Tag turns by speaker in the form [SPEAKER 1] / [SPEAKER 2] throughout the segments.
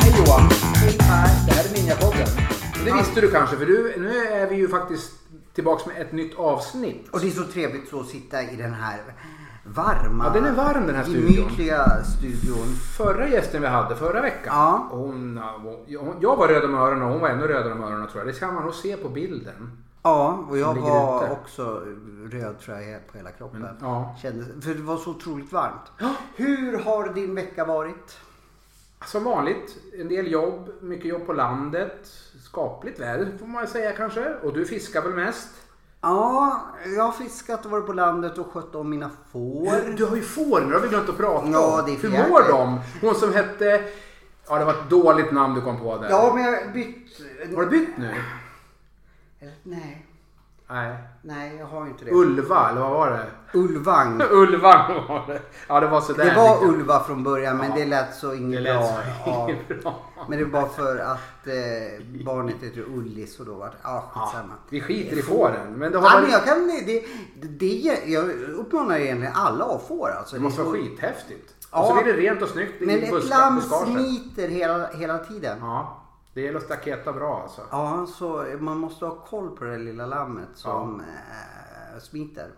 [SPEAKER 1] Hej Johan! Det här är Ninjapodden. Det visste du kanske för du, nu är vi ju faktiskt tillbaks med ett nytt avsnitt.
[SPEAKER 2] Och det är så trevligt så att sitta i den här varma,
[SPEAKER 1] Ja, den är varm, den här studion.
[SPEAKER 2] gemytliga studion.
[SPEAKER 1] Förra gästen vi hade förra veckan.
[SPEAKER 2] Ja.
[SPEAKER 1] Hon, hon, jag var röd om öronen och hon var ännu rödare om öronen tror jag. Det kan man nog se på bilden.
[SPEAKER 2] Ja, och jag
[SPEAKER 1] Som ligger
[SPEAKER 2] var
[SPEAKER 1] ute.
[SPEAKER 2] också röd tror jag på hela kroppen.
[SPEAKER 1] Men, ja.
[SPEAKER 2] Kändes, för det var så otroligt varmt. Hur har din vecka varit?
[SPEAKER 1] Som vanligt, en del jobb, mycket jobb på landet. Skapligt väder får man säga kanske. Och du fiskar väl mest?
[SPEAKER 2] Ja, jag har fiskat och varit på landet och skött om mina får.
[SPEAKER 1] Du har ju får nu, det har vi glömt att prata om.
[SPEAKER 2] Ja, det är
[SPEAKER 1] Hur
[SPEAKER 2] fjärde.
[SPEAKER 1] mår de? Hon som hette... Ja, det var ett dåligt namn du kom på där.
[SPEAKER 2] Ja, men jag har bytt...
[SPEAKER 1] Har du bytt nu?
[SPEAKER 2] Eller, Nej,
[SPEAKER 1] Nej.
[SPEAKER 2] nej jag har ju inte det.
[SPEAKER 1] Ulva, eller vad var det?
[SPEAKER 2] Ulvang.
[SPEAKER 1] Ulvan var det. Ja, det var sådär.
[SPEAKER 2] Det var
[SPEAKER 1] liksom.
[SPEAKER 2] Ulva från början men det lät så
[SPEAKER 1] Det
[SPEAKER 2] inget
[SPEAKER 1] lät
[SPEAKER 2] bra.
[SPEAKER 1] så
[SPEAKER 2] Ja.
[SPEAKER 1] inget bra.
[SPEAKER 2] Men det var för att eh, barnet heter Ullis och då var det... Ja, skitsamma.
[SPEAKER 1] Vi skiter i fåren. Men det har
[SPEAKER 2] Ja, men
[SPEAKER 1] varit...
[SPEAKER 2] jag, kan, det, det, det, jag uppmanar egentligen alla att få alltså.
[SPEAKER 1] Det
[SPEAKER 2] Det är
[SPEAKER 1] måste
[SPEAKER 2] så-
[SPEAKER 1] vara skithäftigt.
[SPEAKER 2] Ja.
[SPEAKER 1] Och så blir det rent och snyggt i
[SPEAKER 2] Men ett
[SPEAKER 1] buska-
[SPEAKER 2] lamm
[SPEAKER 1] buskagen.
[SPEAKER 2] smiter hela, hela tiden. Ja.
[SPEAKER 1] Ja, det gäller att staketa bra alltså.
[SPEAKER 2] så man måste ha koll på det lilla lammet som eh, smiter.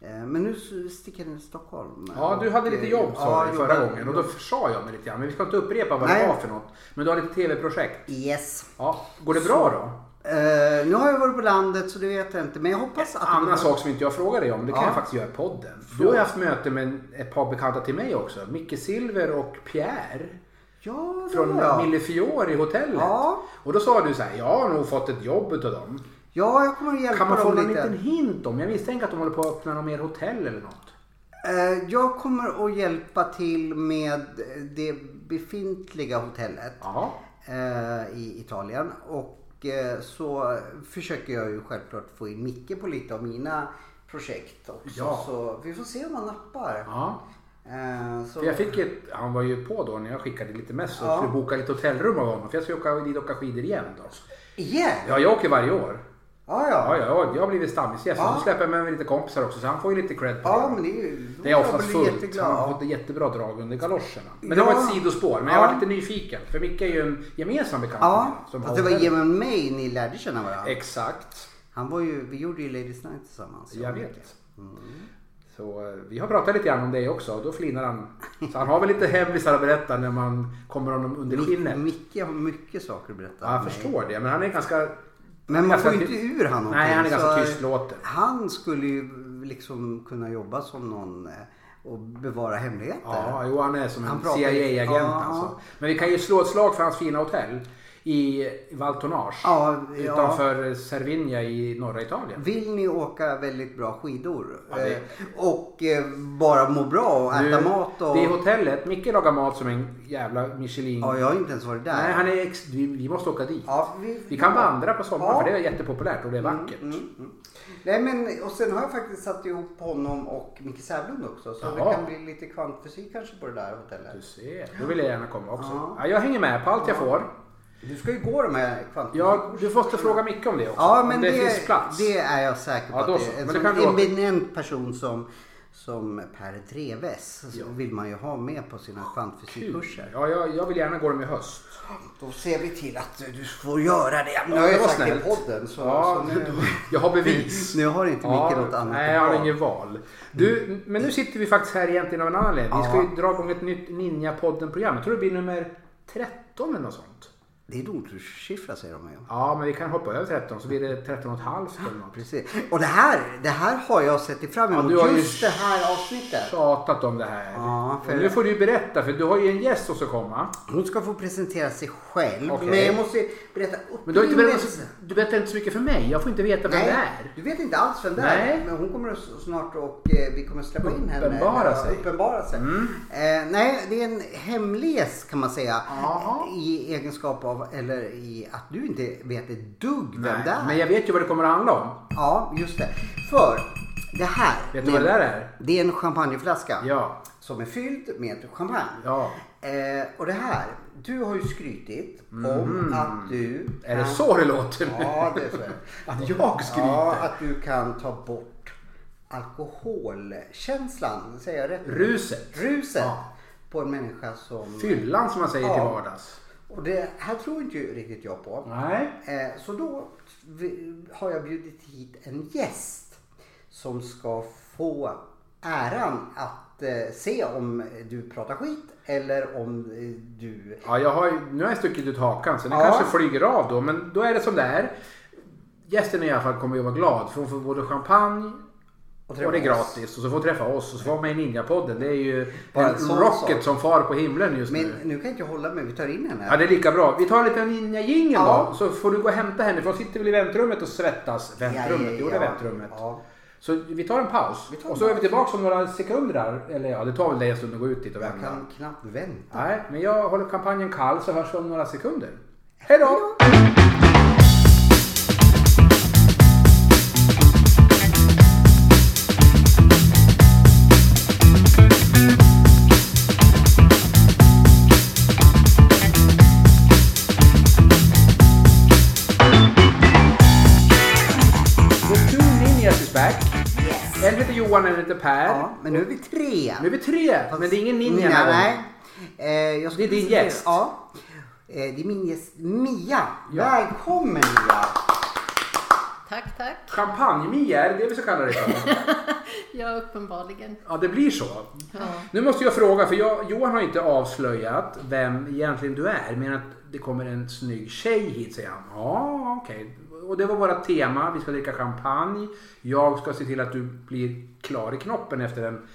[SPEAKER 2] Eh, Men nu s- sticker den till Stockholm.
[SPEAKER 1] Ja, du hade
[SPEAKER 2] Och,
[SPEAKER 1] lite
[SPEAKER 2] eh,
[SPEAKER 1] jobb sa
[SPEAKER 2] ja,
[SPEAKER 1] du förra
[SPEAKER 2] jobbade-
[SPEAKER 1] gången och då sa jag mig lite grann. Men vi ska inte upprepa vad det
[SPEAKER 2] Nej.
[SPEAKER 1] var för något. Men du har lite tv-projekt.
[SPEAKER 2] Yes.
[SPEAKER 1] Ja, går det bra då?
[SPEAKER 2] Eh, nu har jag varit på landet så det vet jag inte. Men jag hoppas att... det går bra.
[SPEAKER 1] Annan sak som inte jag frågade dig om, det kan
[SPEAKER 2] Ja.
[SPEAKER 1] jag faktiskt göra i podden. Du har ju haft möte med ett par bekanta till mig också. Micke Silver och Pierre.
[SPEAKER 2] Ja, det
[SPEAKER 1] Från
[SPEAKER 2] har jag.
[SPEAKER 1] Millefiori hotellet.
[SPEAKER 2] Ja.
[SPEAKER 1] Och då sa du så här, jag har nog fått ett jobb utav dem.
[SPEAKER 2] Ja, jag kommer att hjälpa
[SPEAKER 1] Kan man få
[SPEAKER 2] dem
[SPEAKER 1] någon
[SPEAKER 2] lite.
[SPEAKER 1] liten hint om? Jag misstänker att de håller på att öppna något mer hotell eller något.
[SPEAKER 2] Eh, Jag kommer att hjälpa till med det befintliga hotellet
[SPEAKER 1] Ja.
[SPEAKER 2] eh, i Italien. Och eh, så försöker jag ju självklart få in Micke på lite av mina projekt också.
[SPEAKER 1] Ja.
[SPEAKER 2] Så vi får se om han nappar.
[SPEAKER 1] ja.
[SPEAKER 2] Eh, Så,
[SPEAKER 1] För jag fick ett, han var ju på då när jag skickade lite mess och
[SPEAKER 2] Ja.
[SPEAKER 1] skulle boka lite hotellrum av honom. För jag ska ju åka dit och åka skidor igen då.
[SPEAKER 2] Igen? Ja,
[SPEAKER 1] Ja, jag åker varje år.
[SPEAKER 2] ja.
[SPEAKER 1] Ja, ja,
[SPEAKER 2] ja.
[SPEAKER 1] jag- jag har blivit stammisgäst.
[SPEAKER 2] Ja.
[SPEAKER 1] Nu släpper jag med mig lite kompisar också så han får ju lite cred på
[SPEAKER 2] men det är ju...
[SPEAKER 1] Det är oftast
[SPEAKER 2] blir
[SPEAKER 1] fullt.
[SPEAKER 2] jätteglad.
[SPEAKER 1] Han har fått ett jättebra drag under galoscherna. Men det
[SPEAKER 2] Ja.
[SPEAKER 1] var ett sidospår. Men jag
[SPEAKER 2] Ja.
[SPEAKER 1] var lite nyfiken. För Micke är ju en gemensam bekant
[SPEAKER 2] Ja,
[SPEAKER 1] med,
[SPEAKER 2] fast
[SPEAKER 1] har
[SPEAKER 2] det var
[SPEAKER 1] hotellet.
[SPEAKER 2] genom mig ni lärde känna varandra.
[SPEAKER 1] Exakt.
[SPEAKER 2] Han var ju, vi gjorde ju Ladies Night tillsammans.
[SPEAKER 1] Jag vet. Mm. Så eh, vi har pratat lite grann om dig också och då flinar han. Så han har väl lite hemlisar att berätta när man kommer honom under
[SPEAKER 2] Mic-
[SPEAKER 1] skinnet.
[SPEAKER 2] Micke har mycket saker att berätta
[SPEAKER 1] Ja, jag
[SPEAKER 2] om mig.
[SPEAKER 1] förstår det. Men han är ganska...
[SPEAKER 2] Men man
[SPEAKER 1] ganska
[SPEAKER 2] får ju
[SPEAKER 1] ty-
[SPEAKER 2] inte ur han någonting.
[SPEAKER 1] Nej, han är ganska
[SPEAKER 2] så, eh,
[SPEAKER 1] tystlåten.
[SPEAKER 2] Han skulle ju liksom kunna jobba som någon eh, och bevara hemligheter.
[SPEAKER 1] Ja, jo, han är som en
[SPEAKER 2] Han pratar-
[SPEAKER 1] CIA-agent
[SPEAKER 2] Ja.
[SPEAKER 1] alltså. Men vi kan ju slå ett slag för hans fina hotell i Valtonage.
[SPEAKER 2] Ja, ja.
[SPEAKER 1] Utanför Cervinia i norra Italien.
[SPEAKER 2] Vill ni åka väldigt bra skidor
[SPEAKER 1] Ja, det-
[SPEAKER 2] eh, och eh, bara må bra och äta mat och...
[SPEAKER 1] Det är hotellet. Micke lagar mat som en jävla Michelin.
[SPEAKER 2] Ja, jag har ju inte ens varit där.
[SPEAKER 1] Nej, han är ex... vi, vi måste åka dit.
[SPEAKER 2] ja, vi...
[SPEAKER 1] Vi kan vandra på sommaren
[SPEAKER 2] Ja. Mm,
[SPEAKER 1] för det är jättepopulärt och det är vackert.
[SPEAKER 2] Nej, men och sen har jag faktiskt satt ihop honom och Micke Sävlund också. Så
[SPEAKER 1] Jaha.
[SPEAKER 2] det kan bli lite kvantfysik kanske på det där hotellet.
[SPEAKER 1] Du ser, då vill jag gärna komma också. Ja. jag hänger med på allt jag får.
[SPEAKER 2] Du ska ju gå de här kvantfysik
[SPEAKER 1] Ja, du måste fråga Micke om det också.
[SPEAKER 2] Ja,
[SPEAKER 1] om
[SPEAKER 2] men
[SPEAKER 1] det,
[SPEAKER 2] det,
[SPEAKER 1] finns plats.
[SPEAKER 2] det är jag säker på.
[SPEAKER 1] Ja, då
[SPEAKER 2] att det
[SPEAKER 1] så.
[SPEAKER 2] är
[SPEAKER 1] Men
[SPEAKER 2] en
[SPEAKER 1] det
[SPEAKER 2] sån
[SPEAKER 1] kan vi åter-
[SPEAKER 2] eminent person som, som Per Treves så vill man ju ha med på sina kvantfysikkurser.
[SPEAKER 1] Ja, jag, jag vill gärna gå dem i höst.
[SPEAKER 2] Då ser vi till att du får göra det. Nu
[SPEAKER 1] Ja,
[SPEAKER 2] har
[SPEAKER 1] det
[SPEAKER 2] jag
[SPEAKER 1] var
[SPEAKER 2] sagt det i
[SPEAKER 1] snällt.
[SPEAKER 2] podden. Så,
[SPEAKER 1] Ja,
[SPEAKER 2] så nu,
[SPEAKER 1] jag har bevis.
[SPEAKER 2] nu har inte Micke något annat Mm.
[SPEAKER 1] Nej, jag
[SPEAKER 2] att
[SPEAKER 1] har
[SPEAKER 2] ha.
[SPEAKER 1] inget val. Du, men nu sitter vi faktiskt här egentligen av en annan anledning. Vi ska ju dra igång ett nytt Ninja-podden-program. Jag tror det blir nummer 13 eller något sånt.
[SPEAKER 2] Det är domstolssiffra säger de ju.
[SPEAKER 1] Ja, men vi kan hoppa över 13 så blir det 13 och ett halvt eller något.
[SPEAKER 2] Precis. Och det här, det här har jag sett fram emot.
[SPEAKER 1] du har ju
[SPEAKER 2] Just det här avsnittet.
[SPEAKER 1] Tjatat om det här.
[SPEAKER 2] Ja, för-
[SPEAKER 1] Och Nu får du ju berätta för du har ju en gäst som ska komma.
[SPEAKER 2] Hon ska få presentera sig själv.
[SPEAKER 1] Okej.
[SPEAKER 2] Men jag måste ju berätta upprinnelsen.
[SPEAKER 1] Men du, har inte berättat, du berättar inte så mycket för mig. Jag får inte veta vem det är.
[SPEAKER 2] Du vet inte alls vem det är.
[SPEAKER 1] Nej.
[SPEAKER 2] Men hon kommer s- snart och eh, vi kommer släppa in henne.
[SPEAKER 1] Uppenbara
[SPEAKER 2] Ja,
[SPEAKER 1] sig. Mm.
[SPEAKER 2] Uppenbara sig. Eh, nej, det är en hemlis kan man säga.
[SPEAKER 1] Jaha.
[SPEAKER 2] I egenskap av, eller i att du inte vet ett dugg vem det är.
[SPEAKER 1] Nej, men jag vet ju vad det kommer att handla om.
[SPEAKER 2] Ja, just det. För det här.
[SPEAKER 1] Vet du vad det där är?
[SPEAKER 2] Det är en champagneflaska.
[SPEAKER 1] Ja.
[SPEAKER 2] som är fylld med champagne.
[SPEAKER 1] Ja.
[SPEAKER 2] Eh, och det här, du har ju skrytit om att du...
[SPEAKER 1] Mm. Är det
[SPEAKER 2] kan-
[SPEAKER 1] så det låter? nu?
[SPEAKER 2] Ja, det är så.
[SPEAKER 1] Att jag skryter?
[SPEAKER 2] Ja, att du kan ta bort alkoholkänslan, säger jag rätt?
[SPEAKER 1] Ruset.
[SPEAKER 2] Ruset
[SPEAKER 1] Ja.
[SPEAKER 2] på en människa som...
[SPEAKER 1] Fyllan som man säger till
[SPEAKER 2] Ja.
[SPEAKER 1] vardags.
[SPEAKER 2] Och det här tror inte ju riktigt jag på.
[SPEAKER 1] Nej.
[SPEAKER 2] Eh, Så då vi- har jag bjudit hit en gäst som ska få äran att eh, se om du pratar skit eller om eh, du...
[SPEAKER 1] Ja, jag har, ju- nu har jag stuckit ut hakan så den
[SPEAKER 2] Ja.
[SPEAKER 1] kanske flyger av då. Men då är det som det är. Gästen i alla fall kommer ju vara glad för hon får både champagne och,
[SPEAKER 2] träffa
[SPEAKER 1] det är
[SPEAKER 2] oss.
[SPEAKER 1] gratis. Och så får hon träffa oss och så får hon med i Ninjapodden. Det är ju
[SPEAKER 2] Bara
[SPEAKER 1] en
[SPEAKER 2] en sån
[SPEAKER 1] rocket
[SPEAKER 2] sak.
[SPEAKER 1] som far på himlen just
[SPEAKER 2] Men
[SPEAKER 1] nu.
[SPEAKER 2] nu kan jag inte hålla mig, vi tar in henne.
[SPEAKER 1] Ja, det är lika bra. Vi tar en liten ninja-jingel
[SPEAKER 2] Ja.
[SPEAKER 1] då. Så får du gå och hämta henne för hon sitter väl i väntrummet och svettas. Väntrummet? Jo, det är väntrummet.
[SPEAKER 2] Ja.
[SPEAKER 1] Så vi tar en paus.
[SPEAKER 2] Vi tar en
[SPEAKER 1] och så är vi tillbaka om några sekunder där. Eller ja, det tar väl dig en stund att gå ut dit och
[SPEAKER 2] Jag
[SPEAKER 1] vända.
[SPEAKER 2] kan knappt vänta.
[SPEAKER 1] Nej, men jag håller kampanjen kall så hörs vi om några sekunder. Hej då! The two ninjas is back.
[SPEAKER 2] Yes.
[SPEAKER 1] En heter Johan, en heter Per.
[SPEAKER 2] Ja, men nu är vi tre.
[SPEAKER 1] Nu är vi tre, men det är ingen ninja
[SPEAKER 2] Nej,
[SPEAKER 1] här.
[SPEAKER 2] nej. Eh, jag skulle
[SPEAKER 1] Det är din
[SPEAKER 2] presentera-
[SPEAKER 1] gäst.
[SPEAKER 2] Ja. Eh, det är min gäst Mia.
[SPEAKER 1] Ja.
[SPEAKER 2] Välkommen Mia.
[SPEAKER 3] Tack, tack.
[SPEAKER 1] Champagne-Mia, är det det vi ska kalla det för?
[SPEAKER 3] Ja, uppenbarligen.
[SPEAKER 1] Ja, det blir så.
[SPEAKER 3] Ja.
[SPEAKER 1] Nu måste jag fråga, för jag, Johan har inte avslöjat vem egentligen du är, men att det kommer en snygg tjej hit, säger han. Ja, okej. Och det var vårt tema, vi ska dricka champagne. Jag ska se till att du blir klar i knoppen efter en,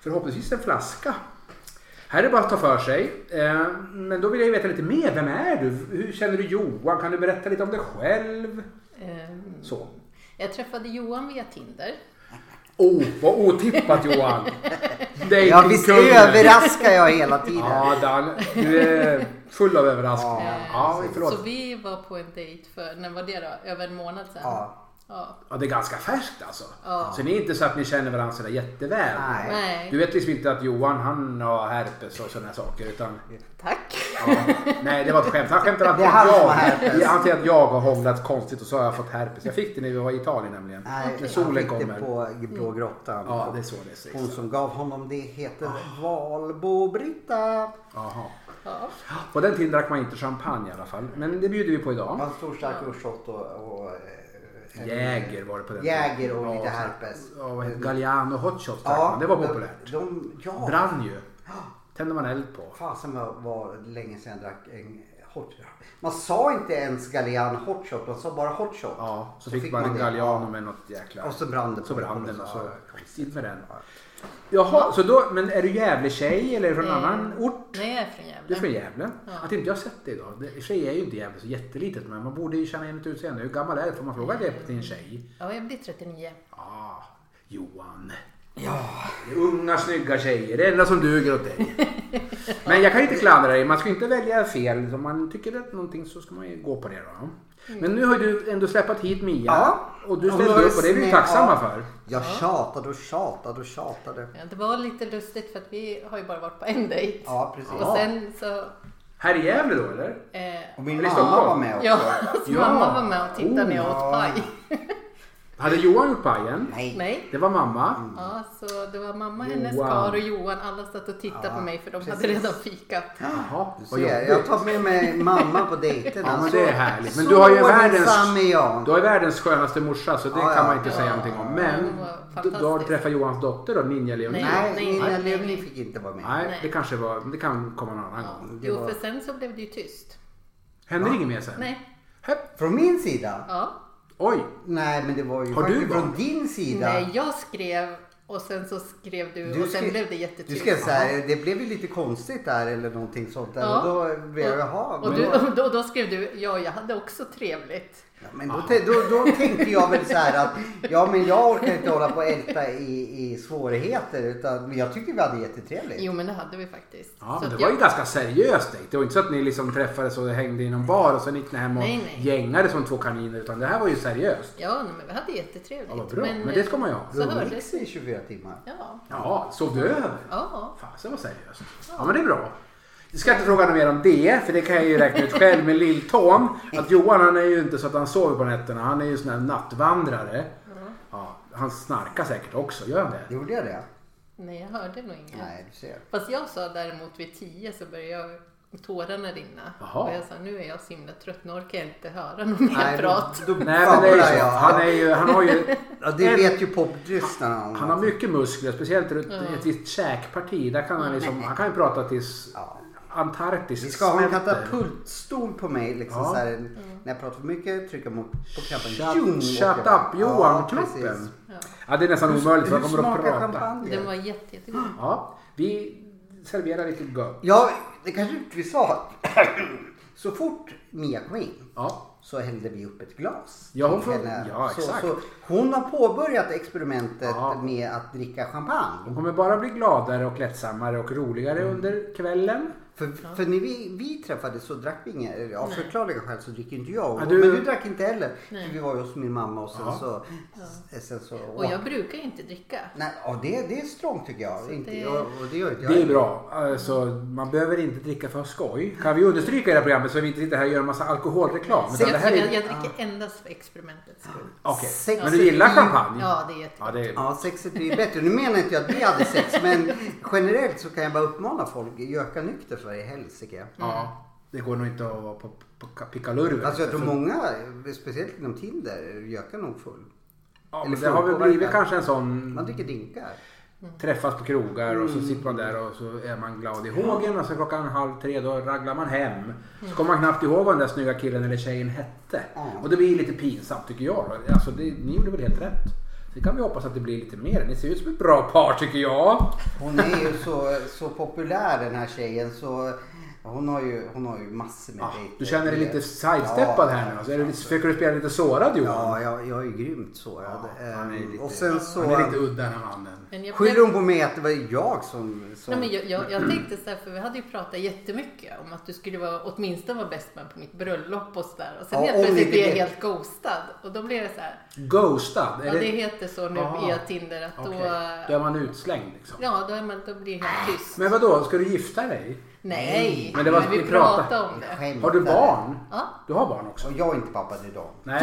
[SPEAKER 1] förhoppningsvis en flaska. Här är det bara att ta för sig. Eh, Men då vill jag ju veta lite mer. Vem är du? Hur känner du Johan? Kan du berätta lite om dig själv?
[SPEAKER 3] Ehm,
[SPEAKER 1] Så.
[SPEAKER 3] Jag träffade Johan via Tinder.
[SPEAKER 1] Oh, vad otippat Johan!
[SPEAKER 2] Ja, visst
[SPEAKER 1] Datingkungen.
[SPEAKER 2] överraskar jag hela tiden.
[SPEAKER 1] Ja, Dan, du är full av överraskningar. Ja,
[SPEAKER 3] Ehm,
[SPEAKER 1] förlåt.
[SPEAKER 3] Så vi var på en dejt för, när var det då? Över en månad sedan?
[SPEAKER 2] Ja.
[SPEAKER 3] Ja.
[SPEAKER 1] Ja, det är ganska färskt alltså.
[SPEAKER 3] Ja.
[SPEAKER 1] Så det är inte så att ni känner varandra sådär jätteväl.
[SPEAKER 2] Nej.
[SPEAKER 3] Nej.
[SPEAKER 1] Du vet liksom inte att Johan han har herpes och sådana saker. Utan,
[SPEAKER 3] Tack.
[SPEAKER 1] ja, nej, det var ett skämt. Han skämtar att
[SPEAKER 2] Det är han som
[SPEAKER 1] jag,
[SPEAKER 2] har herpes.
[SPEAKER 1] han säger att jag har hånglat konstigt och så har jag fått herpes. Jag fick det när vi var i Italien nämligen.
[SPEAKER 2] Nej,
[SPEAKER 1] när
[SPEAKER 2] han
[SPEAKER 1] solen
[SPEAKER 2] fick det
[SPEAKER 1] kommer.
[SPEAKER 2] på Blå grottan.
[SPEAKER 1] Ja, det är så det Ah. sägs.
[SPEAKER 2] Hon som gav honom det heter Valbo-Britta.
[SPEAKER 1] Jaha.
[SPEAKER 3] Ja.
[SPEAKER 1] På den tiden drack man inte champagne i alla fall. Men det bjuder vi på idag.
[SPEAKER 2] Man stor stark urshot och, och eh,
[SPEAKER 1] Jäger var det på den
[SPEAKER 2] Jäger och lite
[SPEAKER 1] så-
[SPEAKER 2] herpes.
[SPEAKER 1] Ja, vad heter Galliano hot shots drack man. Det var populärt.
[SPEAKER 2] De, de, ja,
[SPEAKER 1] Brann ju. Tände man eld på.
[SPEAKER 2] Fasen var, var länge sedan jag drack en hot shot. Man sa inte ens Gallian hot shot, man sa bara hot shot.
[SPEAKER 1] Ja, så, fick
[SPEAKER 2] fick
[SPEAKER 1] man
[SPEAKER 2] man
[SPEAKER 1] en
[SPEAKER 2] det.
[SPEAKER 1] Galliano med något jäkla...
[SPEAKER 2] Och så brann det
[SPEAKER 1] Så
[SPEAKER 2] på
[SPEAKER 1] brann
[SPEAKER 2] den
[SPEAKER 1] den och
[SPEAKER 2] också.
[SPEAKER 1] så... In med den. Jaha, så då, men är du Gävle-tjej eller är du från en
[SPEAKER 3] Eh,
[SPEAKER 1] annan ort?
[SPEAKER 3] Nej, jag är från
[SPEAKER 1] Du är
[SPEAKER 3] Gävle.
[SPEAKER 1] från Gävle. Att inte jag har sett det idag. Det- Tjejer är ju inte Gävle så jättelitet men man borde ju känna igen ett utseende. Hur gammal är du? Får man fråga det till en tjej?
[SPEAKER 3] Ja, jag blir 39.
[SPEAKER 1] Ah, Johan. Det är unga snygga tjejer, det enda som duger åt dig. Men jag kan inte klandra dig, man ska inte välja fel. Om man tycker att någonting så ska man ju gå på det då. Men nu har du ändå släpat hit Mia
[SPEAKER 2] Mm. Ja.
[SPEAKER 1] och du
[SPEAKER 2] Hon
[SPEAKER 1] ställde
[SPEAKER 2] var
[SPEAKER 1] upp och det är vi ju
[SPEAKER 2] snäll.
[SPEAKER 1] tacksamma
[SPEAKER 2] Ja.
[SPEAKER 1] för.
[SPEAKER 2] Jag tjatade och tjatade och tjatade.
[SPEAKER 3] Ja, Det var lite lustigt för att vi har ju bara varit på en dejt.
[SPEAKER 2] Ja, precis.
[SPEAKER 3] Och sen så...
[SPEAKER 1] Här i Gävle då eller?
[SPEAKER 3] Eh,
[SPEAKER 2] Och min
[SPEAKER 1] Eller i
[SPEAKER 2] mamma
[SPEAKER 1] Stockholm.
[SPEAKER 2] var med också.
[SPEAKER 3] ja, så
[SPEAKER 1] Ja.
[SPEAKER 3] mamma var med och tittade när jag
[SPEAKER 2] Oh.
[SPEAKER 3] åt paj.
[SPEAKER 1] Hade Johan gjort pajen?
[SPEAKER 2] Nej.
[SPEAKER 3] Nej.
[SPEAKER 1] Det var mamma.
[SPEAKER 3] Ja, så det var mamma, hennes
[SPEAKER 1] Johan.
[SPEAKER 3] kar och Johan. Alla satt och tittade
[SPEAKER 2] Ja,
[SPEAKER 3] på mig för de hade
[SPEAKER 2] precis.
[SPEAKER 3] redan fikat.
[SPEAKER 1] Jaha,
[SPEAKER 2] Du
[SPEAKER 1] vad
[SPEAKER 2] ser, jag
[SPEAKER 1] jobbigt.
[SPEAKER 2] tar med mig mamma på dejterna.
[SPEAKER 1] Ja men
[SPEAKER 2] Så-
[SPEAKER 1] det är härligt. Men
[SPEAKER 2] så
[SPEAKER 1] du har ju världens,
[SPEAKER 2] ordensam är jag.
[SPEAKER 1] du har ju världens skönaste morsa så det
[SPEAKER 2] Ja,
[SPEAKER 1] kan man
[SPEAKER 2] ja.
[SPEAKER 1] inte säga någonting om.
[SPEAKER 3] Ja,
[SPEAKER 1] Men
[SPEAKER 3] hon var
[SPEAKER 1] du, du har
[SPEAKER 3] fantastisk.
[SPEAKER 1] träffat Johans dotter då, Ninja Leonie.
[SPEAKER 3] Nej.
[SPEAKER 2] Nej, Nina
[SPEAKER 3] nej.
[SPEAKER 2] Leonie fick inte vara med.
[SPEAKER 1] Nej,
[SPEAKER 3] Nej.
[SPEAKER 1] det kanske var, det kan komma någon annan
[SPEAKER 3] Ja.
[SPEAKER 1] gång.
[SPEAKER 2] Det
[SPEAKER 3] Jo,
[SPEAKER 2] var-
[SPEAKER 3] för sen så blev det ju tyst.
[SPEAKER 1] Händer inget mer sen?
[SPEAKER 3] Nej.
[SPEAKER 1] Hepp.
[SPEAKER 2] Från min sida?
[SPEAKER 3] Ja.
[SPEAKER 1] Oj,
[SPEAKER 2] Nej, men det var ju
[SPEAKER 1] Har du
[SPEAKER 2] faktiskt från
[SPEAKER 1] barn?
[SPEAKER 2] din sida.
[SPEAKER 3] Nej, jag skrev och sen så skrev du, och sen
[SPEAKER 2] skrev-
[SPEAKER 3] blev det
[SPEAKER 2] Du
[SPEAKER 3] jättetyst.
[SPEAKER 2] skrev så här, det blev ju lite konstigt där eller någonting sånt där.
[SPEAKER 3] Ja.
[SPEAKER 2] Och då blev jag, jaha.
[SPEAKER 3] och
[SPEAKER 2] men
[SPEAKER 3] du,
[SPEAKER 2] vad-
[SPEAKER 3] och då, då skrev du, ja jag hade också trevligt.
[SPEAKER 2] Ja, men
[SPEAKER 1] Ah.
[SPEAKER 2] då, te- då, då tänkte jag väl så här att ja, men jag orkar inte hålla på och älta i, i svårigheter. Utan, men jag tycker vi hade jättetrevligt.
[SPEAKER 3] Jo men det hade vi faktiskt.
[SPEAKER 1] Ja, men
[SPEAKER 3] Så
[SPEAKER 1] det
[SPEAKER 3] att
[SPEAKER 1] var
[SPEAKER 3] jag-
[SPEAKER 1] ju ganska seriöst dejt. Det var inte så att ni liksom träffades och hängde i någon bar och sen gick ni hem och
[SPEAKER 3] Nej, nej.
[SPEAKER 1] gängade som två kaniner. Utan det här var ju seriöst.
[SPEAKER 3] Ja, nej, men vi hade
[SPEAKER 1] Ja,
[SPEAKER 3] jättetrevligt.
[SPEAKER 1] vad bra.
[SPEAKER 3] eh,
[SPEAKER 1] Men det ska man ju ha.
[SPEAKER 3] Så hördes
[SPEAKER 2] Umgicks
[SPEAKER 3] vi.
[SPEAKER 2] i 24 timmar.
[SPEAKER 3] Ja.
[SPEAKER 1] Ja, sov du över?
[SPEAKER 3] ja.
[SPEAKER 1] Fasen vad seriöst. Ja men det är bra. Jag ska inte fråga något mer om det, för det kan jag ju räkna ut själv med Lilltån. Att Johan han är ju inte så att han sover på nätterna. Han är ju sån här nattvandrare.
[SPEAKER 3] Mm.
[SPEAKER 1] Ja, han snarkar säkert också, gör han det?
[SPEAKER 2] Gjorde jag det?
[SPEAKER 3] Nej, jag hörde nog inget.
[SPEAKER 2] Nej, du ser.
[SPEAKER 3] Fast jag sa däremot vid tio så började jag tårarna rinna.
[SPEAKER 1] Jaha.
[SPEAKER 3] Och jag sa nu är jag så himla trött, nu orkar jag inte höra någon mer
[SPEAKER 2] Nej,
[SPEAKER 3] prat.
[SPEAKER 2] då, då
[SPEAKER 1] Nej men det är ju
[SPEAKER 2] babblar
[SPEAKER 1] så.
[SPEAKER 2] jag.
[SPEAKER 1] Han, är ju, han har ju...
[SPEAKER 2] Ja, det vet ju poplyssnarna om.
[SPEAKER 1] Han har mycket muskler, speciellt runt ett visst käkparti. Där kan han, liksom, han kan ju prata tills
[SPEAKER 2] Ja.
[SPEAKER 1] Antarktis
[SPEAKER 2] Vi ska ha en
[SPEAKER 1] smälter.
[SPEAKER 2] katapultstol på mig. Liksom,
[SPEAKER 1] Ja.
[SPEAKER 2] så här,
[SPEAKER 3] Mm.
[SPEAKER 2] när jag pratar för mycket, trycka mot, på knappen.
[SPEAKER 1] Shut-
[SPEAKER 2] Tjong,
[SPEAKER 1] Shut
[SPEAKER 2] åker jag.
[SPEAKER 1] up Johan-knoppen!
[SPEAKER 2] precis.
[SPEAKER 3] Ja.
[SPEAKER 1] ja, det är nästan omöjligt för jag
[SPEAKER 2] Hur
[SPEAKER 1] kommer att
[SPEAKER 2] smakar
[SPEAKER 1] prata.
[SPEAKER 2] champagne?
[SPEAKER 3] Den var jätte, jättegod.
[SPEAKER 1] Ja, vi serverar lite gött.
[SPEAKER 2] Ja, det kanske inte vi sa. Så fort Mia kom in
[SPEAKER 1] Ja.
[SPEAKER 2] så hällde vi upp ett glas.
[SPEAKER 1] Ja, hon
[SPEAKER 2] till
[SPEAKER 1] får-
[SPEAKER 2] henne.
[SPEAKER 1] ja,
[SPEAKER 2] så,
[SPEAKER 1] exakt.
[SPEAKER 2] Så hon har påbörjat experimentet
[SPEAKER 1] Ja.
[SPEAKER 2] med att dricka champagne.
[SPEAKER 1] De kommer bara bli gladare och lättsammare och roligare
[SPEAKER 2] Mm.
[SPEAKER 1] under kvällen.
[SPEAKER 2] För, för när vi, vi träffades så drack vi inget. eller, Av förklarliga skäl så dricker inte jag.
[SPEAKER 1] Ja, du-
[SPEAKER 2] Men du drack inte heller.
[SPEAKER 3] Nej.
[SPEAKER 2] För vi var ju hos min mamma och sen
[SPEAKER 1] Ja.
[SPEAKER 2] så... Sen så
[SPEAKER 3] Och jag brukar ju inte dricka.
[SPEAKER 2] Nej, ja, det, det är strångt tycker jag. Inte,
[SPEAKER 3] det-
[SPEAKER 2] jag och det, gör inte jag
[SPEAKER 1] Det är bra. Alltså, man behöver inte dricka för skoj. Kan vi understryka i det här programmet så vi inte sitter här och gör en massa alkoholreklam.
[SPEAKER 3] Så
[SPEAKER 1] Utan det
[SPEAKER 3] jag,
[SPEAKER 1] här
[SPEAKER 3] jag,
[SPEAKER 1] är...
[SPEAKER 3] jag dricker endast för experimentets skull.
[SPEAKER 1] Okej,
[SPEAKER 2] Sex
[SPEAKER 1] men du gillar
[SPEAKER 2] är ju-
[SPEAKER 1] champagne?
[SPEAKER 3] Ja, det är jättegott.
[SPEAKER 1] Ja, det är...
[SPEAKER 2] Ja, Mm. sexet blir bättre. Nu menar inte jag att vi hade sex, men generellt så kan jag bara uppmana folk, göka nykter för i helsike.
[SPEAKER 1] ja, det går nog inte att vara på, på, på pickalurver.
[SPEAKER 2] Alltså jag tror många, speciellt inom Tinder, gökar nog full.
[SPEAKER 1] ja,
[SPEAKER 2] eller
[SPEAKER 1] men det har väl blivit
[SPEAKER 2] påverkan.
[SPEAKER 1] kanske en sån...
[SPEAKER 2] Man Mm. dricker drinkar.
[SPEAKER 1] Träffas på krogar och så sitter man där och så är man glad i hågen och så klockan halv tre då raglar man hem. Så kommer man knappt ihåg vad den där snygga killen eller tjejen hette.
[SPEAKER 2] Ja.
[SPEAKER 1] Och det blir lite pinsamt tycker jag. då. Alltså, det, ni gjorde väl helt rätt. Så kan vi hoppas att det blir lite mer. Ni ser ut som ett bra par tycker jag.
[SPEAKER 2] Hon är ju så, så populär den här tjejen så hon har ju, hon har ju massor med
[SPEAKER 1] Ah,
[SPEAKER 2] dejter.
[SPEAKER 1] du känner dig lite sidesteppad här nu. Så är du,
[SPEAKER 2] alltså.
[SPEAKER 1] försöker du spela lite sårad Johan?
[SPEAKER 2] Ja, jag, jag är ju grymt sårad.
[SPEAKER 1] Ja,
[SPEAKER 2] Ehm,
[SPEAKER 1] han är lite-
[SPEAKER 2] och sen
[SPEAKER 1] Han är lite
[SPEAKER 2] så
[SPEAKER 1] udda den här mannen.
[SPEAKER 3] Men jag,
[SPEAKER 2] skyller hon på mig att det var jag som... som
[SPEAKER 3] Nej, men jag, jag, jag tänkte så här, för vi hade ju pratat jättemycket om att du skulle vara, åtminstone vara bäst man på mitt bröllop och så där. Och sen
[SPEAKER 2] Ja, om
[SPEAKER 3] helt plötsligt
[SPEAKER 2] inte
[SPEAKER 3] blev jag
[SPEAKER 2] det-
[SPEAKER 3] helt ghostad. Och då blev det så här,
[SPEAKER 1] Ghostad?
[SPEAKER 3] ja det heter så nu
[SPEAKER 1] Aha.
[SPEAKER 3] via Tinder att då, eh,
[SPEAKER 1] Okej. Då är man utslängd liksom.
[SPEAKER 3] ja då, är man, då blir det helt tyst.
[SPEAKER 1] Men vadå, ska du gifta dig?
[SPEAKER 3] Nej,
[SPEAKER 1] Men det var-
[SPEAKER 3] vi
[SPEAKER 1] vi pratade-
[SPEAKER 3] pratade om det.
[SPEAKER 2] skämtar.
[SPEAKER 1] Har du barn?
[SPEAKER 3] Ja.
[SPEAKER 1] Du har barn också?
[SPEAKER 2] Och jag är inte pappa till dem.
[SPEAKER 1] Nej,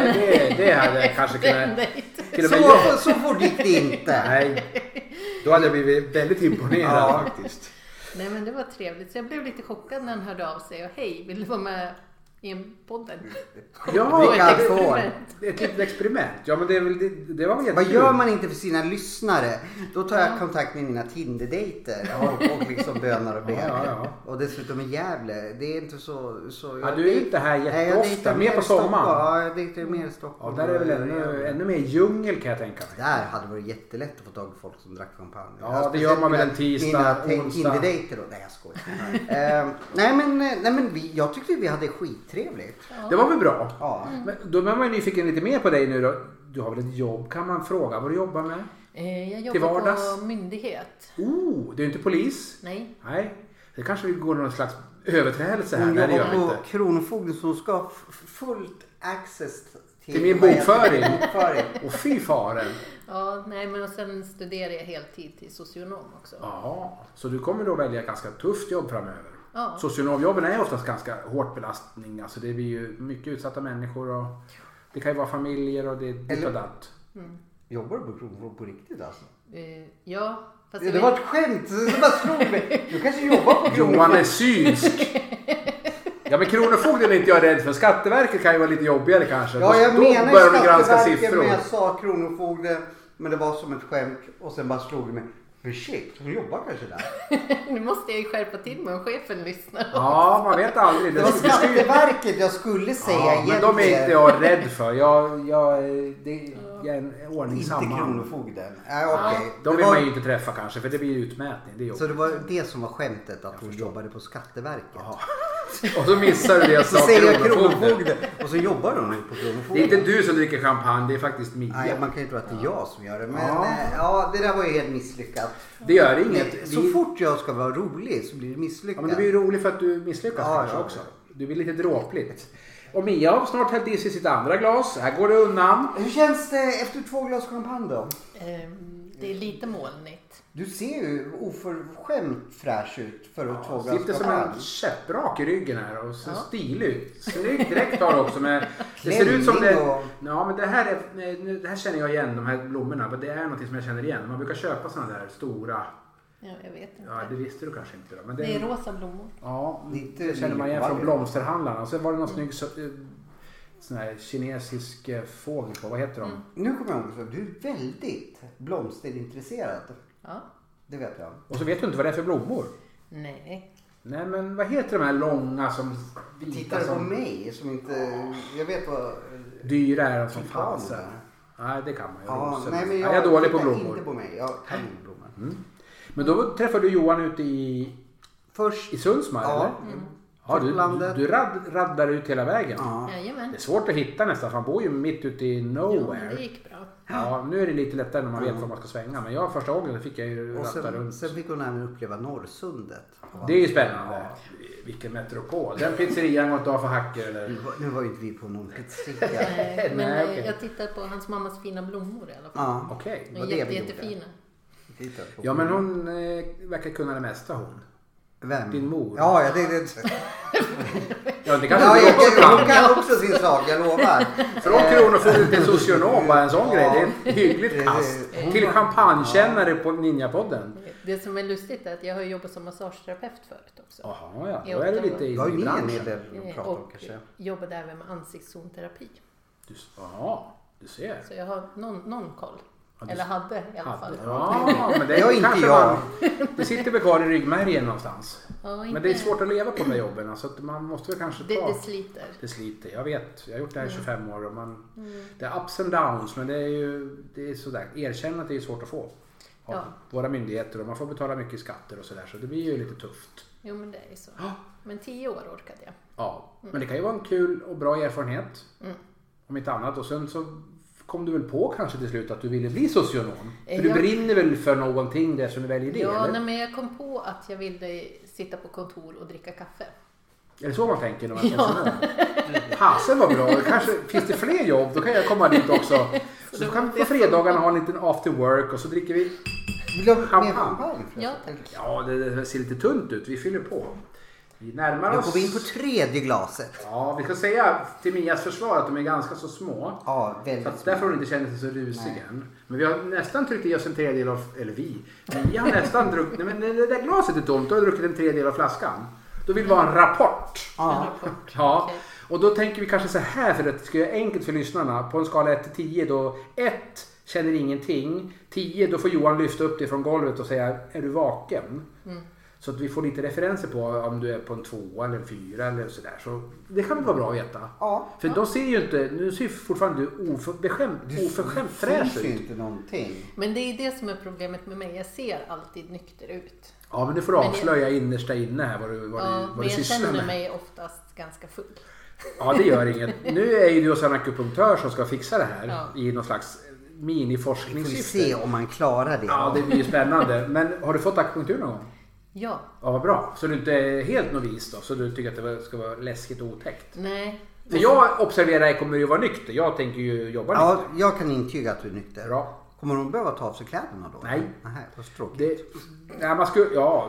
[SPEAKER 1] det, det hade jag kanske kunnat...
[SPEAKER 3] Nej, inte.
[SPEAKER 1] Till och med jag.
[SPEAKER 2] Så, så fort gick det inte.
[SPEAKER 1] Nej, då hade jag blivit väldigt imponerad
[SPEAKER 2] Ja.
[SPEAKER 1] faktiskt.
[SPEAKER 3] Nej men det var trevligt. Så jag blev lite chockad när han hörde av sig och hej, vill du vara med i en podden?
[SPEAKER 1] Ja,
[SPEAKER 2] Dricka
[SPEAKER 1] ett,
[SPEAKER 2] alkohol.
[SPEAKER 1] ett litet experiment. Ja, men det, är väl, det, det var väl
[SPEAKER 2] Vad
[SPEAKER 1] jättekul.
[SPEAKER 2] gör man inte för sina lyssnare? Då tar jag kontakt med mina Tinder-dejter och, och liksom bönar och ber.
[SPEAKER 1] Ja, ja,
[SPEAKER 2] Och dessutom i Gävle. Det är inte så... så
[SPEAKER 1] Ja, du är ju inte här jätteofta, mer på sommaren. Mm.
[SPEAKER 2] Ja, jag dejtar ju mer i
[SPEAKER 1] Ja,
[SPEAKER 2] Stockholm.
[SPEAKER 1] där är väl ännu, ännu mer djungel kan jag tänka mig.
[SPEAKER 2] Där hade det varit jättelätt att få tag i folk som drack champagne.
[SPEAKER 1] Ja,
[SPEAKER 2] Alltså,
[SPEAKER 1] det gör man väl en
[SPEAKER 2] speciellt
[SPEAKER 1] tisdag,
[SPEAKER 2] Mina te-
[SPEAKER 1] onsdag.
[SPEAKER 2] Tinder-dejter då. Nej, jag skojar. Ehm, nej, men, nej, men vi, jag tyckte vi hade skittrevligt.
[SPEAKER 1] Det var väl bra.
[SPEAKER 2] Ja.
[SPEAKER 1] Men då är man ju nyfiken lite mer på dig nu då. Du har väl ett jobb kan man fråga vad du jobbar med?
[SPEAKER 3] Eh, Jag
[SPEAKER 1] Till
[SPEAKER 3] jobbar
[SPEAKER 1] vardags?
[SPEAKER 3] på myndighet.
[SPEAKER 1] Oh, du är inte polis?
[SPEAKER 3] Nej,
[SPEAKER 1] Nej. Det kanske vi går någon slags överträdelse här.
[SPEAKER 2] Hon
[SPEAKER 1] Nej, det gör
[SPEAKER 2] jobbar
[SPEAKER 1] vi
[SPEAKER 2] på
[SPEAKER 1] inte.
[SPEAKER 2] Kronofogden så hon ska ha f- fullt access till,
[SPEAKER 1] Till min
[SPEAKER 2] vad heter det?
[SPEAKER 1] bokföring.
[SPEAKER 2] bokföring.
[SPEAKER 1] Och fy faren.
[SPEAKER 3] Ja, nej men och sen studerar jag heltid till socionom också.
[SPEAKER 1] Ja, så du kommer då välja ett ganska tufft jobb framöver?
[SPEAKER 3] Ja.
[SPEAKER 1] Socionomjobben är oftast ganska hårt belastning. Alltså det blir ju mycket utsatta människor och det kan ju vara familjer och det är ditt och datt.
[SPEAKER 2] Jobbar du på Kronofogden på riktigt alltså?
[SPEAKER 3] Eh, Ja, fast jag
[SPEAKER 2] Det var ett skämt, det bara slog mig. Du kanske jobbar på
[SPEAKER 1] Johan
[SPEAKER 2] Kronofogden?
[SPEAKER 1] är synsk! Ja men Kronofogden är inte jag rädd för. Skatteverket kan ju vara lite jobbigare kanske.
[SPEAKER 2] Ja, jag
[SPEAKER 1] då
[SPEAKER 2] menar
[SPEAKER 1] börjar de granska
[SPEAKER 2] Skatteverket,
[SPEAKER 1] siffror.
[SPEAKER 2] men jag sa Kronofogden. Men det var som ett skämt och sen bara slog det mig. Men shit, hon jobbar kanske där.
[SPEAKER 3] nu måste jag ju skärpa till mig om chefen lyssnar.
[SPEAKER 1] Ja, man vet aldrig.
[SPEAKER 2] Det var
[SPEAKER 1] Det skulle-
[SPEAKER 2] Skatteverket jag skulle säga
[SPEAKER 1] ja, men de är inte jag rädd för. Jag, jag, det, jag är en
[SPEAKER 2] Inte
[SPEAKER 1] ordningsam man.
[SPEAKER 2] Kronofogden. Äh, okay.
[SPEAKER 1] De
[SPEAKER 2] det
[SPEAKER 1] vill
[SPEAKER 2] var,
[SPEAKER 1] man ju inte träffa kanske för det blir ju utmätning. Det är jobbigt.
[SPEAKER 2] Så det var det som var skämtet, att hon jobbade på Skatteverket.
[SPEAKER 1] Jaha. Och så missar du det
[SPEAKER 2] Så
[SPEAKER 1] sa
[SPEAKER 2] säger jag
[SPEAKER 1] kronofogden.
[SPEAKER 2] kronofogde och så jobbar de ju på
[SPEAKER 1] Det är inte
[SPEAKER 2] kronofogden.
[SPEAKER 1] du som dricker champagne, det är faktiskt
[SPEAKER 2] Nej,
[SPEAKER 1] Mia.
[SPEAKER 2] man kan ju tro att det är jag som gör det. Men
[SPEAKER 1] Ja.
[SPEAKER 2] ja, ja det där var ju helt misslyckat.
[SPEAKER 1] Det gör
[SPEAKER 2] Men
[SPEAKER 1] inget.
[SPEAKER 2] Så
[SPEAKER 1] Vi-
[SPEAKER 2] fort jag ska vara rolig så blir det
[SPEAKER 1] Ja,
[SPEAKER 2] misslyckat.
[SPEAKER 1] men det blir ju roligt för att du misslyckas
[SPEAKER 2] Ja,
[SPEAKER 1] kanske
[SPEAKER 2] ja.
[SPEAKER 1] också. Du blir lite dråpligt. Och Mia har snart hällt i sig sitt andra glas. Här går det undan.
[SPEAKER 2] Hur känns det efter två glas champagne då?
[SPEAKER 3] Ehm, Det är lite molnigt.
[SPEAKER 2] Du ser ju oförskämt fräsch ut för att två glas
[SPEAKER 1] Sitter som en
[SPEAKER 2] champagne.
[SPEAKER 1] käpprak i ryggen här och ser
[SPEAKER 3] Ja.
[SPEAKER 1] stilig ut. Snygg dräkt har du också med. Det ser ut som
[SPEAKER 2] Klänning
[SPEAKER 1] det...
[SPEAKER 2] och-
[SPEAKER 1] Ja men det här, är, nej, nu- det här känner jag igen, de här blommorna. Men Det är någonting som jag känner igen. Man brukar köpa sådana där stora.
[SPEAKER 3] Ja, jag vet inte.
[SPEAKER 1] Ja det visste du kanske inte då. Men det,
[SPEAKER 3] Det är rosa blommor.
[SPEAKER 1] Ja,
[SPEAKER 2] Lite
[SPEAKER 1] det känner man igen
[SPEAKER 2] liljebaljor.
[SPEAKER 1] från blomsterhandlarna. Och sen var det
[SPEAKER 3] Mm.
[SPEAKER 1] någon snygg så, eh, sån här kinesisk eh, fågel på. Vad heter de?
[SPEAKER 3] Mm.
[SPEAKER 2] Nu kommer jag ihåg att du är väldigt blomsterintresserad.
[SPEAKER 3] Ja.
[SPEAKER 2] Det vet jag.
[SPEAKER 1] Och så vet du inte vad det är för blommor.
[SPEAKER 3] Nej.
[SPEAKER 1] Nej men vad heter de här långa som vita
[SPEAKER 2] Tittar du på
[SPEAKER 1] som
[SPEAKER 2] mig som inte... Jag vet vad...
[SPEAKER 1] dyra är de som
[SPEAKER 2] Tulpaner.
[SPEAKER 1] fasen? Nej det kan man ju.
[SPEAKER 2] Ja,
[SPEAKER 1] Rosor.
[SPEAKER 2] nej, men
[SPEAKER 1] jag,
[SPEAKER 2] jag,
[SPEAKER 1] är dålig på
[SPEAKER 2] tittar
[SPEAKER 1] blommor. Mm.
[SPEAKER 2] inte på mig. Jag kan inte blommor.
[SPEAKER 1] Men då träffade du Johan ute i,
[SPEAKER 2] Först...
[SPEAKER 1] i Sundsvall
[SPEAKER 2] Ja.
[SPEAKER 1] eller? Ja, du, du,
[SPEAKER 2] Portlandet.
[SPEAKER 1] du rad, raddar ut hela vägen.
[SPEAKER 2] Ja.
[SPEAKER 1] Det är
[SPEAKER 3] Jajamän.
[SPEAKER 1] svårt att hitta nästan för han bor ju mitt ute i
[SPEAKER 3] Jo, men det
[SPEAKER 1] nowhere.
[SPEAKER 3] gick bra.
[SPEAKER 1] Ja, nu är det lite lättare när man vet
[SPEAKER 2] Mm.
[SPEAKER 1] var man ska svänga men jag första gången fick jag ju
[SPEAKER 2] Och
[SPEAKER 1] ratta
[SPEAKER 2] sen,
[SPEAKER 1] runt.
[SPEAKER 2] sen fick hon även uppleva Norrsundet.
[SPEAKER 1] Det är ju spännande. Vilken metropol. Den pizzerian går inte av för hackor eller?
[SPEAKER 2] Nu var- Nu var ju inte vi på någon pizzeria.
[SPEAKER 3] Nej, men
[SPEAKER 1] Nej,
[SPEAKER 3] eh,
[SPEAKER 1] okej.
[SPEAKER 3] jag tittar på hans mammas fina blommor i alla fall.
[SPEAKER 2] Ja.
[SPEAKER 1] Okej.
[SPEAKER 3] De är
[SPEAKER 2] vad det
[SPEAKER 3] jätte,
[SPEAKER 2] vi gjorde.
[SPEAKER 3] jättefina.
[SPEAKER 2] Titta på
[SPEAKER 1] Ja men hon eh, verkar kunna det mesta hon.
[SPEAKER 2] Vem?
[SPEAKER 1] din mor.
[SPEAKER 2] Ja, jag tänkte...
[SPEAKER 1] Ja det kanske
[SPEAKER 2] Ja,
[SPEAKER 1] du
[SPEAKER 2] jag,
[SPEAKER 1] också
[SPEAKER 2] jag, hon
[SPEAKER 1] kan.
[SPEAKER 2] kan också sin sak, jag lovar.
[SPEAKER 1] Från Kronofogden till socionom, bara en sån
[SPEAKER 2] Ja.
[SPEAKER 1] grej. Det är ett hyggligt
[SPEAKER 2] Det-
[SPEAKER 1] kast.
[SPEAKER 2] hon
[SPEAKER 1] Till
[SPEAKER 2] var-
[SPEAKER 1] champagnekännare på Ninjapodden.
[SPEAKER 3] Det som är lustigt är att jag har jobbat som massageterapeut förut också.
[SPEAKER 1] Jaha ja, då är det lite
[SPEAKER 2] Jag har ju
[SPEAKER 1] i
[SPEAKER 2] med en hel
[SPEAKER 1] branschen.
[SPEAKER 2] del
[SPEAKER 3] Eh,
[SPEAKER 2] att prata om
[SPEAKER 3] Och
[SPEAKER 2] kanske.
[SPEAKER 3] jobbade även med ansiktszonterapi.
[SPEAKER 1] Du, jaha, du ser.
[SPEAKER 3] Så jag har någon, någon koll.
[SPEAKER 1] Ja, du-
[SPEAKER 3] Eller hade i alla fall.
[SPEAKER 1] Ja, men det
[SPEAKER 2] Jag
[SPEAKER 1] är
[SPEAKER 2] är inte
[SPEAKER 1] kanske
[SPEAKER 2] jag.
[SPEAKER 1] man... Det sitter väl kvar i ryggmärgen någonstans.
[SPEAKER 3] Ja, inte-
[SPEAKER 1] Men det är svårt att leva på de där jobben så att man måste väl kanske
[SPEAKER 3] Det,
[SPEAKER 1] ta...
[SPEAKER 3] det sliter.
[SPEAKER 1] Det sliter, jag vet. Jag har gjort det här i
[SPEAKER 3] Mm.
[SPEAKER 1] 25 år och man... Det är ups and downs men det är ju det är sådär. Erkännandet är ju svårt att få. Av
[SPEAKER 3] Ja.
[SPEAKER 1] våra myndigheter och man får betala mycket i skatter och sådär så det blir ju lite tufft.
[SPEAKER 3] Jo, men det är ju så.
[SPEAKER 1] Ja.
[SPEAKER 3] Men tio år orkade jag.
[SPEAKER 1] Ja, men det kan ju vara en kul och bra erfarenhet.
[SPEAKER 3] Mm.
[SPEAKER 1] Om inte annat. Och sen så kom du väl på kanske till slut att du ville bli socionom? För
[SPEAKER 3] Eh,
[SPEAKER 1] du
[SPEAKER 3] jag-
[SPEAKER 1] brinner väl för någonting där som du väljer det?
[SPEAKER 3] Ja,
[SPEAKER 1] eller?
[SPEAKER 3] nej, men jag kom på att jag ville sitta på kontor och dricka kaffe.
[SPEAKER 1] Är det så man tänker när man är
[SPEAKER 3] Ja.
[SPEAKER 1] socionom? Fasen vad bra! Kanske, finns det fler jobb då kan jag komma dit också. Så,
[SPEAKER 3] då
[SPEAKER 1] kan vi på fredagarna ha en liten after work och så dricker vi.
[SPEAKER 2] Vill du ha
[SPEAKER 1] Champagne.
[SPEAKER 2] mer champagne? förresten?
[SPEAKER 3] Ja, tack.
[SPEAKER 1] Ja, det, det ser lite tunt ut. Vi fyller på. Vi närmar
[SPEAKER 2] Då
[SPEAKER 1] oss.
[SPEAKER 2] går vi in på tredje glaset.
[SPEAKER 1] Ja, vi ska säga till Mias försvar att de är ganska så små.
[SPEAKER 2] Ja,
[SPEAKER 1] Så
[SPEAKER 2] väldigt
[SPEAKER 1] att därför har hon inte känner sig så rusig än. Men vi har nästan tryckt i oss en tredjedel av, eller vi, vi har nästan druckit, nej men det där glaset är tomt, då har jag druckit en tredjedel av flaskan. Då vill vi ha en rapport.
[SPEAKER 2] Ja.
[SPEAKER 1] Ja,
[SPEAKER 3] Okej.
[SPEAKER 1] och då tänker vi kanske så här för att det ska göra enkelt för lyssnarna. På en skala 1 till 10 då 1 känner ingenting. 10 då får Johan lyfta upp dig från golvet och säga är du vaken?
[SPEAKER 3] Mm.
[SPEAKER 1] Så att vi får lite referenser på om du är på en 2 eller en 4 eller sådär. Så det kan väl vara bra att veta.
[SPEAKER 2] Ja.
[SPEAKER 1] För de ser ju inte, nu ser ju fortfarande du oförskämt, oförskämt fräsch
[SPEAKER 2] syns ju
[SPEAKER 1] ut.
[SPEAKER 2] inte någonting.
[SPEAKER 3] Men det är det som är problemet med mig. Jag ser alltid nykter ut.
[SPEAKER 1] Ja men du får
[SPEAKER 3] det-
[SPEAKER 1] avslöja innersta inne här vad du, vad
[SPEAKER 3] Ja,
[SPEAKER 1] du, vad
[SPEAKER 3] men
[SPEAKER 1] du
[SPEAKER 3] jag
[SPEAKER 1] sysslar
[SPEAKER 3] känner
[SPEAKER 1] med.
[SPEAKER 3] mig oftast ganska full.
[SPEAKER 1] Ja, det gör inget. Nu är ju du hos en akupunktör som ska fixa det här
[SPEAKER 3] Ja.
[SPEAKER 1] i någon slags
[SPEAKER 2] Vi får ju se
[SPEAKER 1] miniforskningssyfte.
[SPEAKER 2] om man klarar det.
[SPEAKER 1] Ja, det blir ju spännande. Men har du fått akupunktur någon gång?
[SPEAKER 3] Ja,
[SPEAKER 1] Ja, vad bra. Så du inte är helt novis då? Så du tycker att det ska vara läskigt och otäckt?
[SPEAKER 3] nej.
[SPEAKER 1] För jag observerar, jag kommer ju vara nykter. Jag tänker ju jobba
[SPEAKER 2] Ja,
[SPEAKER 1] nykter.
[SPEAKER 2] jag kan intyga att du är nykter.
[SPEAKER 1] Bra.
[SPEAKER 2] Kommer hon behöva ta av sig kläderna då?
[SPEAKER 1] Nej.
[SPEAKER 2] Nej, vad tråkigt.
[SPEAKER 1] Det, nej, man skulle, ja,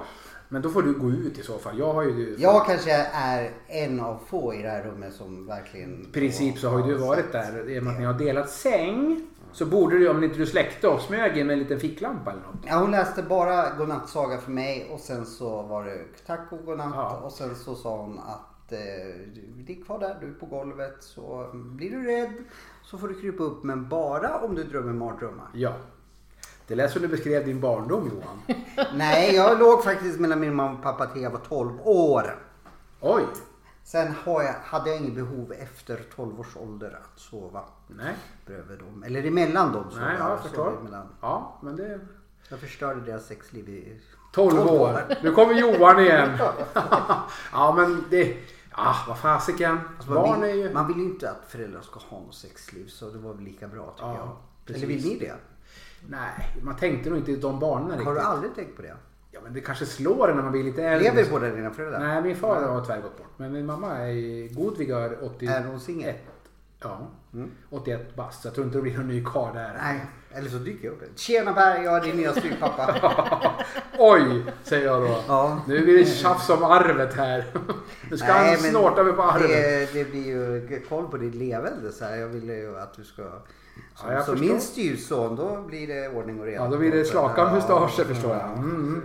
[SPEAKER 1] men då får du gå ut i så fall. Jag har ju...
[SPEAKER 2] Jag kanske är en av få i det här rummet som verkligen...
[SPEAKER 1] I princip så har ju du varit där. I och med att ni har delat säng så borde du, om inte du släckte och smög in med en liten ficklampa eller något.
[SPEAKER 2] Ja, hon läste bara godnattsaga för mig och sen så var det tack och godnatt
[SPEAKER 1] Ja.
[SPEAKER 2] och sen så sa hon att eh, du- ligg kvar där du är på golvet så blir du rädd så får du krypa upp men bara om du drömmer mardrömmar.
[SPEAKER 1] Ja. Det lät som du beskrev din barndom Johan.
[SPEAKER 2] Nej, jag låg faktiskt mellan min mamma och pappa till jag var 12 år.
[SPEAKER 1] Oj!
[SPEAKER 2] Sen har jag, hade jag inget behov efter 12 års ålder att sova
[SPEAKER 1] Nej,
[SPEAKER 2] bredvid dem. Eller emellan dem. sov
[SPEAKER 1] Nej ja, jag
[SPEAKER 2] sov
[SPEAKER 1] förstår.
[SPEAKER 2] emellan.
[SPEAKER 1] Ja, men det...
[SPEAKER 2] Jag förstörde deras sexliv i...
[SPEAKER 1] 12
[SPEAKER 2] Tolv
[SPEAKER 1] år.
[SPEAKER 2] år.
[SPEAKER 1] Nu kommer Johan igen. ja, men det... Ah, vad fasiken.
[SPEAKER 2] Alltså, man,
[SPEAKER 1] Barn är
[SPEAKER 2] vill,
[SPEAKER 1] ju...
[SPEAKER 2] man vill ju inte att föräldrar ska ha något sexliv så det var väl lika bra tycker
[SPEAKER 1] Ja,
[SPEAKER 2] jag.
[SPEAKER 1] precis.
[SPEAKER 2] Eller vill ni det?
[SPEAKER 1] Nej, man tänkte nog inte i de banorna
[SPEAKER 2] Har du
[SPEAKER 1] riktigt.
[SPEAKER 2] aldrig tänkt på det?
[SPEAKER 1] Ja, men det kanske slår en när man blir lite äldre.
[SPEAKER 2] Lever båda dina föräldrar?
[SPEAKER 1] Nej, min far har tyvärr gått bort. Men min mamma är i god vigör 80...
[SPEAKER 2] Är hon singel? Mm.
[SPEAKER 1] Ja, 81 bast. Så jag tror inte det blir någon ny karl där.
[SPEAKER 2] Nej. Eller så dyker jag upp. Tjena Berg, jag är din nya styvpappa.
[SPEAKER 1] Oj, säger jag då.
[SPEAKER 2] Ja.
[SPEAKER 1] Nu blir det tjafs om arvet här. Nu ska
[SPEAKER 2] Nej,
[SPEAKER 1] han
[SPEAKER 2] men
[SPEAKER 1] snorta mig på arvet.
[SPEAKER 2] Det, det blir ju koll på ditt levande. Så här. Jag ville ju att du ska... Som,
[SPEAKER 1] jag
[SPEAKER 2] som
[SPEAKER 1] förstår.
[SPEAKER 2] min styvson, då blir det ordning och reda.
[SPEAKER 1] Ja, då blir det slaka
[SPEAKER 2] Ja.
[SPEAKER 1] mustascher förstår jag. Mm. mm.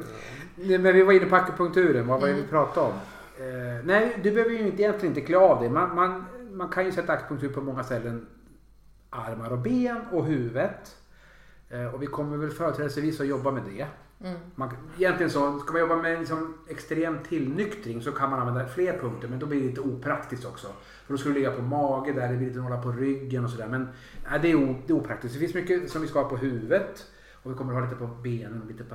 [SPEAKER 1] Nej, Men vi var inne på akupunkturen. Vad var det vi pratade om? Eh, nej, du behöver ju inte, egentligen inte klä av dig. Man, man, man kan ju sätta akupunktur på många ställen. Armar och ben och huvudet. Eh, och vi kommer väl företrädesvis att jobba med det. Man, egentligen så, ska man jobba med liksom extrem tillnyktring så kan man använda fler punkter men då blir det lite opraktiskt också. För då ska du ligga på mage där, det blir lite några på ryggen och sådär. Men nej, det, är o, det är opraktiskt. Det finns mycket som vi ska ha på huvudet och vi kommer ha lite på benen och lite på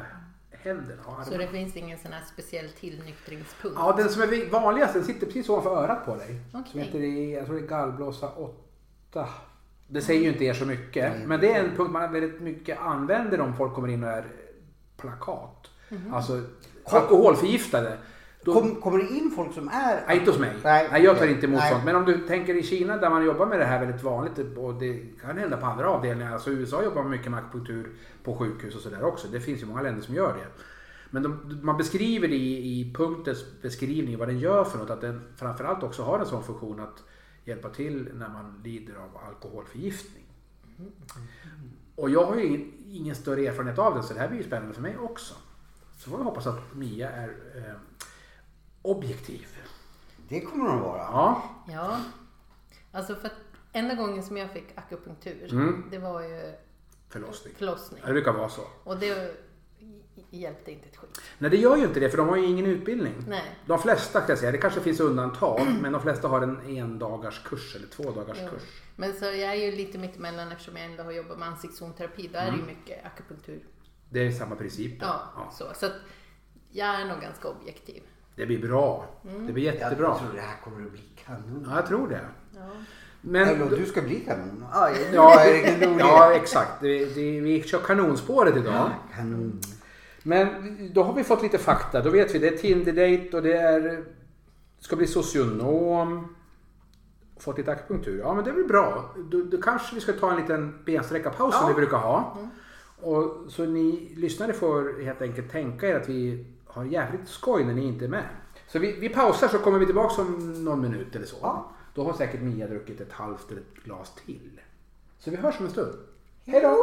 [SPEAKER 1] händerna. och
[SPEAKER 3] Så
[SPEAKER 1] armarna.
[SPEAKER 3] det finns ingen sån här speciell tillnyktringspunkt?
[SPEAKER 1] Ja, den som är vanligast den sitter precis ovanför örat på dig. Som
[SPEAKER 3] Okej.
[SPEAKER 1] heter, det- jag tror det är gallblåsa 8. Det säger ju inte er så mycket. Men det är en punkt man väldigt mycket använder om folk kommer in och är plakat.
[SPEAKER 3] Mhm.
[SPEAKER 1] Alltså alkoholförgiftade. Då,
[SPEAKER 2] Kom, kommer det in folk som är...
[SPEAKER 1] Nej, inte hos mig.
[SPEAKER 2] Nej,
[SPEAKER 1] Nej, jag tar
[SPEAKER 2] okej.
[SPEAKER 1] inte emot
[SPEAKER 2] Nej.
[SPEAKER 1] sånt. Men om du tänker i Kina där man jobbar med det här väldigt vanligt och det kan hända på andra avdelningar. Alltså i USA jobbar man mycket med akupunktur på sjukhus och sådär också. Det finns ju många länder som gör det. Men de, man beskriver det i, i punktens beskrivning vad den gör för något. Att den framförallt också har en sån funktion att hjälpa till när man lider av alkoholförgiftning.
[SPEAKER 2] Mm.
[SPEAKER 1] Och jag har ju ingen, ingen större erfarenhet av det så det här blir ju spännande för mig också. Så får vi hoppas att Mia är eh, objektiv.
[SPEAKER 2] Det kommer de vara.
[SPEAKER 1] Ja.
[SPEAKER 3] Ja. Alltså för att enda gången som jag fick akupunktur, det var ju
[SPEAKER 1] förlossning.
[SPEAKER 3] förlossning.
[SPEAKER 1] Ja, Det brukar vara så.
[SPEAKER 3] Och det hjälpte inte ett skit.
[SPEAKER 1] Nej, det gör ju inte det för de har ju ingen utbildning.
[SPEAKER 3] Nej.
[SPEAKER 1] De flesta ska jag säga, det kanske finns undantag, men de flesta har en endagars kurs eller tvådagars
[SPEAKER 3] Jo.
[SPEAKER 1] kurs.
[SPEAKER 3] Men så jag är ju lite mittemellan eftersom jag ändå har jobbat med ansiktszonterapi. Då är det ju mycket akupunktur.
[SPEAKER 1] Det är samma princip. där.
[SPEAKER 3] Ja,
[SPEAKER 1] Ja.
[SPEAKER 3] så. Så att jag är nog ganska objektiv.
[SPEAKER 1] Det blir bra.
[SPEAKER 3] Mm.
[SPEAKER 1] Det blir jättebra.
[SPEAKER 2] Jag tror det här kommer att bli kanon.
[SPEAKER 1] Ja, jag tror det.
[SPEAKER 3] Ja.
[SPEAKER 2] Eller
[SPEAKER 1] Men,
[SPEAKER 2] du ska bli kanon. Ja,
[SPEAKER 1] ja,
[SPEAKER 2] är det kanon?
[SPEAKER 1] ja, exakt. Det, det, vi kör kanonspåret idag.
[SPEAKER 2] Kanon.
[SPEAKER 1] Men då har vi fått lite fakta. Då vet vi det är Tinder-date och det är... Ska bli socionom. Fått lite akupunktur. Ja men det är väl bra. Då, då kanske vi ska ta en liten bensträckarpaus som vi brukar ha. Och, så ni lyssnare får helt enkelt tänka er att vi har jävligt skoj när ni inte är med. Så vi, vi pausar så kommer vi tillbaka om någon minut eller så. Då har säkert Mia druckit ett halvt eller ett glas till. Så vi hörs om en stund. Hej då!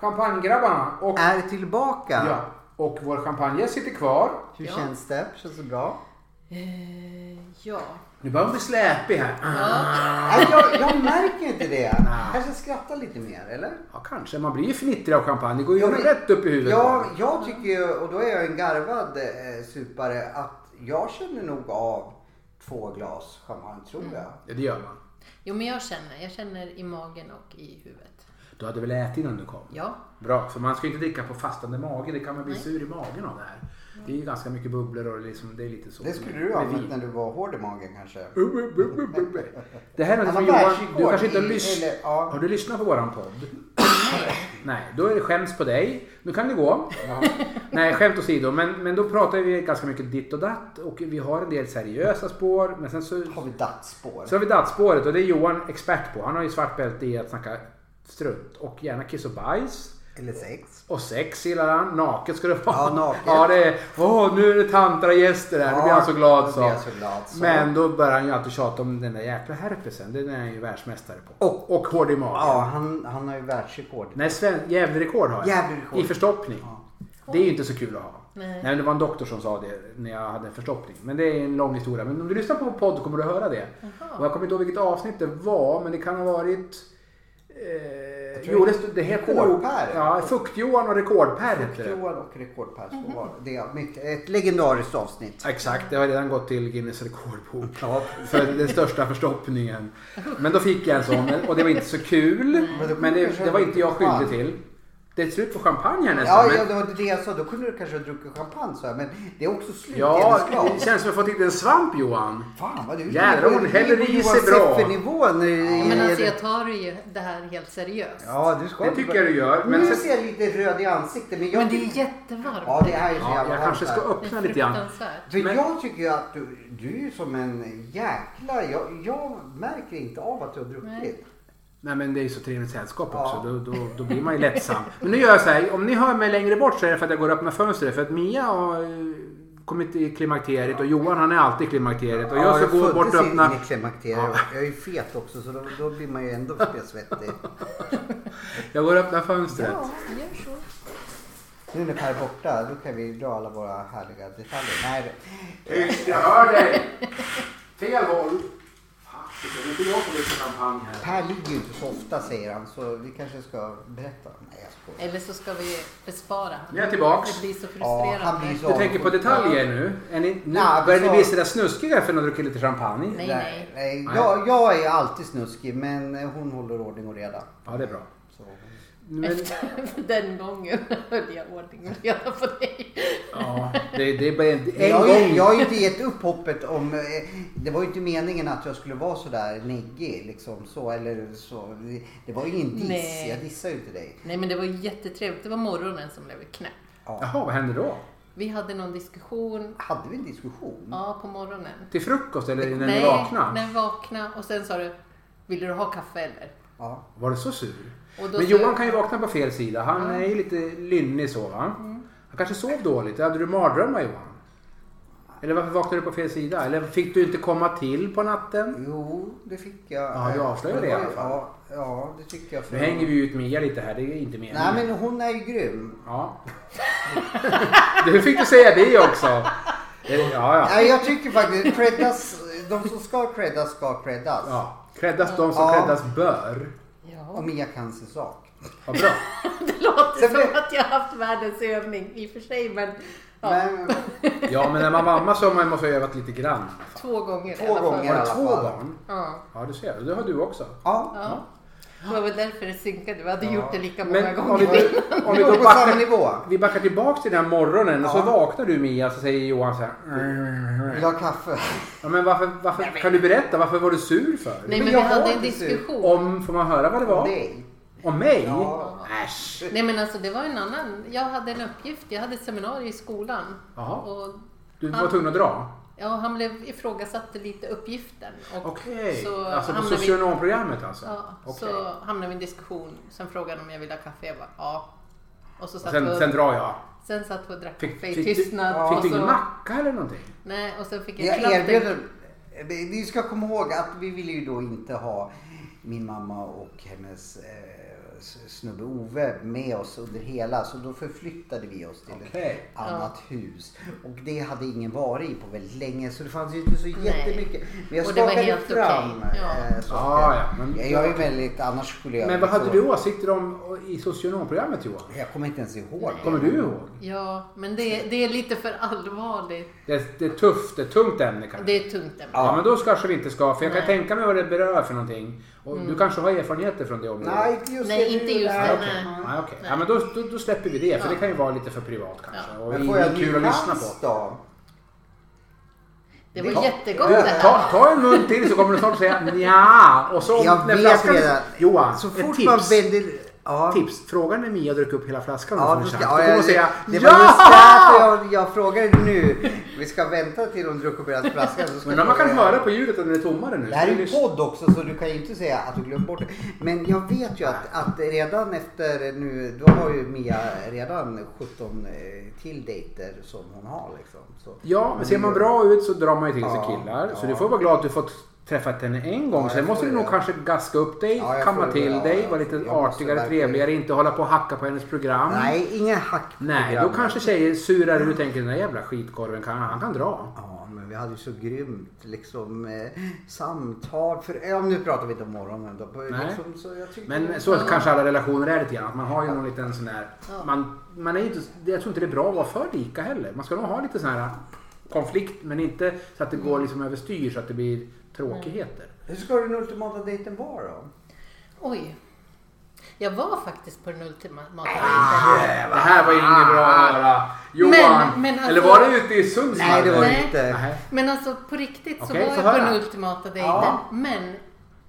[SPEAKER 1] Champagnegrabbarna och
[SPEAKER 2] Är tillbaka.
[SPEAKER 1] Ja, och vår champagne sitter kvar.
[SPEAKER 2] Hur
[SPEAKER 3] Ja.
[SPEAKER 2] känns det? Känns det bra?
[SPEAKER 3] Eh, ja.
[SPEAKER 1] Nu börjar hon bli släpig här. Ah.
[SPEAKER 2] Nej, jag, jag märker inte det. Kanske skratta lite mer, eller?
[SPEAKER 1] Ja, kanske. Man blir ju fnittrig av champagne. Det går ju
[SPEAKER 2] Ja, men-
[SPEAKER 1] rätt upp i huvudet.
[SPEAKER 2] Ja, jag tycker ju, och då är jag en garvad eh, supare, att jag känner nog av två glas champagne, tror jag.
[SPEAKER 1] Ja, det gör man.
[SPEAKER 3] Jo, men jag känner. Jag känner i magen och i huvudet.
[SPEAKER 1] Du hade väl ätit innan du kom?
[SPEAKER 3] Ja.
[SPEAKER 1] Bra, för man ska ju inte dricka på fastande mage. Det kan man bli sur i magen av det här. Det är ju ganska mycket bubblor och liksom, det är lite så.
[SPEAKER 2] Det skulle du ha
[SPEAKER 1] Med
[SPEAKER 2] använt
[SPEAKER 1] vin.
[SPEAKER 2] när du var hård i magen kanske.
[SPEAKER 1] Det här är något som
[SPEAKER 2] Anna
[SPEAKER 1] Johan,
[SPEAKER 2] Bergsgård
[SPEAKER 1] du kanske inte har
[SPEAKER 2] i-
[SPEAKER 1] lyssnat.
[SPEAKER 2] eller, ja.
[SPEAKER 1] Har du lyssnat på våran podd? Nej, då är det skäms på dig. Nu kan du gå. Nej, skämt åsido. Men, men då pratar vi ganska mycket ditt och datt och vi har en del seriösa spår. Men sen så
[SPEAKER 2] Har vi dagsspår?
[SPEAKER 1] Så har vi dattspåret och det är Johan expert på. Han har ju svart bälte i att snacka strunt och gärna kiss och bajs.
[SPEAKER 2] Eller sex?
[SPEAKER 1] Och sex gillar han. Naket ska det vara.
[SPEAKER 2] Ja, naket.
[SPEAKER 1] Ja, det är, åh, nu är det tantar och gäster här. nu
[SPEAKER 2] Ja,
[SPEAKER 1] blir han så glad
[SPEAKER 2] nu
[SPEAKER 1] så.
[SPEAKER 2] blir jag så glad, så.
[SPEAKER 1] Men då börjar han ju alltid tjata om den där jäkla herpesen. Den är han ju världsmästare på. Och, och hård i magen.
[SPEAKER 2] Ja, han, han har ju världsrekord.
[SPEAKER 1] Nej, sven- Gävlerekord har jag.
[SPEAKER 2] Gävlerekord.
[SPEAKER 1] I förstoppning. Det är ju inte så kul att ha.
[SPEAKER 3] Nej.
[SPEAKER 1] men det var en doktor som sa det när jag hade en förstoppning. Men det är en lång historia. Men om du lyssnar på vår podd kommer du att höra det. Och jag kommer inte ihåg vilket avsnitt det var, men det kan ha varit... Eh, Eh,
[SPEAKER 2] tror
[SPEAKER 1] jo,
[SPEAKER 2] det-
[SPEAKER 1] det, det heter nog...
[SPEAKER 2] Rekord-Per.
[SPEAKER 1] Ja, Fukt-Johan och Rekord-Per heter det.
[SPEAKER 2] Johan och rekord-Per så var det. det. är mycket, ett legendariskt avsnitt.
[SPEAKER 1] Exakt, det har redan gått till Guinness rekordbok. För den största förstoppningen. Men då fick jag en sån men- och det var inte så kul. Men det, det var inte jag skyldig till. Det är slut på champagne här nästan.
[SPEAKER 2] Ja, ja,
[SPEAKER 1] men-
[SPEAKER 2] det var det jag sa. Då kunde du kanske ha druckit champagne så här, men det är också slut.
[SPEAKER 1] Ja,
[SPEAKER 2] det är
[SPEAKER 1] det
[SPEAKER 2] klart.
[SPEAKER 1] känns som att jag fått hit en svamp Johan.
[SPEAKER 2] Fan vad du
[SPEAKER 1] Jävlar, hon häller i sig bra.
[SPEAKER 2] för nivån i,
[SPEAKER 3] Men alltså jag tar ju det här helt seriöst.
[SPEAKER 2] Ja, du ska
[SPEAKER 1] Det
[SPEAKER 2] inte
[SPEAKER 1] tycker
[SPEAKER 2] bara-
[SPEAKER 1] jag du gör, men
[SPEAKER 2] nu
[SPEAKER 1] sen-
[SPEAKER 2] ser jag lite röd i ansiktet. Men, jag
[SPEAKER 3] Men det är
[SPEAKER 2] tycker-
[SPEAKER 3] jättevarmt.
[SPEAKER 2] Ja, det är ju så
[SPEAKER 1] Ja,
[SPEAKER 2] jävla
[SPEAKER 1] jag kanske
[SPEAKER 2] varmt
[SPEAKER 1] ska
[SPEAKER 2] här.
[SPEAKER 1] öppna
[SPEAKER 3] Det är
[SPEAKER 1] lite grann.
[SPEAKER 3] fruktansvärt.
[SPEAKER 2] För
[SPEAKER 1] Men-
[SPEAKER 2] jag tycker ju att du, du är ju som en jäkla... Jag, jag märker inte av att du har druckit.
[SPEAKER 3] Nej.
[SPEAKER 1] Nej men det är ju så trevligt sällskap
[SPEAKER 2] Ja.
[SPEAKER 1] också. Då, då, då blir man ju lättsam. Men nu gör jag så här. Om ni hör mig längre bort så är det för att jag går och öppnar fönstret. För att Mia har eh, kommit i klimakteriet och Johan han är alltid i klimakteriet. Och jag ska gå
[SPEAKER 2] föddes
[SPEAKER 1] bort och
[SPEAKER 2] in
[SPEAKER 1] öppna.
[SPEAKER 2] i klimakteriet. Jag är ju fet också så då, då blir man ju ändå svettig.
[SPEAKER 1] Jag går och öppnar fönstret.
[SPEAKER 3] Ja, gör så.
[SPEAKER 2] Nu när Per är borta, då kan vi dra alla våra härliga detaljer. Nej,
[SPEAKER 1] Tyst, jag hör dig! Fel håll! Fan, det är inte jag som dricker champagne här.
[SPEAKER 2] Per ligger ju inte så ofta säger han så vi kanske ska berätta. Nej, jag skojar.
[SPEAKER 3] Eller så ska vi bespara honom.
[SPEAKER 1] Nu är jag tillbaks.
[SPEAKER 3] Det blir så
[SPEAKER 2] Ja, han
[SPEAKER 3] frustrerande.
[SPEAKER 2] blir så
[SPEAKER 1] Du tänker på detaljer nu? Är ni, nu
[SPEAKER 2] Nej,
[SPEAKER 1] börjar ni
[SPEAKER 2] så-
[SPEAKER 1] bli sådär snuskiga för när du dricker lite champagne?
[SPEAKER 3] Nej.
[SPEAKER 2] Nej, nej. Jag, jag är alltid snuskig men hon håller ordning och reda.
[SPEAKER 1] Ja, det är bra.
[SPEAKER 2] Så.
[SPEAKER 1] Men,
[SPEAKER 3] Efter den gången höll jag ordning och reda på dig.
[SPEAKER 1] ja, det, det är bara en, en
[SPEAKER 2] Jag, har ju-
[SPEAKER 1] gång.
[SPEAKER 2] jag har ju inte gett upp hoppet om... eh, Det var ju inte meningen att jag skulle vara sådär neggig liksom så eller så. Det- Det var ju ingen diss.
[SPEAKER 3] Nej.
[SPEAKER 2] Jag dissar ju inte dig.
[SPEAKER 3] Nej men det var jättetrevligt. Det var morgonen som blev knäpp.
[SPEAKER 2] Ja.
[SPEAKER 1] Jaha, vad händer då?
[SPEAKER 3] Vi hade någon diskussion,
[SPEAKER 2] Hade vi en diskussion?
[SPEAKER 3] ja på morgonen.
[SPEAKER 1] Till frukost eller när
[SPEAKER 3] Nej,
[SPEAKER 1] ni vaknade?
[SPEAKER 3] när vi vaknade och sen sa du, vill du ha kaffe eller?
[SPEAKER 2] Ja.
[SPEAKER 1] Var du så sur?
[SPEAKER 3] Och då
[SPEAKER 1] Men
[SPEAKER 3] sa
[SPEAKER 1] Johan
[SPEAKER 3] jag-
[SPEAKER 1] kan ju vakna på fel sida. Han är ju lite lynnig så va?
[SPEAKER 3] Mm.
[SPEAKER 1] Han kanske sov dåligt. Hade du mardrömmar Johan? Eller varför vaknade du på fel sida? Eller fick du inte komma till på natten?
[SPEAKER 2] Jo, det fick jag.
[SPEAKER 1] Ja, du avslöjade det i alla fall.
[SPEAKER 2] Ja, ja det tycker jag.
[SPEAKER 1] Nu hänger vi ut Mia lite här, det är inte meningen.
[SPEAKER 2] Nej, men hon är ju grym.
[SPEAKER 1] Ja. du fick du säga det också. Ja, ja.
[SPEAKER 2] Nej, jag tycker faktiskt creddas, de som ska creddas ska creddas.
[SPEAKER 1] ja. Creddas de som
[SPEAKER 2] Ja.
[SPEAKER 1] creddas bör.
[SPEAKER 3] Ja,
[SPEAKER 2] Och Mia kan sin sak.
[SPEAKER 1] Vad bra.
[SPEAKER 3] det låter
[SPEAKER 2] Sen blev-
[SPEAKER 3] som att jag haft världens övning i och för sig men, ja,
[SPEAKER 2] Men
[SPEAKER 1] Ja, men när man var mamma så har man måste ha övat lite grann.
[SPEAKER 3] två gånger i
[SPEAKER 2] två
[SPEAKER 3] alla fall.
[SPEAKER 2] gånger i
[SPEAKER 1] Har
[SPEAKER 2] alla
[SPEAKER 1] du två
[SPEAKER 2] fall.
[SPEAKER 1] barn?
[SPEAKER 3] Ja,
[SPEAKER 1] Ja, du ser. Det har du också.
[SPEAKER 2] Ja.
[SPEAKER 3] ja. Det var väl därför det synkade. Vi hade gjort det lika många
[SPEAKER 1] Men om vi,
[SPEAKER 3] gånger.
[SPEAKER 1] om vi
[SPEAKER 2] Vi
[SPEAKER 1] då
[SPEAKER 2] går på samma
[SPEAKER 1] backar,
[SPEAKER 2] nivå.
[SPEAKER 1] vi backar tillbaka till den här morgonen och så
[SPEAKER 2] Ja.
[SPEAKER 1] vaknar du Mia så säger Johan så här.
[SPEAKER 2] Vill du ha kaffe?
[SPEAKER 1] Ja, men varför, varför, kan du berätta varför var du sur för?
[SPEAKER 3] Nej
[SPEAKER 2] Men
[SPEAKER 3] men vi
[SPEAKER 2] jag har
[SPEAKER 3] hade en
[SPEAKER 2] inte synt.
[SPEAKER 3] diskussion.
[SPEAKER 1] Om, får man höra vad det var?
[SPEAKER 2] Nej.
[SPEAKER 1] Om mig?
[SPEAKER 2] Ja.
[SPEAKER 1] Äsch!
[SPEAKER 3] Nej men alltså det var en annan. Jag hade en uppgift. Jag hade ett seminarium i skolan.
[SPEAKER 1] Jaha.
[SPEAKER 3] Och
[SPEAKER 1] Du var tvungen att dra?
[SPEAKER 3] ja, han blev ifrågasatte lite uppgiften. Och
[SPEAKER 1] Okej,
[SPEAKER 3] så
[SPEAKER 1] alltså på
[SPEAKER 3] hamnade vi-
[SPEAKER 1] socionomprogrammet alltså?
[SPEAKER 3] Ja,
[SPEAKER 1] Okej.
[SPEAKER 3] Så hamnade vi i en diskussion. Sen frågade han om jag ville ha kaffe. Jag bara ja. Och så
[SPEAKER 1] Och
[SPEAKER 3] satt vi
[SPEAKER 1] sen,
[SPEAKER 3] och,
[SPEAKER 1] sen drar jag.
[SPEAKER 3] sen satt vi och drack
[SPEAKER 1] Fick,
[SPEAKER 3] kaffe i
[SPEAKER 1] fick, du,
[SPEAKER 3] tystnad.
[SPEAKER 1] fick
[SPEAKER 3] och
[SPEAKER 1] du ingen
[SPEAKER 3] så,
[SPEAKER 1] macka eller någonting?
[SPEAKER 3] Nej, och sen fick jag,
[SPEAKER 2] Jag
[SPEAKER 3] en klapp.
[SPEAKER 2] erbjuder... Vi ska komma ihåg att vi ville ju då inte ha min mamma och hennes eh, s- snubbe Ove med oss under hela så då förflyttade vi oss till
[SPEAKER 1] Okej.
[SPEAKER 2] ett annat hus. Och det hade ingen varit i på väldigt länge så det fanns ju inte så jättemycket. Men jag
[SPEAKER 3] Och det var
[SPEAKER 2] skakade
[SPEAKER 3] helt
[SPEAKER 2] fram
[SPEAKER 3] okej. Ja.
[SPEAKER 2] eh, saker.
[SPEAKER 1] Ah, ja, men-
[SPEAKER 2] jag, jag är väldigt, annars skulle jag...
[SPEAKER 1] Men vad hade
[SPEAKER 2] så-
[SPEAKER 1] du åsikter om i socionomprogrammet Johan?
[SPEAKER 2] Jag kommer inte ens ihåg.
[SPEAKER 1] Kommer du ihåg?
[SPEAKER 3] Ja, men det, det är lite för allvarligt.
[SPEAKER 1] Det, det är tufft, det är ett tungt ämne kanske?
[SPEAKER 3] Det är ett tungt ämne.
[SPEAKER 1] Ja, men då kanske vi inte ska, för jag kan
[SPEAKER 3] Nej. Mm.
[SPEAKER 1] tänka mig vad det berör för någonting. Och Du kanske har erfarenheter från det området?
[SPEAKER 2] Nej, inte just
[SPEAKER 3] Nej,
[SPEAKER 2] det.
[SPEAKER 3] inte just
[SPEAKER 1] Nej,
[SPEAKER 3] det.
[SPEAKER 1] okej.
[SPEAKER 3] Nej.
[SPEAKER 1] Nej, okej. Ja, men då, då, då släpper vi det, för
[SPEAKER 3] Ja.
[SPEAKER 1] det kan ju vara lite för privat kanske.
[SPEAKER 3] Ja.
[SPEAKER 1] Och
[SPEAKER 2] Men
[SPEAKER 1] in-
[SPEAKER 2] får jag en
[SPEAKER 1] kul att
[SPEAKER 2] ny
[SPEAKER 1] lyssna på.
[SPEAKER 2] chans då?
[SPEAKER 3] Det
[SPEAKER 2] Det-
[SPEAKER 3] var jättegott det
[SPEAKER 1] Du, ta,
[SPEAKER 3] här.
[SPEAKER 1] ta en mun till så kommer du snart säga nja. Och så om-
[SPEAKER 2] Jag
[SPEAKER 1] när
[SPEAKER 2] vet
[SPEAKER 1] flaskan-
[SPEAKER 2] redan.
[SPEAKER 1] Johan,
[SPEAKER 2] Så
[SPEAKER 1] ett
[SPEAKER 2] fort
[SPEAKER 1] tips.
[SPEAKER 2] man vänder... Ja.
[SPEAKER 1] tips. Fråga när Mia dricker upp hela flaskan och
[SPEAKER 2] Ja,
[SPEAKER 1] får en
[SPEAKER 2] då ska,
[SPEAKER 1] chans. Då
[SPEAKER 2] ja,
[SPEAKER 1] kommer hon
[SPEAKER 2] jag-
[SPEAKER 1] säga
[SPEAKER 2] det var just därför
[SPEAKER 1] ja!
[SPEAKER 2] jag, jag frågade nu. Vi ska vänta till de druckit upp deras flaska. så ska
[SPEAKER 1] Men om man kan
[SPEAKER 2] jag-
[SPEAKER 1] höra på ljudet att den är tommare nu.
[SPEAKER 2] Det här är
[SPEAKER 1] så
[SPEAKER 2] ju
[SPEAKER 1] vi-
[SPEAKER 2] podd också så du kan ju inte säga att du glömt bort det. Men jag vet ju att, att redan efter nu, då har ju Mia redan 17 eh, till dejter som hon har liksom. Så.
[SPEAKER 1] Ja, men ser man bra ut så drar man ju till sig
[SPEAKER 2] Ja,
[SPEAKER 1] killar. Så
[SPEAKER 2] ja.
[SPEAKER 1] du får vara glad att du fått träffat henne en gång.
[SPEAKER 2] Ja,
[SPEAKER 1] Sen
[SPEAKER 2] jag
[SPEAKER 1] måste
[SPEAKER 2] får
[SPEAKER 1] du
[SPEAKER 2] det.
[SPEAKER 1] nog kanske gaska upp dig,
[SPEAKER 2] Ja, jag får
[SPEAKER 1] kamma
[SPEAKER 2] det.
[SPEAKER 1] till
[SPEAKER 2] Ja,
[SPEAKER 1] dig,
[SPEAKER 2] jag-
[SPEAKER 1] vara lite
[SPEAKER 2] jag måste
[SPEAKER 1] artigare,
[SPEAKER 2] verkligen-
[SPEAKER 1] trevligare, inte hålla på och hacka på hennes program.
[SPEAKER 2] Nej, inga hack på
[SPEAKER 1] Nej, då
[SPEAKER 2] programmet.
[SPEAKER 1] kanske tjejer surar ur och tänker den där jävla skitkorven, kan, han kan dra.
[SPEAKER 2] Ja, men men vi hade ju så grymt liksom eh, samtal. För, ja, nu pratar vi inte om morgonen då.
[SPEAKER 1] Nej.
[SPEAKER 2] Liksom, så jag tycker-
[SPEAKER 1] Men så kanske alla relationer är lite grann. Att man har ju någon liten sån där...
[SPEAKER 3] Ja.
[SPEAKER 1] Man, man är ju inte, jag tror inte det är bra att vara för lika heller. Man ska nog ha lite sån här konflikt men inte så att det
[SPEAKER 3] Mm.
[SPEAKER 1] går liksom överstyr så att det blir tråkigheter.
[SPEAKER 2] Hur ska den ultimata dejten vara då?
[SPEAKER 3] Oj. Jag var faktiskt på den
[SPEAKER 2] Ah,
[SPEAKER 3] ultimata dejten.
[SPEAKER 1] Det här var ju inget bra att höra. Johan!
[SPEAKER 3] Ah, Men- men alltså-
[SPEAKER 1] eller var det ute i Sundsvall?
[SPEAKER 2] Nej, det var det
[SPEAKER 3] Nej.
[SPEAKER 2] inte.
[SPEAKER 1] Nej.
[SPEAKER 3] Men alltså på riktigt så
[SPEAKER 1] Okej,
[SPEAKER 3] var
[SPEAKER 1] få
[SPEAKER 3] jag på
[SPEAKER 1] höra.
[SPEAKER 3] den ultimata dejten.
[SPEAKER 2] Ja.
[SPEAKER 3] Men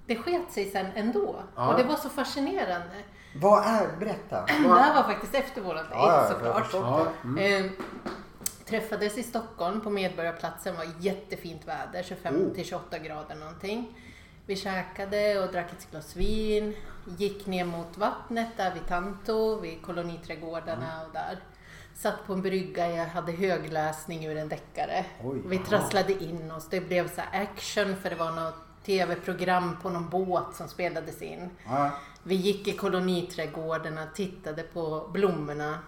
[SPEAKER 3] det sket sig sen ändå.
[SPEAKER 1] Ja.
[SPEAKER 3] Och det var så fascinerande.
[SPEAKER 2] Vad är, berätta.
[SPEAKER 3] Det här var faktiskt efter våran dejt
[SPEAKER 2] Ja, ja, jag
[SPEAKER 3] såklart.
[SPEAKER 2] förstår.
[SPEAKER 1] Ja, mm.
[SPEAKER 3] Eh, träffades i Stockholm på Medborgarplatsen. Det var jättefint väder, 25
[SPEAKER 1] Oh.
[SPEAKER 3] till 28 grader någonting. Vi käkade och drack ett glas vin. Gick ner mot vattnet där vid Tanto, vid koloniträdgårdarna
[SPEAKER 1] Mm.
[SPEAKER 3] och där. Satt på en brygga, jag hade högläsning ur en deckare.
[SPEAKER 2] Oj.
[SPEAKER 3] vi trasslade in oss. Det blev så här action för det var något tv-program på någon båt som spelades in.
[SPEAKER 2] Ja.
[SPEAKER 3] Vi gick i koloniträdgårdarna, tittade på blommorna,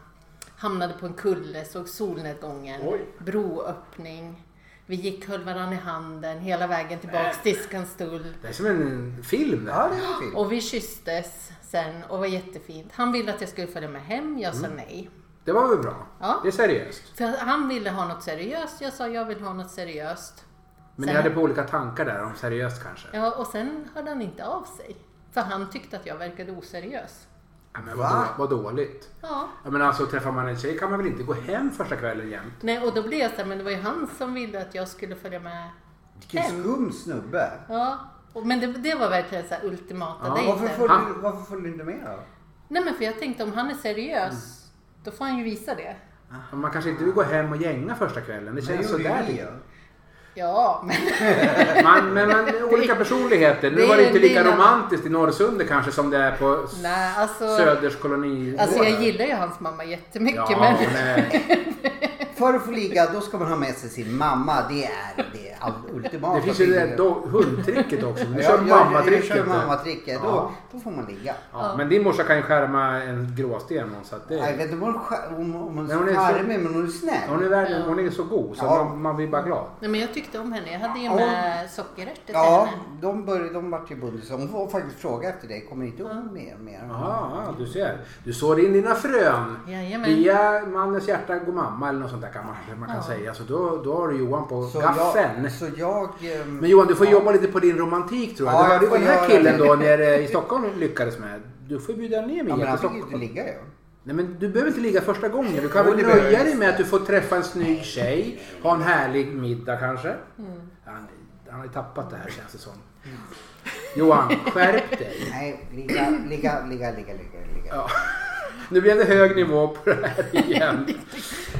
[SPEAKER 3] hamnade på en kulle, såg solnedgången,
[SPEAKER 1] Oj.
[SPEAKER 3] broöppning. Vi gick, höll varandra i handen hela vägen
[SPEAKER 1] Äh.
[SPEAKER 3] tillbaks till Skanstull.
[SPEAKER 1] Det är som en film det
[SPEAKER 2] Ja,
[SPEAKER 1] här.
[SPEAKER 2] det är en film.
[SPEAKER 3] Och vi kysstes sen och var jättefint. Han ville att jag skulle följa med hem, jag sa
[SPEAKER 1] Mm.
[SPEAKER 3] nej.
[SPEAKER 1] Det var väl bra?
[SPEAKER 3] Ja.
[SPEAKER 1] Det är seriöst.
[SPEAKER 3] För han ville ha något seriöst, jag sa jag vill ha något seriöst.
[SPEAKER 1] Men
[SPEAKER 3] Sen-
[SPEAKER 1] ni hade på olika tankar där om seriöst kanske?
[SPEAKER 3] Ja, och sen hörde han inte av sig. För han tyckte att jag verkade oseriös.
[SPEAKER 1] Ja, men
[SPEAKER 2] Va?
[SPEAKER 1] vad, då, vad dåligt.
[SPEAKER 3] Ja.
[SPEAKER 1] Ja, men alltså träffar man en tjej kan man väl inte gå hem första kvällen jämt?
[SPEAKER 3] Nej, och då blev jag så här, men det var ju han som ville att jag skulle följa med
[SPEAKER 2] Vilken skum snubbe.
[SPEAKER 3] Ja, och, men det, det var verkligen så här ultimata
[SPEAKER 1] Ja,
[SPEAKER 3] dejten.
[SPEAKER 2] Varför följde,
[SPEAKER 1] Han-
[SPEAKER 2] du- varför följde du inte med då?
[SPEAKER 3] Nej men för jag tänkte om han är seriös, då får han ju visa det.
[SPEAKER 1] Men Man kanske inte vill gå hem och gänga första kvällen. Det känns
[SPEAKER 2] gjorde
[SPEAKER 1] sådär.
[SPEAKER 2] ju vi,
[SPEAKER 1] lite.
[SPEAKER 3] Ja, men
[SPEAKER 1] Man, men man, olika personligheter. Nu
[SPEAKER 3] det
[SPEAKER 1] var det
[SPEAKER 3] är-
[SPEAKER 1] inte
[SPEAKER 3] det är
[SPEAKER 1] lika
[SPEAKER 3] en annan-
[SPEAKER 1] romantiskt i Norrsundet kanske som det är på S-
[SPEAKER 3] nej alltså.
[SPEAKER 1] Söders koloni.
[SPEAKER 3] Alltså jag gillar ju hans mamma jättemycket
[SPEAKER 1] ja,
[SPEAKER 3] men
[SPEAKER 1] hon är,
[SPEAKER 2] För att få ligga, då ska man ha med sig sin mamma. Det är det all- ultimata.
[SPEAKER 1] Det finns ju det där do- hundtricket också. men Du
[SPEAKER 2] Ja,
[SPEAKER 1] kör
[SPEAKER 2] jag-
[SPEAKER 1] mammatricket.
[SPEAKER 2] Jag kör mammatricket. Då,
[SPEAKER 1] Ja.
[SPEAKER 2] då får man ligga.
[SPEAKER 1] Ja, men din morsa kan ju skärma en gråsten. hon, Så att
[SPEAKER 2] Jag
[SPEAKER 1] det,
[SPEAKER 2] vet inte om hon, skär- om, om hon,
[SPEAKER 1] Nej, hon är
[SPEAKER 2] är
[SPEAKER 1] så-
[SPEAKER 2] charmig, men hon är snäll.
[SPEAKER 1] hon, är värd, hon är så god så
[SPEAKER 2] Ja.
[SPEAKER 1] man, man blir bara glad.
[SPEAKER 3] Nej men jag tyckte om henne. Jag hade ju
[SPEAKER 2] Ja.
[SPEAKER 3] med sockerärtor till
[SPEAKER 2] Ja,
[SPEAKER 3] henne.
[SPEAKER 2] de, började, de vart ju bundisar. Hon får faktiskt fråga efter dig. Kommer inte hon med mer?
[SPEAKER 1] Ja, ja, du ser. Du sår in dina frön.
[SPEAKER 3] Jajamän.
[SPEAKER 1] Via mannens hjärta går mamma eller något sånt där kan man, man kan
[SPEAKER 3] Ja.
[SPEAKER 1] säga. Så då, då har du Johan på
[SPEAKER 2] Så
[SPEAKER 1] gaffeln.
[SPEAKER 2] jag, så jag... ehm,
[SPEAKER 1] Men Johan, du får jobba lite på din romantik tror jag.
[SPEAKER 2] Ja,
[SPEAKER 1] det var
[SPEAKER 2] jag
[SPEAKER 1] det
[SPEAKER 2] får
[SPEAKER 1] den här
[SPEAKER 2] göra
[SPEAKER 1] killen
[SPEAKER 2] det.
[SPEAKER 1] då nere i Stockholm lyckades med. Du får bjuda ner mig
[SPEAKER 2] Ja, men
[SPEAKER 1] till
[SPEAKER 2] han fick ju inte
[SPEAKER 1] Stockholm.
[SPEAKER 2] ligga ju.
[SPEAKER 1] Nej, men du behöver inte ligga första gången. Du kan
[SPEAKER 2] Jo,
[SPEAKER 1] väl
[SPEAKER 2] det behöver
[SPEAKER 1] nöja
[SPEAKER 2] jag
[SPEAKER 1] dig med
[SPEAKER 2] inte.
[SPEAKER 1] att du får träffa en snygg tjej, ha en härlig middag kanske.
[SPEAKER 3] Mm.
[SPEAKER 1] Han, han har ju tappat det här känns det som. Johan, skärp dig.
[SPEAKER 2] Nej, ligga, ligga, ligga, ligga, ligga. ligga.
[SPEAKER 1] Ja. Nu blev det hög nivå på det här igen.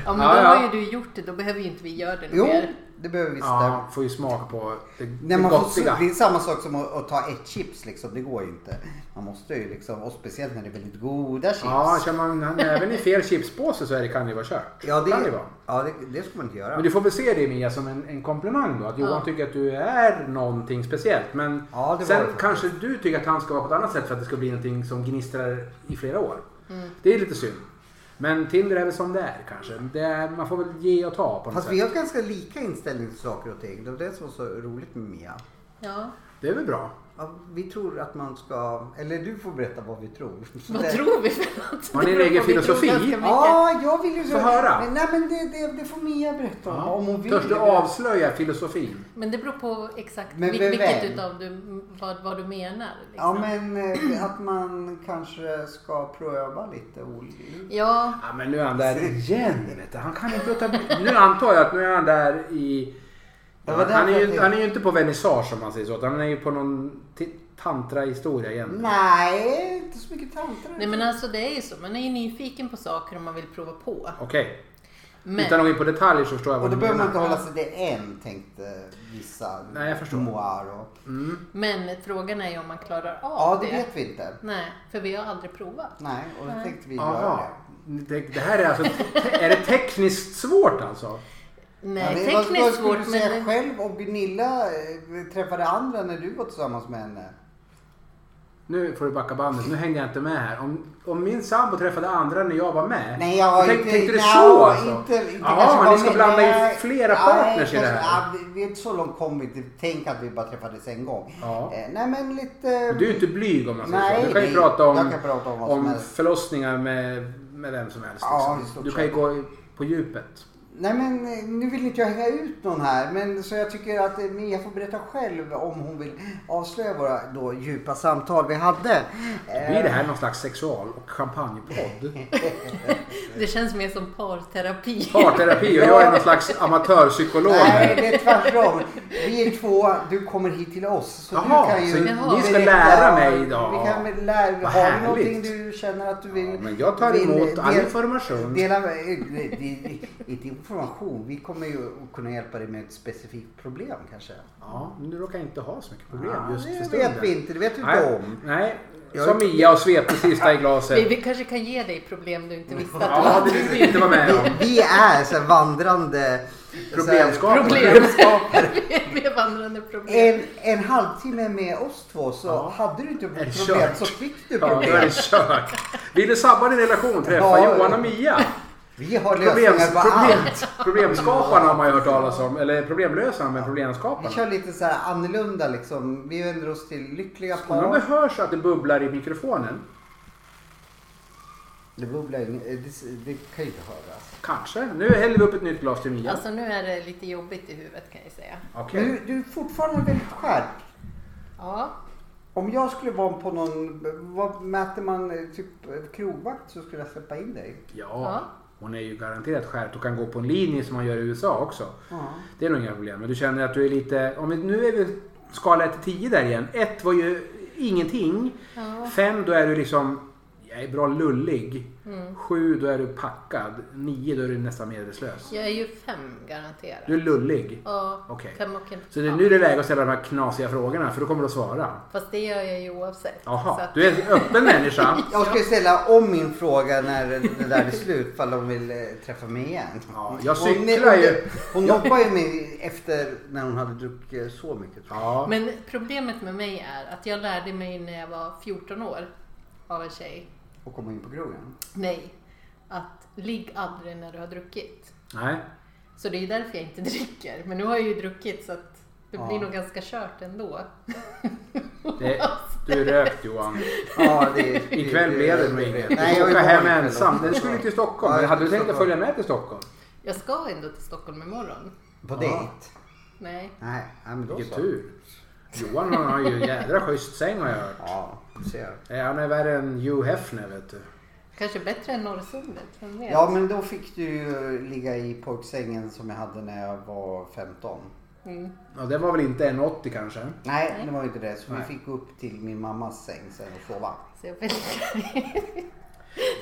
[SPEAKER 3] Ja men
[SPEAKER 1] Ja,
[SPEAKER 3] då
[SPEAKER 1] ja.
[SPEAKER 3] har ju du gjort det, då behöver ju inte vi göra det
[SPEAKER 2] Jo,
[SPEAKER 3] mer.
[SPEAKER 2] det behöver vi visst.
[SPEAKER 1] Ja, får ju smak på det,
[SPEAKER 2] Nej,
[SPEAKER 1] det
[SPEAKER 2] man får,
[SPEAKER 1] gottiga.
[SPEAKER 2] det är samma sak som att, att ta ett chips liksom. Det går ju inte. Man måste ju liksom, och speciellt när det är väldigt goda chips.
[SPEAKER 1] Ja, kör man näven i fel chipspåse så är det, kan det vara kört.
[SPEAKER 2] ja,
[SPEAKER 1] Kan det vara.
[SPEAKER 2] ja det, det ska man inte göra.
[SPEAKER 1] Men du får väl se det Mia som en, en komplimang då. Att Johan
[SPEAKER 3] Ja.
[SPEAKER 1] tycker att du är någonting speciellt. Men
[SPEAKER 2] Ja, det var det
[SPEAKER 1] sen
[SPEAKER 2] faktiskt.
[SPEAKER 1] kanske du tycker att han ska vara på ett annat sätt för att det ska bli någonting som gnistrar i flera år.
[SPEAKER 2] Mm.
[SPEAKER 1] Det är lite synd. Men Tinder är väl som det är kanske. Det är, man får väl ge och ta på något
[SPEAKER 2] Fast
[SPEAKER 1] sätt.
[SPEAKER 2] vi har ganska lika inställning till saker och ting. Det var det som var så roligt med Mia.
[SPEAKER 3] Ja.
[SPEAKER 1] Det är väl bra.
[SPEAKER 2] Ja, vi tror att man ska, eller du får berätta vad vi tror. Så
[SPEAKER 3] Vad
[SPEAKER 2] det-
[SPEAKER 3] tror vi för något?
[SPEAKER 1] Har ni en
[SPEAKER 3] Det
[SPEAKER 1] egen
[SPEAKER 3] beror på, vi tror
[SPEAKER 1] filosofi?
[SPEAKER 3] ganska mycket.
[SPEAKER 2] Ja, jag vill ju...
[SPEAKER 1] Få höra.
[SPEAKER 2] Men, nej men det, det, det får Mia berätta om. om hon vill.
[SPEAKER 1] Törs du avslöja filosofin?
[SPEAKER 3] Men det beror på exakt
[SPEAKER 2] Men
[SPEAKER 3] vil-
[SPEAKER 2] vem?
[SPEAKER 3] vilket utav du, vad, vad du menar.
[SPEAKER 2] Ja
[SPEAKER 3] Liksom.
[SPEAKER 2] men eh, att man kanske ska pröva lite olika.
[SPEAKER 3] ja,
[SPEAKER 1] Ja, men nu är han där igen. Vet du. Han kan inte låta bli. Nu antar jag att nu är han där i...
[SPEAKER 2] Det var
[SPEAKER 1] han, är
[SPEAKER 2] därför jag
[SPEAKER 1] ju,
[SPEAKER 2] tänkte-
[SPEAKER 1] han är ju inte på vernissage om man säger så. Han är ju på någon ti- tantra-historia igen.
[SPEAKER 2] Nej, inte så mycket tanter.
[SPEAKER 3] Nej men alltså det är ju så, man är ju nyfiken på saker och man vill prova på.
[SPEAKER 1] Okej.
[SPEAKER 3] Men,
[SPEAKER 1] Utan att gå in på detaljer så förstår jag
[SPEAKER 2] Och
[SPEAKER 1] vad
[SPEAKER 2] då
[SPEAKER 1] du
[SPEAKER 2] behöver man
[SPEAKER 1] menar.
[SPEAKER 2] inte hålla sig till en tänkte vissa.
[SPEAKER 1] Nej, jag förstår.
[SPEAKER 2] Moir och...
[SPEAKER 3] men frågan är ju om man klarar av
[SPEAKER 2] Ja,
[SPEAKER 3] det.
[SPEAKER 2] det vet vi inte.
[SPEAKER 3] Nej, för vi har aldrig provat.
[SPEAKER 2] Nej, och då tänkte vi göra
[SPEAKER 1] Jaha.
[SPEAKER 2] det.
[SPEAKER 1] Det, det här är alltså... Är det tekniskt svårt alltså?
[SPEAKER 3] Nej,
[SPEAKER 2] men vad-
[SPEAKER 3] tekniskt
[SPEAKER 2] Vad skulle
[SPEAKER 3] svårt
[SPEAKER 2] du säga
[SPEAKER 3] men...
[SPEAKER 2] själv om Gunilla eh, träffade andra när du var tillsammans med henne?
[SPEAKER 1] nu får du backa bandet, nu hängde jag inte med här. Om, om min sambo träffade andra när jag var med.
[SPEAKER 2] Nej, jag har
[SPEAKER 1] då
[SPEAKER 2] inte-
[SPEAKER 1] tänkte, tänkte du
[SPEAKER 2] nej,
[SPEAKER 1] så alltså?
[SPEAKER 2] Inte, inte kanske
[SPEAKER 1] Jaha, ni
[SPEAKER 2] kommit-
[SPEAKER 1] ska blanda in
[SPEAKER 2] nej,
[SPEAKER 1] flera
[SPEAKER 2] nej,
[SPEAKER 1] partners i det
[SPEAKER 2] kanske-
[SPEAKER 1] här?
[SPEAKER 2] ja, vi- vi är inte så långt kommit. Tänk att vi bara träffades en gång.
[SPEAKER 1] Ja.
[SPEAKER 2] Eh, nej men lite...
[SPEAKER 1] Du är ju inte blyg om man säger
[SPEAKER 2] Nej,
[SPEAKER 1] så. Du kan ju
[SPEAKER 2] nej,
[SPEAKER 1] prata om,
[SPEAKER 2] jag kan prata om vad som helst.
[SPEAKER 1] förlossningar med, med vem som helst.
[SPEAKER 2] Ja, i
[SPEAKER 1] liksom.
[SPEAKER 2] stort
[SPEAKER 1] Du kan ju
[SPEAKER 2] sett.
[SPEAKER 1] gå i- på djupet.
[SPEAKER 2] Nej men eh, nu vill inte jag hänga ut någon här men så jag tycker att eh, Mia får berätta själv om hon vill avslöja våra då djupa samtal vi hade.
[SPEAKER 1] Blir det här
[SPEAKER 2] Eh.
[SPEAKER 1] någon slags sexual och champagnepodd?
[SPEAKER 3] Det känns mer som parterapi.
[SPEAKER 1] Parterapi och jag är någon slags amatörpsykolog
[SPEAKER 2] Nej,
[SPEAKER 1] här.
[SPEAKER 2] det är tvärtom. Vi är två, du kommer hit till oss. Så
[SPEAKER 1] Jaha,
[SPEAKER 2] du kan ju
[SPEAKER 1] så
[SPEAKER 3] ni- ni
[SPEAKER 1] ska
[SPEAKER 2] berätta.
[SPEAKER 1] lära mig idag.
[SPEAKER 2] Vi kan väl lära,
[SPEAKER 1] Vad
[SPEAKER 2] har du någonting
[SPEAKER 1] härligt.
[SPEAKER 2] du känner att du vill?
[SPEAKER 1] Ja, men jag tar
[SPEAKER 2] vill
[SPEAKER 1] emot all
[SPEAKER 2] del-
[SPEAKER 1] information.
[SPEAKER 2] Dela med, eh, det- det- inte information, vi kommer ju att kunna hjälpa dig med ett specifikt problem kanske.
[SPEAKER 1] Ja, men du råkar inte ha så mycket problem
[SPEAKER 2] Ja,
[SPEAKER 1] just för
[SPEAKER 2] det
[SPEAKER 1] stunden.
[SPEAKER 2] vet vi inte, det vet vi inte
[SPEAKER 1] Nej,
[SPEAKER 2] om.
[SPEAKER 1] nej.
[SPEAKER 2] Jag-
[SPEAKER 1] som Mia och svepte sista i
[SPEAKER 3] Vi,
[SPEAKER 1] glaset.
[SPEAKER 3] vi kanske kan ge dig problem du inte visste att du
[SPEAKER 1] Ja, det
[SPEAKER 3] hade.
[SPEAKER 1] vill vi inte vara med om.
[SPEAKER 2] Vi, vi är så här vandrande så
[SPEAKER 1] Problemskapare.
[SPEAKER 2] här-
[SPEAKER 3] Problemskapare. Vi är vandrande problem.
[SPEAKER 2] En, en halvtimme med oss två så
[SPEAKER 1] Ja.
[SPEAKER 2] hade du inte
[SPEAKER 1] Är det
[SPEAKER 2] fått problem
[SPEAKER 1] kört?
[SPEAKER 2] så fick du
[SPEAKER 1] Ja, då är
[SPEAKER 2] problem.
[SPEAKER 1] det kört. Vill du sabba din relation? Träffa
[SPEAKER 2] Ja.
[SPEAKER 1] Johan och Mia.
[SPEAKER 2] Vi har
[SPEAKER 1] Problems,
[SPEAKER 2] lösningar på
[SPEAKER 1] problem,
[SPEAKER 2] allt.
[SPEAKER 1] problemskaparna har man ju hört talas om. Eller problemlösarna, men
[SPEAKER 2] Vi
[SPEAKER 1] problemskaparna.
[SPEAKER 2] kör lite så här annorlunda liksom. Vi vänder oss till lyckliga
[SPEAKER 1] Undrar om det
[SPEAKER 2] par.
[SPEAKER 1] hörs att det bubblar i mikrofonen?
[SPEAKER 2] Det bubblar ing- eh, det, det kan ju inte höras.
[SPEAKER 1] Kanske. Nu häller vi upp ett nytt glas till Mia.
[SPEAKER 3] Alltså nu är det lite jobbigt i huvudet kan jag säga.
[SPEAKER 1] Okej.
[SPEAKER 2] Men du, du är fortfarande väldigt skärpt.
[SPEAKER 3] Ja,
[SPEAKER 2] Om jag skulle vara på någon, vad mäter man, eh, typ eh, krogvakt så skulle jag släppa in dig.
[SPEAKER 1] Ja,
[SPEAKER 3] Ja.
[SPEAKER 1] hon är ju garanterat skärpt och kan gå på en linje som man gör i USA också.
[SPEAKER 2] Ja.
[SPEAKER 1] Det är nog inga problem. Men du känner att du är lite... Om vi, nu är vi skala 1 till 10 där igen. 1 var ju ingenting.
[SPEAKER 3] Ja.
[SPEAKER 1] 5 då är du liksom... Jag är bra lullig.
[SPEAKER 3] Mm.
[SPEAKER 1] 7 då är du packad. 9 då är du nästan medvetslös.
[SPEAKER 3] jag är ju fem garanterat.
[SPEAKER 1] Du är lullig.
[SPEAKER 3] Ja,
[SPEAKER 1] Okej.
[SPEAKER 3] kan man kan...
[SPEAKER 1] Så det är nu det är läge att ställa de här knasiga frågorna för då kommer du att svara.
[SPEAKER 3] Fast det gör jag ju oavsett. Så
[SPEAKER 1] Jaha,
[SPEAKER 3] att-
[SPEAKER 1] du är en öppen människa.
[SPEAKER 2] Jag ska ju ställa om min fråga när det där är slut, fall de vill eh, träffa mig igen.
[SPEAKER 1] Ja, jag
[SPEAKER 2] Hon-
[SPEAKER 1] cyklar ju.
[SPEAKER 2] Hon hoppade ju mig efter när hon hade druckit eh, så mycket. tror jag.
[SPEAKER 1] Ja,
[SPEAKER 3] Men problemet med mig är att jag lärde mig när jag var 14 år av en tjej.
[SPEAKER 2] Och komma in på krogen.
[SPEAKER 3] Nej, att ligg aldrig när du har druckit.
[SPEAKER 1] nej.
[SPEAKER 3] Så det är ju därför jag inte dricker. Men nu har jag ju druckit så att det
[SPEAKER 2] Ja.
[SPEAKER 3] blir nog ganska kört ändå.
[SPEAKER 1] Det, du är rökt Johan.
[SPEAKER 2] Ja, det,
[SPEAKER 1] Ikväll blev det nog inget.
[SPEAKER 2] Nej,
[SPEAKER 1] Du får
[SPEAKER 2] jag vill
[SPEAKER 1] åka
[SPEAKER 2] bara
[SPEAKER 1] hem
[SPEAKER 2] ikväll.
[SPEAKER 1] ensam. Du skulle ju till Stockholm.
[SPEAKER 2] Ja,
[SPEAKER 1] Men
[SPEAKER 2] jag
[SPEAKER 1] hade du
[SPEAKER 2] till
[SPEAKER 1] tänkt att
[SPEAKER 2] Stockholm.
[SPEAKER 1] följa med till Stockholm?
[SPEAKER 3] Jag ska ändå till Stockholm imorgon.
[SPEAKER 2] På dejt?
[SPEAKER 3] Nej.
[SPEAKER 2] Nej, nej, men då
[SPEAKER 1] Vilken
[SPEAKER 2] så.
[SPEAKER 1] tur. Johan han har ju en jädra schysst säng har jag hört.
[SPEAKER 2] Ja, du ser.
[SPEAKER 1] Eh, Han är värre än Hugh Hefner vet du.
[SPEAKER 3] Kanske bättre än Norrsundet. vem vet?
[SPEAKER 2] Ja, men då fick du ju ligga i pojksängen som jag hade när jag var 15.
[SPEAKER 3] Mm.
[SPEAKER 1] Ja, det var väl inte 1,80 kanske?
[SPEAKER 2] Nej, det var ju inte det. Så
[SPEAKER 1] Nej.
[SPEAKER 2] vi fick gå upp till min mammas säng sen och sova.
[SPEAKER 3] Så jag väljer.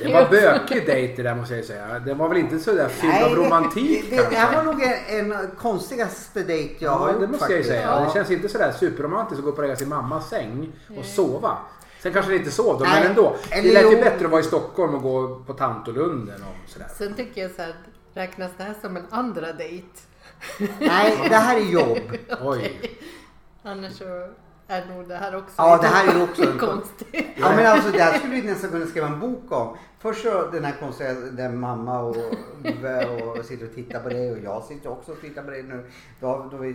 [SPEAKER 1] Det var bökig dejt det där måste jag säga. Det var väl inte så där fylld av
[SPEAKER 2] det-
[SPEAKER 1] romantik
[SPEAKER 2] Det, det, det här
[SPEAKER 1] kanske?
[SPEAKER 2] var nog en, en konstigaste dejt jag har
[SPEAKER 1] Ja,
[SPEAKER 2] gjort
[SPEAKER 1] det måste jag ju
[SPEAKER 2] faktiskt.
[SPEAKER 1] säga.
[SPEAKER 3] Ja.
[SPEAKER 1] Det känns inte sådär superromantiskt att gå upp och lägga sig i mammas säng och sova. Sen kanske ni inte sov då,
[SPEAKER 2] Nej,
[SPEAKER 1] men ändå. Det
[SPEAKER 2] eller
[SPEAKER 1] lät ju
[SPEAKER 2] jo.
[SPEAKER 1] bättre att vara i Stockholm och gå på Tantolunden och sådär.
[SPEAKER 3] Sen tycker jag så här, räknas det här som en andra dejt?
[SPEAKER 2] Nej, det här är jobb.
[SPEAKER 1] Oj.
[SPEAKER 3] Annars så är nog det här också
[SPEAKER 2] Ja, det här är också en-
[SPEAKER 3] konstigt.
[SPEAKER 2] Ja, men alltså, det här skulle vi nästan kunna skriva en bok om. Först så den här konstiga där mamma och Ove och sitter och tittar på dig och jag sitter också och tittar på dig nu. Då har då har vi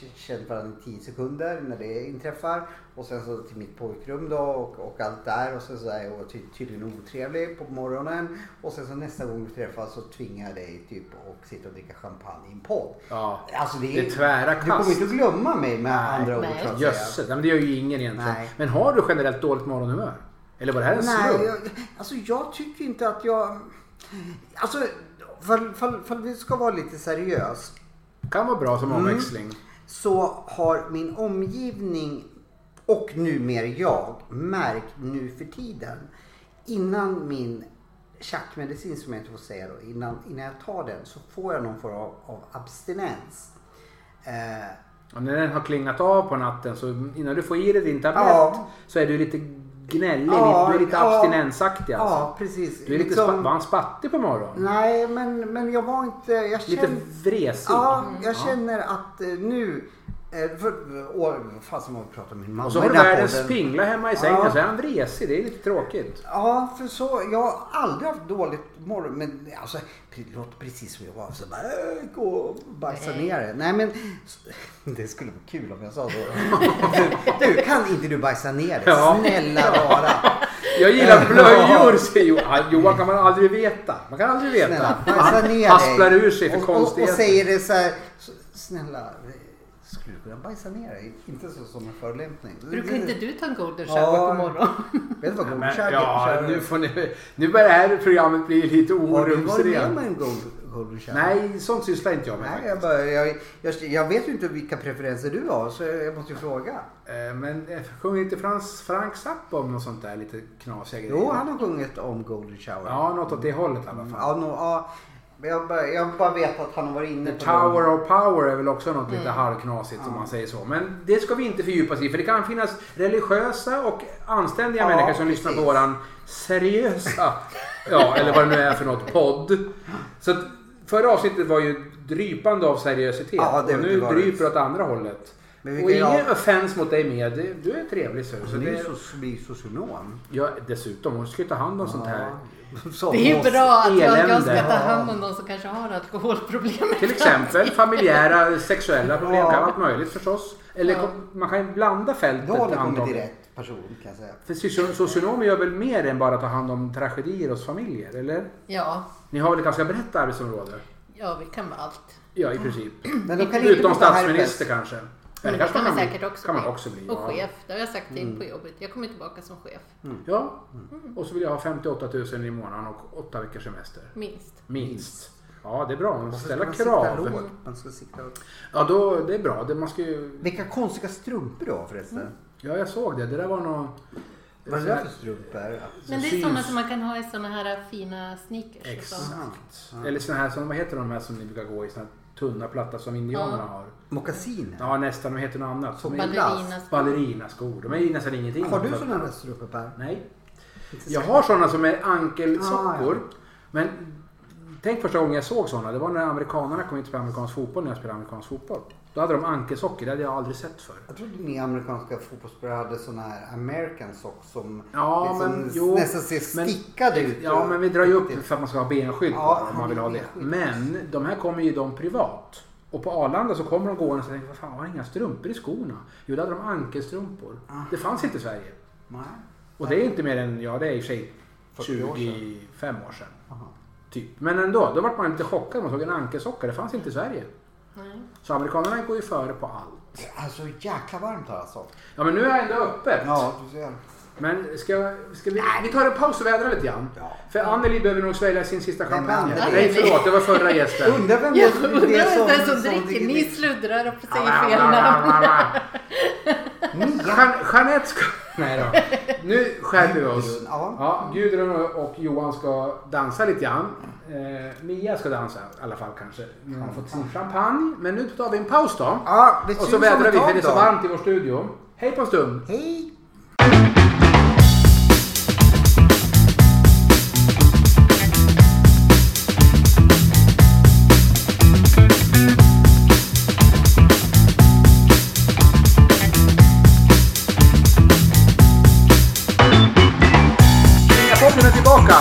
[SPEAKER 2] k- känt varandra i 10 sekunder när det inträffar. Och sen så till mitt pojkrum då och, och allt där. Och sen så är jag ty, tydligen otrevlig på morgonen. Och sen så nästa gång vi träffas så tvingar jag dig typ och sitta och dricka champagne i en podd.
[SPEAKER 1] Ja.
[SPEAKER 2] Alltså det är,
[SPEAKER 1] Det är tvära
[SPEAKER 2] Du kommer
[SPEAKER 1] kast.
[SPEAKER 2] inte att glömma mig med andra ord
[SPEAKER 3] Nej.
[SPEAKER 2] så att säga.
[SPEAKER 1] Jösses, nej, men det gör ju ingen egentligen.
[SPEAKER 2] Nej.
[SPEAKER 1] Men har du generellt dåligt morgonhumör? Eller var det här en
[SPEAKER 2] Nej,
[SPEAKER 1] slump?
[SPEAKER 2] jag, alltså jag tycker inte att jag... Alltså, fall, fall, fall vi ska vara lite seriös
[SPEAKER 1] Kan vara bra som
[SPEAKER 2] Mm.
[SPEAKER 1] omväxling.
[SPEAKER 2] så har min omgivning och numera jag märkt nu för tiden innan min tjackmedicin som jag inte får säga då, innan, innan jag tar den så får jag någon form av, av abstinens. Eh,
[SPEAKER 1] Och när den har klingat av på natten så innan du får i dig din tablett
[SPEAKER 2] Ja.
[SPEAKER 1] så är du lite gnällig.
[SPEAKER 2] Ja,
[SPEAKER 1] du är lite
[SPEAKER 2] ja.
[SPEAKER 1] abstinensaktig alltså.
[SPEAKER 2] Ja, precis.
[SPEAKER 1] Du är lite
[SPEAKER 2] Liksom-
[SPEAKER 1] spa- var han spattig på morgonen?
[SPEAKER 2] Nej, men, men jag var inte... Jag
[SPEAKER 1] Lite
[SPEAKER 2] kände...
[SPEAKER 1] vresig?
[SPEAKER 2] Ja, jag känner att eh, nu Eh, för, åh, vad fasen var vi pratade med min mamma
[SPEAKER 1] Och så
[SPEAKER 2] i
[SPEAKER 1] har du
[SPEAKER 2] den här
[SPEAKER 1] världens
[SPEAKER 2] podden.
[SPEAKER 1] pingla hemma i sängen
[SPEAKER 2] Ja.
[SPEAKER 1] så är han vresig. Det är lite tråkigt.
[SPEAKER 2] Ja, för så, jag har aldrig haft dåligt morgon, men alltså, det låter precis som jag var. Så bara, äh, gå och bajsa
[SPEAKER 3] Nej.
[SPEAKER 2] ner det. Nej, men det skulle vara kul om jag sa så. Du, kan inte du bajsa ner det?
[SPEAKER 1] Ja.
[SPEAKER 2] Snälla rara.
[SPEAKER 1] Jag gillar
[SPEAKER 2] Ja.
[SPEAKER 1] blöjor säger Johan. Johan kan man aldrig veta. Man kan aldrig veta.
[SPEAKER 2] Snälla, bajsa
[SPEAKER 1] Han
[SPEAKER 2] ner
[SPEAKER 1] hasplar
[SPEAKER 2] dig.
[SPEAKER 1] ur sig för
[SPEAKER 2] och, och, och
[SPEAKER 1] konstigheter.
[SPEAKER 2] säger det så här, "S- snälla, skulle du kunna bajsa ner dig? Inte så som en förolämpning.
[SPEAKER 3] Brukar inte du ta en golden
[SPEAKER 2] Ja.
[SPEAKER 3] shower på morgonen?
[SPEAKER 2] Vet du vad god
[SPEAKER 1] Men,
[SPEAKER 2] kärlek
[SPEAKER 1] ja,
[SPEAKER 2] kärlek-
[SPEAKER 1] nu, får ni, nu börjar det här programmet bli lite
[SPEAKER 2] Har du varit med om
[SPEAKER 1] orumsrent.
[SPEAKER 2] en god, god kärlek?
[SPEAKER 1] Nej, sånt sysslar inte jag med
[SPEAKER 2] Nej,
[SPEAKER 1] faktiskt.
[SPEAKER 2] jag, bara, jag, jag, jag vet ju inte vilka preferenser du har så jag måste ju fråga.
[SPEAKER 1] Eh, Men eh, sjunger inte Frans, Frank Zappa om något sånt där lite knasiga grejer?
[SPEAKER 2] Jo, han Mm, har sjungit om Golden Shower.
[SPEAKER 1] Ja, något åt det hållet i alla fall.
[SPEAKER 2] Ja, no, ja, men jag, bara, jag bara vet att han har varit inne
[SPEAKER 1] The
[SPEAKER 2] på
[SPEAKER 1] Tower
[SPEAKER 2] dem.
[SPEAKER 1] of Power är väl också något lite halvknasigt om man säger så. Men det ska vi inte fördjupa oss i för det kan finnas religiösa och anständiga
[SPEAKER 2] Ja,
[SPEAKER 1] människor som
[SPEAKER 2] precis.
[SPEAKER 1] lyssnar på våran seriösa, ja eller vad det nu är för något, podd. Så att förra avsnittet var ju drypande av seriositet
[SPEAKER 2] Ja, det
[SPEAKER 1] och
[SPEAKER 2] har
[SPEAKER 1] nu
[SPEAKER 2] inte varit.
[SPEAKER 1] dryper det åt andra hållet.
[SPEAKER 2] Men vi
[SPEAKER 1] Och
[SPEAKER 2] kan ju-
[SPEAKER 1] ingen offense mot dig med, Du- du är trevlig så. så
[SPEAKER 2] Han är
[SPEAKER 1] det,
[SPEAKER 2] ju så- blir socionom.
[SPEAKER 1] ja, dessutom, hon ska ju ta hand om sånt här.
[SPEAKER 2] Som
[SPEAKER 3] Det är
[SPEAKER 2] oss.
[SPEAKER 3] bra att jag
[SPEAKER 1] elände.
[SPEAKER 3] ska ta hand om de som kanske har alkoholproblem.
[SPEAKER 1] Till exempel familjära sexuella problem,
[SPEAKER 2] Ja.
[SPEAKER 1] kan vara allt möjligt förstås. Eller
[SPEAKER 3] Ja.
[SPEAKER 1] kom- man kan ju blanda fältet
[SPEAKER 2] Då har du kommit till
[SPEAKER 1] antagligen.
[SPEAKER 2] rätt person kan jag säga.
[SPEAKER 1] För socio- socionomer gör väl mer än bara ta hand om tragedier hos familjer, eller?
[SPEAKER 3] Ja,
[SPEAKER 1] Ni har väl ett ganska brett arbetsområde?
[SPEAKER 3] ja, vi kan vara allt.
[SPEAKER 1] Ja, i princip.
[SPEAKER 2] Men de kan inte
[SPEAKER 1] Utom
[SPEAKER 2] prata
[SPEAKER 1] statsminister
[SPEAKER 2] herpes.
[SPEAKER 1] kanske. Eller
[SPEAKER 3] Men det
[SPEAKER 1] kanske
[SPEAKER 3] Mm, kan man
[SPEAKER 1] bli.
[SPEAKER 3] säkert också
[SPEAKER 1] kan man
[SPEAKER 3] bli.
[SPEAKER 1] också bli.
[SPEAKER 3] Och
[SPEAKER 1] ja.
[SPEAKER 3] chef, det har jag sagt till på jobbet. Jag kommer tillbaka som chef,
[SPEAKER 1] Ja,
[SPEAKER 3] Mm.
[SPEAKER 1] och så vill jag ha 58 000 i månaden och åtta veckors semester.
[SPEAKER 3] minst.
[SPEAKER 1] Minst. Ja, det är bra. Man ska ställa
[SPEAKER 2] Man ska sikta
[SPEAKER 1] krav.
[SPEAKER 2] lågt, Man ska sikta upp.
[SPEAKER 1] Ja, då, det är bra. Det, man ska ju...
[SPEAKER 2] Vilka konstiga strumpor du har förresten.
[SPEAKER 1] Ja, jag såg det. Det där var någon...
[SPEAKER 2] Vad är det där för strumpor?
[SPEAKER 3] Men det är
[SPEAKER 1] syns-
[SPEAKER 3] sådana som man kan ha i sådana här fina sneakers. liksom. och sånt.
[SPEAKER 1] Exakt. Eller såna här, som, vad heter de här som ni brukar gå i? Såna här tunna platta som indianerna
[SPEAKER 3] Ja.
[SPEAKER 1] har.
[SPEAKER 2] Mockasiner?
[SPEAKER 1] Ja nästan, de heter något annat.
[SPEAKER 2] Så
[SPEAKER 1] De är ju
[SPEAKER 3] Ballerinaskor.
[SPEAKER 1] ballerinaskor. De är ju nästan ingenting.
[SPEAKER 2] Har du sådana där strumpor Per?
[SPEAKER 1] Nej. Jag har sådana som är ankelsockor.
[SPEAKER 2] Ah,
[SPEAKER 1] Men tänk första gången jag såg sådana. Det var när amerikanerna kom in till amerikansk fotboll när jag spelade amerikansk fotboll. Då hade de ankelsockor. Det hade jag aldrig sett förr.
[SPEAKER 2] Jag trodde ni amerikanska fotbollsspelare hade såna här American socks som liksom
[SPEAKER 1] Ja, men, jo,
[SPEAKER 2] nästan ser
[SPEAKER 1] men-
[SPEAKER 2] stickade ut.
[SPEAKER 1] Ja, men vi drar ju upp för att man ska ha benskydd på
[SPEAKER 2] Ja,
[SPEAKER 1] dem om man vill ha det.
[SPEAKER 2] benskydd.
[SPEAKER 1] Men de här kommer ju de privat. Och på Arlanda så kommer de gående och tänker, vad fan har jag inga strumpor i skorna? Jo, då hade de ankelstrumpor. Det fanns inte i Sverige.
[SPEAKER 2] Nej.
[SPEAKER 1] Och det är inte mer än, ja det är i och för sig
[SPEAKER 2] 40 år sedan.
[SPEAKER 1] 25 år sedan.
[SPEAKER 2] Aha.
[SPEAKER 1] Typ. Men ändå, då vart man lite chockad när man såg en ankelsocka. Det fanns inte i Sverige.
[SPEAKER 3] Nej.
[SPEAKER 1] Så amerikanerna går ju före på allt.
[SPEAKER 2] Det är så jäkla varmt här alltså.
[SPEAKER 1] Ja men nu är ändå öppet.
[SPEAKER 2] Ja, du ser.
[SPEAKER 1] Men ska, ska vi... Vi tar en paus och vädrar lite grann.
[SPEAKER 2] Ja.
[SPEAKER 1] För Anneli behöver nog svälja sin sista
[SPEAKER 2] men
[SPEAKER 1] champagne.
[SPEAKER 2] Anneli-
[SPEAKER 1] Nej förlåt, det var förra gästen.
[SPEAKER 2] Undrar vem
[SPEAKER 3] Jag
[SPEAKER 2] det är
[SPEAKER 3] undrar vem det är som
[SPEAKER 2] dricker.
[SPEAKER 3] dricker. Ah, Ni sluddrar och säger fel namn.
[SPEAKER 1] Jeanette Mm, ska... Nej då. Nu skärper vi oss.
[SPEAKER 2] Gudrun, ja.
[SPEAKER 1] Ja, Gudrun och- och Johan ska dansa lite grann. Eh, Mia ska dansa i alla fall kanske. Nu har hon fått sin champagne. Men nu tar vi en paus då.
[SPEAKER 2] Ja, det
[SPEAKER 1] Och
[SPEAKER 2] syns
[SPEAKER 1] så
[SPEAKER 2] om
[SPEAKER 1] vädrar
[SPEAKER 2] ett
[SPEAKER 1] vi för
[SPEAKER 2] tag
[SPEAKER 1] det är så
[SPEAKER 2] då.
[SPEAKER 1] varmt i vår studio. Hej på en stund.
[SPEAKER 2] Hej!
[SPEAKER 1] Singapodden är tillbaka.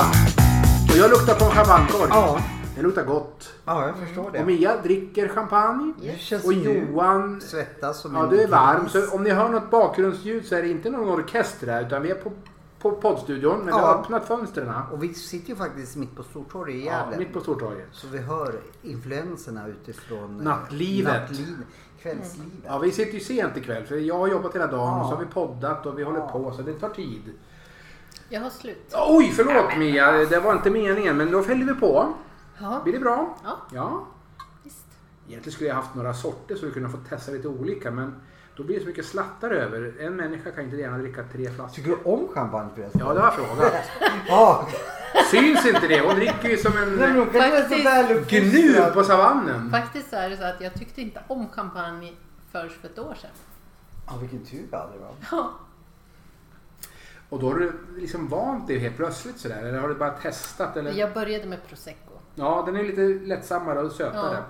[SPEAKER 1] Och jag luktar på en champagnekork.
[SPEAKER 2] Ja.
[SPEAKER 1] Det luktar gott.
[SPEAKER 2] Ja, jag förstår det.
[SPEAKER 1] Och Mia dricker champagne.
[SPEAKER 2] Det känns
[SPEAKER 1] Och
[SPEAKER 2] som du
[SPEAKER 1] Johan
[SPEAKER 2] svettas som
[SPEAKER 1] Ja,
[SPEAKER 2] en
[SPEAKER 1] du är varm.
[SPEAKER 2] gris.
[SPEAKER 1] Så om ni hör något bakgrundsljud så är det inte någon orkester här utan vi är på, på poddstudion. Men vi har
[SPEAKER 2] Ja.
[SPEAKER 1] öppnat fönstren.
[SPEAKER 2] Och vi sitter ju faktiskt mitt på Stortorget i
[SPEAKER 1] Ja,
[SPEAKER 2] Gävle.
[SPEAKER 1] mitt på Stortorget.
[SPEAKER 2] Så vi hör influenserna utifrån eh,
[SPEAKER 1] Nattlivet.
[SPEAKER 2] nattliv- kvällslivet.
[SPEAKER 1] Ja, vi sitter ju sent ikväll för jag har jobbat hela dagen och så har vi poddat och vi håller
[SPEAKER 2] Ja.
[SPEAKER 1] på så det tar tid.
[SPEAKER 3] Jag har slut.
[SPEAKER 1] Oj, förlåt Mia. Det var inte meningen men då fäller vi på.
[SPEAKER 3] Ja,
[SPEAKER 1] Blir det bra?
[SPEAKER 3] ja
[SPEAKER 1] Ja.
[SPEAKER 3] visst.
[SPEAKER 1] Egentligen skulle jag haft några sorter så vi kunde få testa lite olika men då blir det så mycket slattar över. En människa kan inte gärna dricka tre flaskor.
[SPEAKER 2] Tycker du om champagne förresten?
[SPEAKER 1] Ja, det har jag frågat.
[SPEAKER 2] Ja,
[SPEAKER 1] Syns inte det? Hon dricker ju som en
[SPEAKER 2] men
[SPEAKER 1] eh,
[SPEAKER 2] hon kan ju vara så
[SPEAKER 3] Faktiskt.
[SPEAKER 2] väl uppfostrad.
[SPEAKER 1] gnu på savannen.
[SPEAKER 3] Faktiskt så är det så att jag tyckte inte om champagne förrän för ett år sedan.
[SPEAKER 2] Ja, vilken tur vi hade va?
[SPEAKER 3] Ja.
[SPEAKER 1] Och då har du liksom vant dig helt plötsligt sådär? Eller har du bara testat? Eller?
[SPEAKER 3] Jag började med prosecco.
[SPEAKER 1] Ja, den är lite lättsammare och sötare.
[SPEAKER 3] Ja.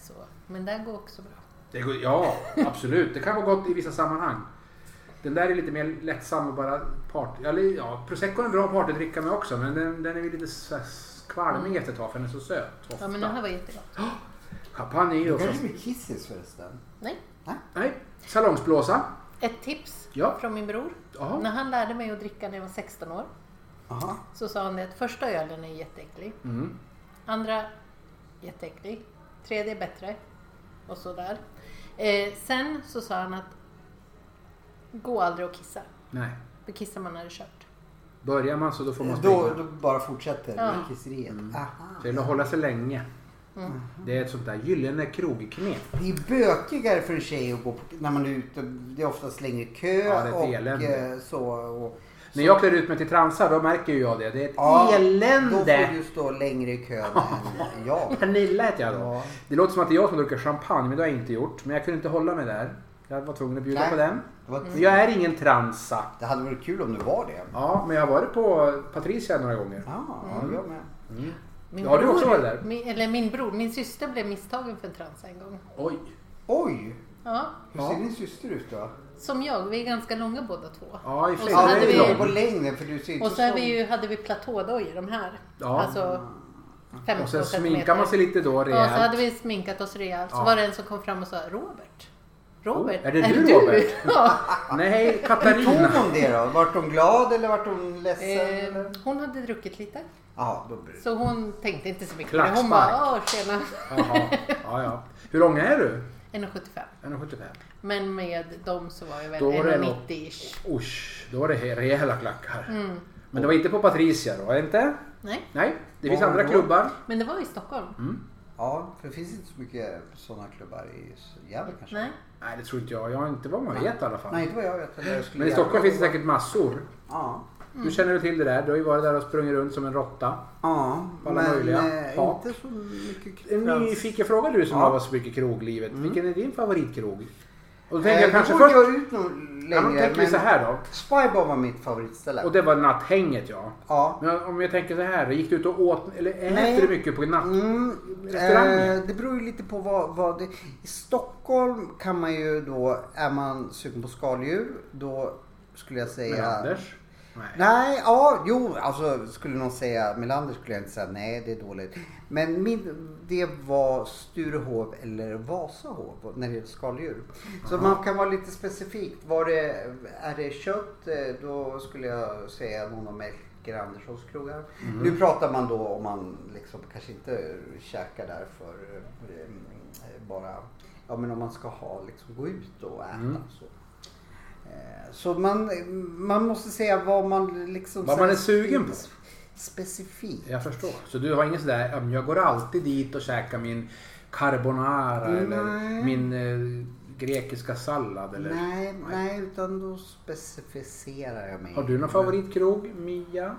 [SPEAKER 3] Så. Men det här går också bra.
[SPEAKER 1] Det går, ja, absolut. Det kan vara gott i vissa sammanhang. Den där är lite mer lättsam och bara part... Eller, ja, prosecco är en bra partydricka med också, men den, den är ju lite så här skvalmig efter ett tag för den är så söt. Ofta.
[SPEAKER 3] Ja, men den här var jättegott.
[SPEAKER 1] Champagne är ju
[SPEAKER 2] Det
[SPEAKER 1] också...
[SPEAKER 2] kanske blir kisses förresten.
[SPEAKER 3] Nej.
[SPEAKER 1] Nej, salongsblåsa.
[SPEAKER 3] Ett tips
[SPEAKER 1] Ja.
[SPEAKER 3] från min bror.
[SPEAKER 1] Jaha.
[SPEAKER 3] När han lärde mig att dricka när jag var 16 år
[SPEAKER 2] Aha.
[SPEAKER 3] så sa han det att första ölen är jätteäcklig.
[SPEAKER 1] Mm.
[SPEAKER 3] Andra jätteäcklig. Tredje är bättre. Och sådär. Eh, sen så sa han att gå aldrig och kissa.
[SPEAKER 1] Nej.
[SPEAKER 3] För kissar man när det är kört.
[SPEAKER 1] Börjar man så då får man springa.
[SPEAKER 2] Då, då bara fortsätter
[SPEAKER 3] Ja.
[SPEAKER 2] med kisseriet. Aha.
[SPEAKER 1] Mm. Det gäller att hålla sig länge.
[SPEAKER 3] Mm.
[SPEAKER 1] Det är ett sånt där gyllene krogknep.
[SPEAKER 2] Det är bökigare för en tjej att gå på, när man är ute. Det är oftast längre kö
[SPEAKER 1] Ja, det är ett
[SPEAKER 2] och
[SPEAKER 1] elände.
[SPEAKER 2] eh, så. Och,
[SPEAKER 1] När jag klär ut mig till transa då märker ju jag det. Det är ett
[SPEAKER 2] Ja, Då
[SPEAKER 1] elände!
[SPEAKER 2] får du stå längre i kön än jag.
[SPEAKER 1] Pernilla heter jag då.
[SPEAKER 2] Ja.
[SPEAKER 1] Det låter som att det är jag som dricker champagne, men det har jag inte gjort. Men jag kunde inte hålla mig där. Jag var tvungen att bjuda
[SPEAKER 2] Nej. Mm.
[SPEAKER 1] på den.
[SPEAKER 2] Det, var,
[SPEAKER 1] Jag är ingen transa.
[SPEAKER 2] det hade varit kul om du var det.
[SPEAKER 1] Ja, men jag har varit på Patricia några gånger.
[SPEAKER 2] Ja, jag med.
[SPEAKER 3] Min
[SPEAKER 1] Ja, har du också varit där?
[SPEAKER 3] Min, eller min bror, min syster blev misstagen för en transa en gång.
[SPEAKER 1] Oj!
[SPEAKER 2] Oj!
[SPEAKER 3] Ja,
[SPEAKER 2] Hur
[SPEAKER 1] Ja.
[SPEAKER 2] ser din syster ut då?
[SPEAKER 3] som jag. Vi är ganska långa båda två.
[SPEAKER 1] Ja, i och
[SPEAKER 3] och
[SPEAKER 1] för
[SPEAKER 3] så
[SPEAKER 1] sig, det
[SPEAKER 3] hade
[SPEAKER 1] är
[SPEAKER 2] vi
[SPEAKER 1] långt.
[SPEAKER 3] vi,
[SPEAKER 2] på längden för du ser inte
[SPEAKER 3] och så är
[SPEAKER 2] så-
[SPEAKER 3] vi ju, hade vi platådojor, de här.
[SPEAKER 1] Ja.
[SPEAKER 3] Alltså 15
[SPEAKER 1] Och sen
[SPEAKER 3] centimeter.
[SPEAKER 1] sminkar man sig lite då
[SPEAKER 3] Ja, så hade
[SPEAKER 1] rejält.
[SPEAKER 3] vi sminkat oss rejält. Så
[SPEAKER 1] Ja.
[SPEAKER 3] var det en som kom fram och sa Robert. Robert,
[SPEAKER 1] Oh, är det du, Robert?"
[SPEAKER 3] Ja.
[SPEAKER 1] Nej,
[SPEAKER 2] Hur tog
[SPEAKER 1] Katarina!
[SPEAKER 2] hon det då? Vart hon glad eller vart hon ledsen?
[SPEAKER 3] Eh,
[SPEAKER 2] eller?
[SPEAKER 3] hon hade druckit lite.
[SPEAKER 2] Ja, då blir det.
[SPEAKER 3] Så hon tänkte inte så mycket på det. Hon
[SPEAKER 1] Klackspark.
[SPEAKER 3] bara, åh tjena.
[SPEAKER 1] Jaha, ja, ja. Hur lång är du?
[SPEAKER 3] 1,75.
[SPEAKER 1] 1,75?
[SPEAKER 3] Men med dem så var jag väl
[SPEAKER 1] Då var det nog-
[SPEAKER 3] 1,90ish.
[SPEAKER 1] Usch, då är det rejäla klackar.
[SPEAKER 2] Mm.
[SPEAKER 1] Men det var inte på Patricia då, är det inte?
[SPEAKER 3] Nej,
[SPEAKER 1] Nej, det finns
[SPEAKER 2] Var
[SPEAKER 1] andra
[SPEAKER 2] då?
[SPEAKER 1] klubbar.
[SPEAKER 3] men det var i Stockholm.
[SPEAKER 1] Mm.
[SPEAKER 2] Ja, för det finns inte så mycket sådana klubbar i Gävle kanske.
[SPEAKER 3] Nej.
[SPEAKER 1] Nej, det tror inte jag. Jag har inte vad man vet i alla fall.
[SPEAKER 2] Nej, inte vad jag vet. eller jag Mm. skulle
[SPEAKER 1] Men i Stockholm
[SPEAKER 2] gärna-
[SPEAKER 1] finns det säkert massor.
[SPEAKER 2] Ja.
[SPEAKER 1] Du känner du till det där. Du har ju varit där och sprungit runt som en råtta.
[SPEAKER 2] Ja,
[SPEAKER 1] På alla
[SPEAKER 2] men
[SPEAKER 1] möjliga
[SPEAKER 2] eh,
[SPEAKER 1] fat.
[SPEAKER 2] inte så mycket
[SPEAKER 1] En
[SPEAKER 2] fransk-
[SPEAKER 1] nyfiken fråga du som
[SPEAKER 2] Ja. Mm.
[SPEAKER 1] har varit så mycket i kroglivet. Vilken är din favoritkrog? Och då
[SPEAKER 2] Eh,
[SPEAKER 1] tänker jag kanske
[SPEAKER 2] det går
[SPEAKER 1] först...
[SPEAKER 2] inte att ut någon
[SPEAKER 1] Ja, men
[SPEAKER 2] längre.
[SPEAKER 1] då tänker vi så här då.
[SPEAKER 2] Spybar var mitt favoritställe.
[SPEAKER 1] Och det var natthänget ja.
[SPEAKER 2] Ja.
[SPEAKER 1] Men om jag tänker så här. Gick du ut och åt eller
[SPEAKER 2] Nej.
[SPEAKER 1] äter du mycket på natten?
[SPEAKER 2] Mm,
[SPEAKER 1] Restauranger.
[SPEAKER 2] eh, det beror ju lite på vad, vad det... I Stockholm kan man ju då, är man sugen på skaldjur, då skulle jag säga...
[SPEAKER 1] Med Anders? Nej.
[SPEAKER 2] Nej, ja, jo, alltså skulle någon säga Melander skulle jag inte säga nej, det är dåligt. Men min, det var Sturehov eller Vasahov när det gäller skaldjur. Så man kan vara lite specifik. Var det, är det kött, eh, då skulle jag säga någon av Melker Anderssons krogar. Nu pratar man då om man liksom kanske inte käkar där för eh, bara, ja men om man ska ha liksom gå ut och äta så. Eh, Så man, man måste säga vad man liksom...
[SPEAKER 1] Vad man är sugen på.
[SPEAKER 2] Specifikt.
[SPEAKER 1] Jag förstår. Så du har ingen sådär, "Ja, men jag går alltid dit och käkar min carbonara eller
[SPEAKER 2] Nej.
[SPEAKER 1] min eh, grekiska sallad eller...
[SPEAKER 2] Nej, nej, utan då specificerar jag mig.
[SPEAKER 1] Har du någon favoritkrog? Mia?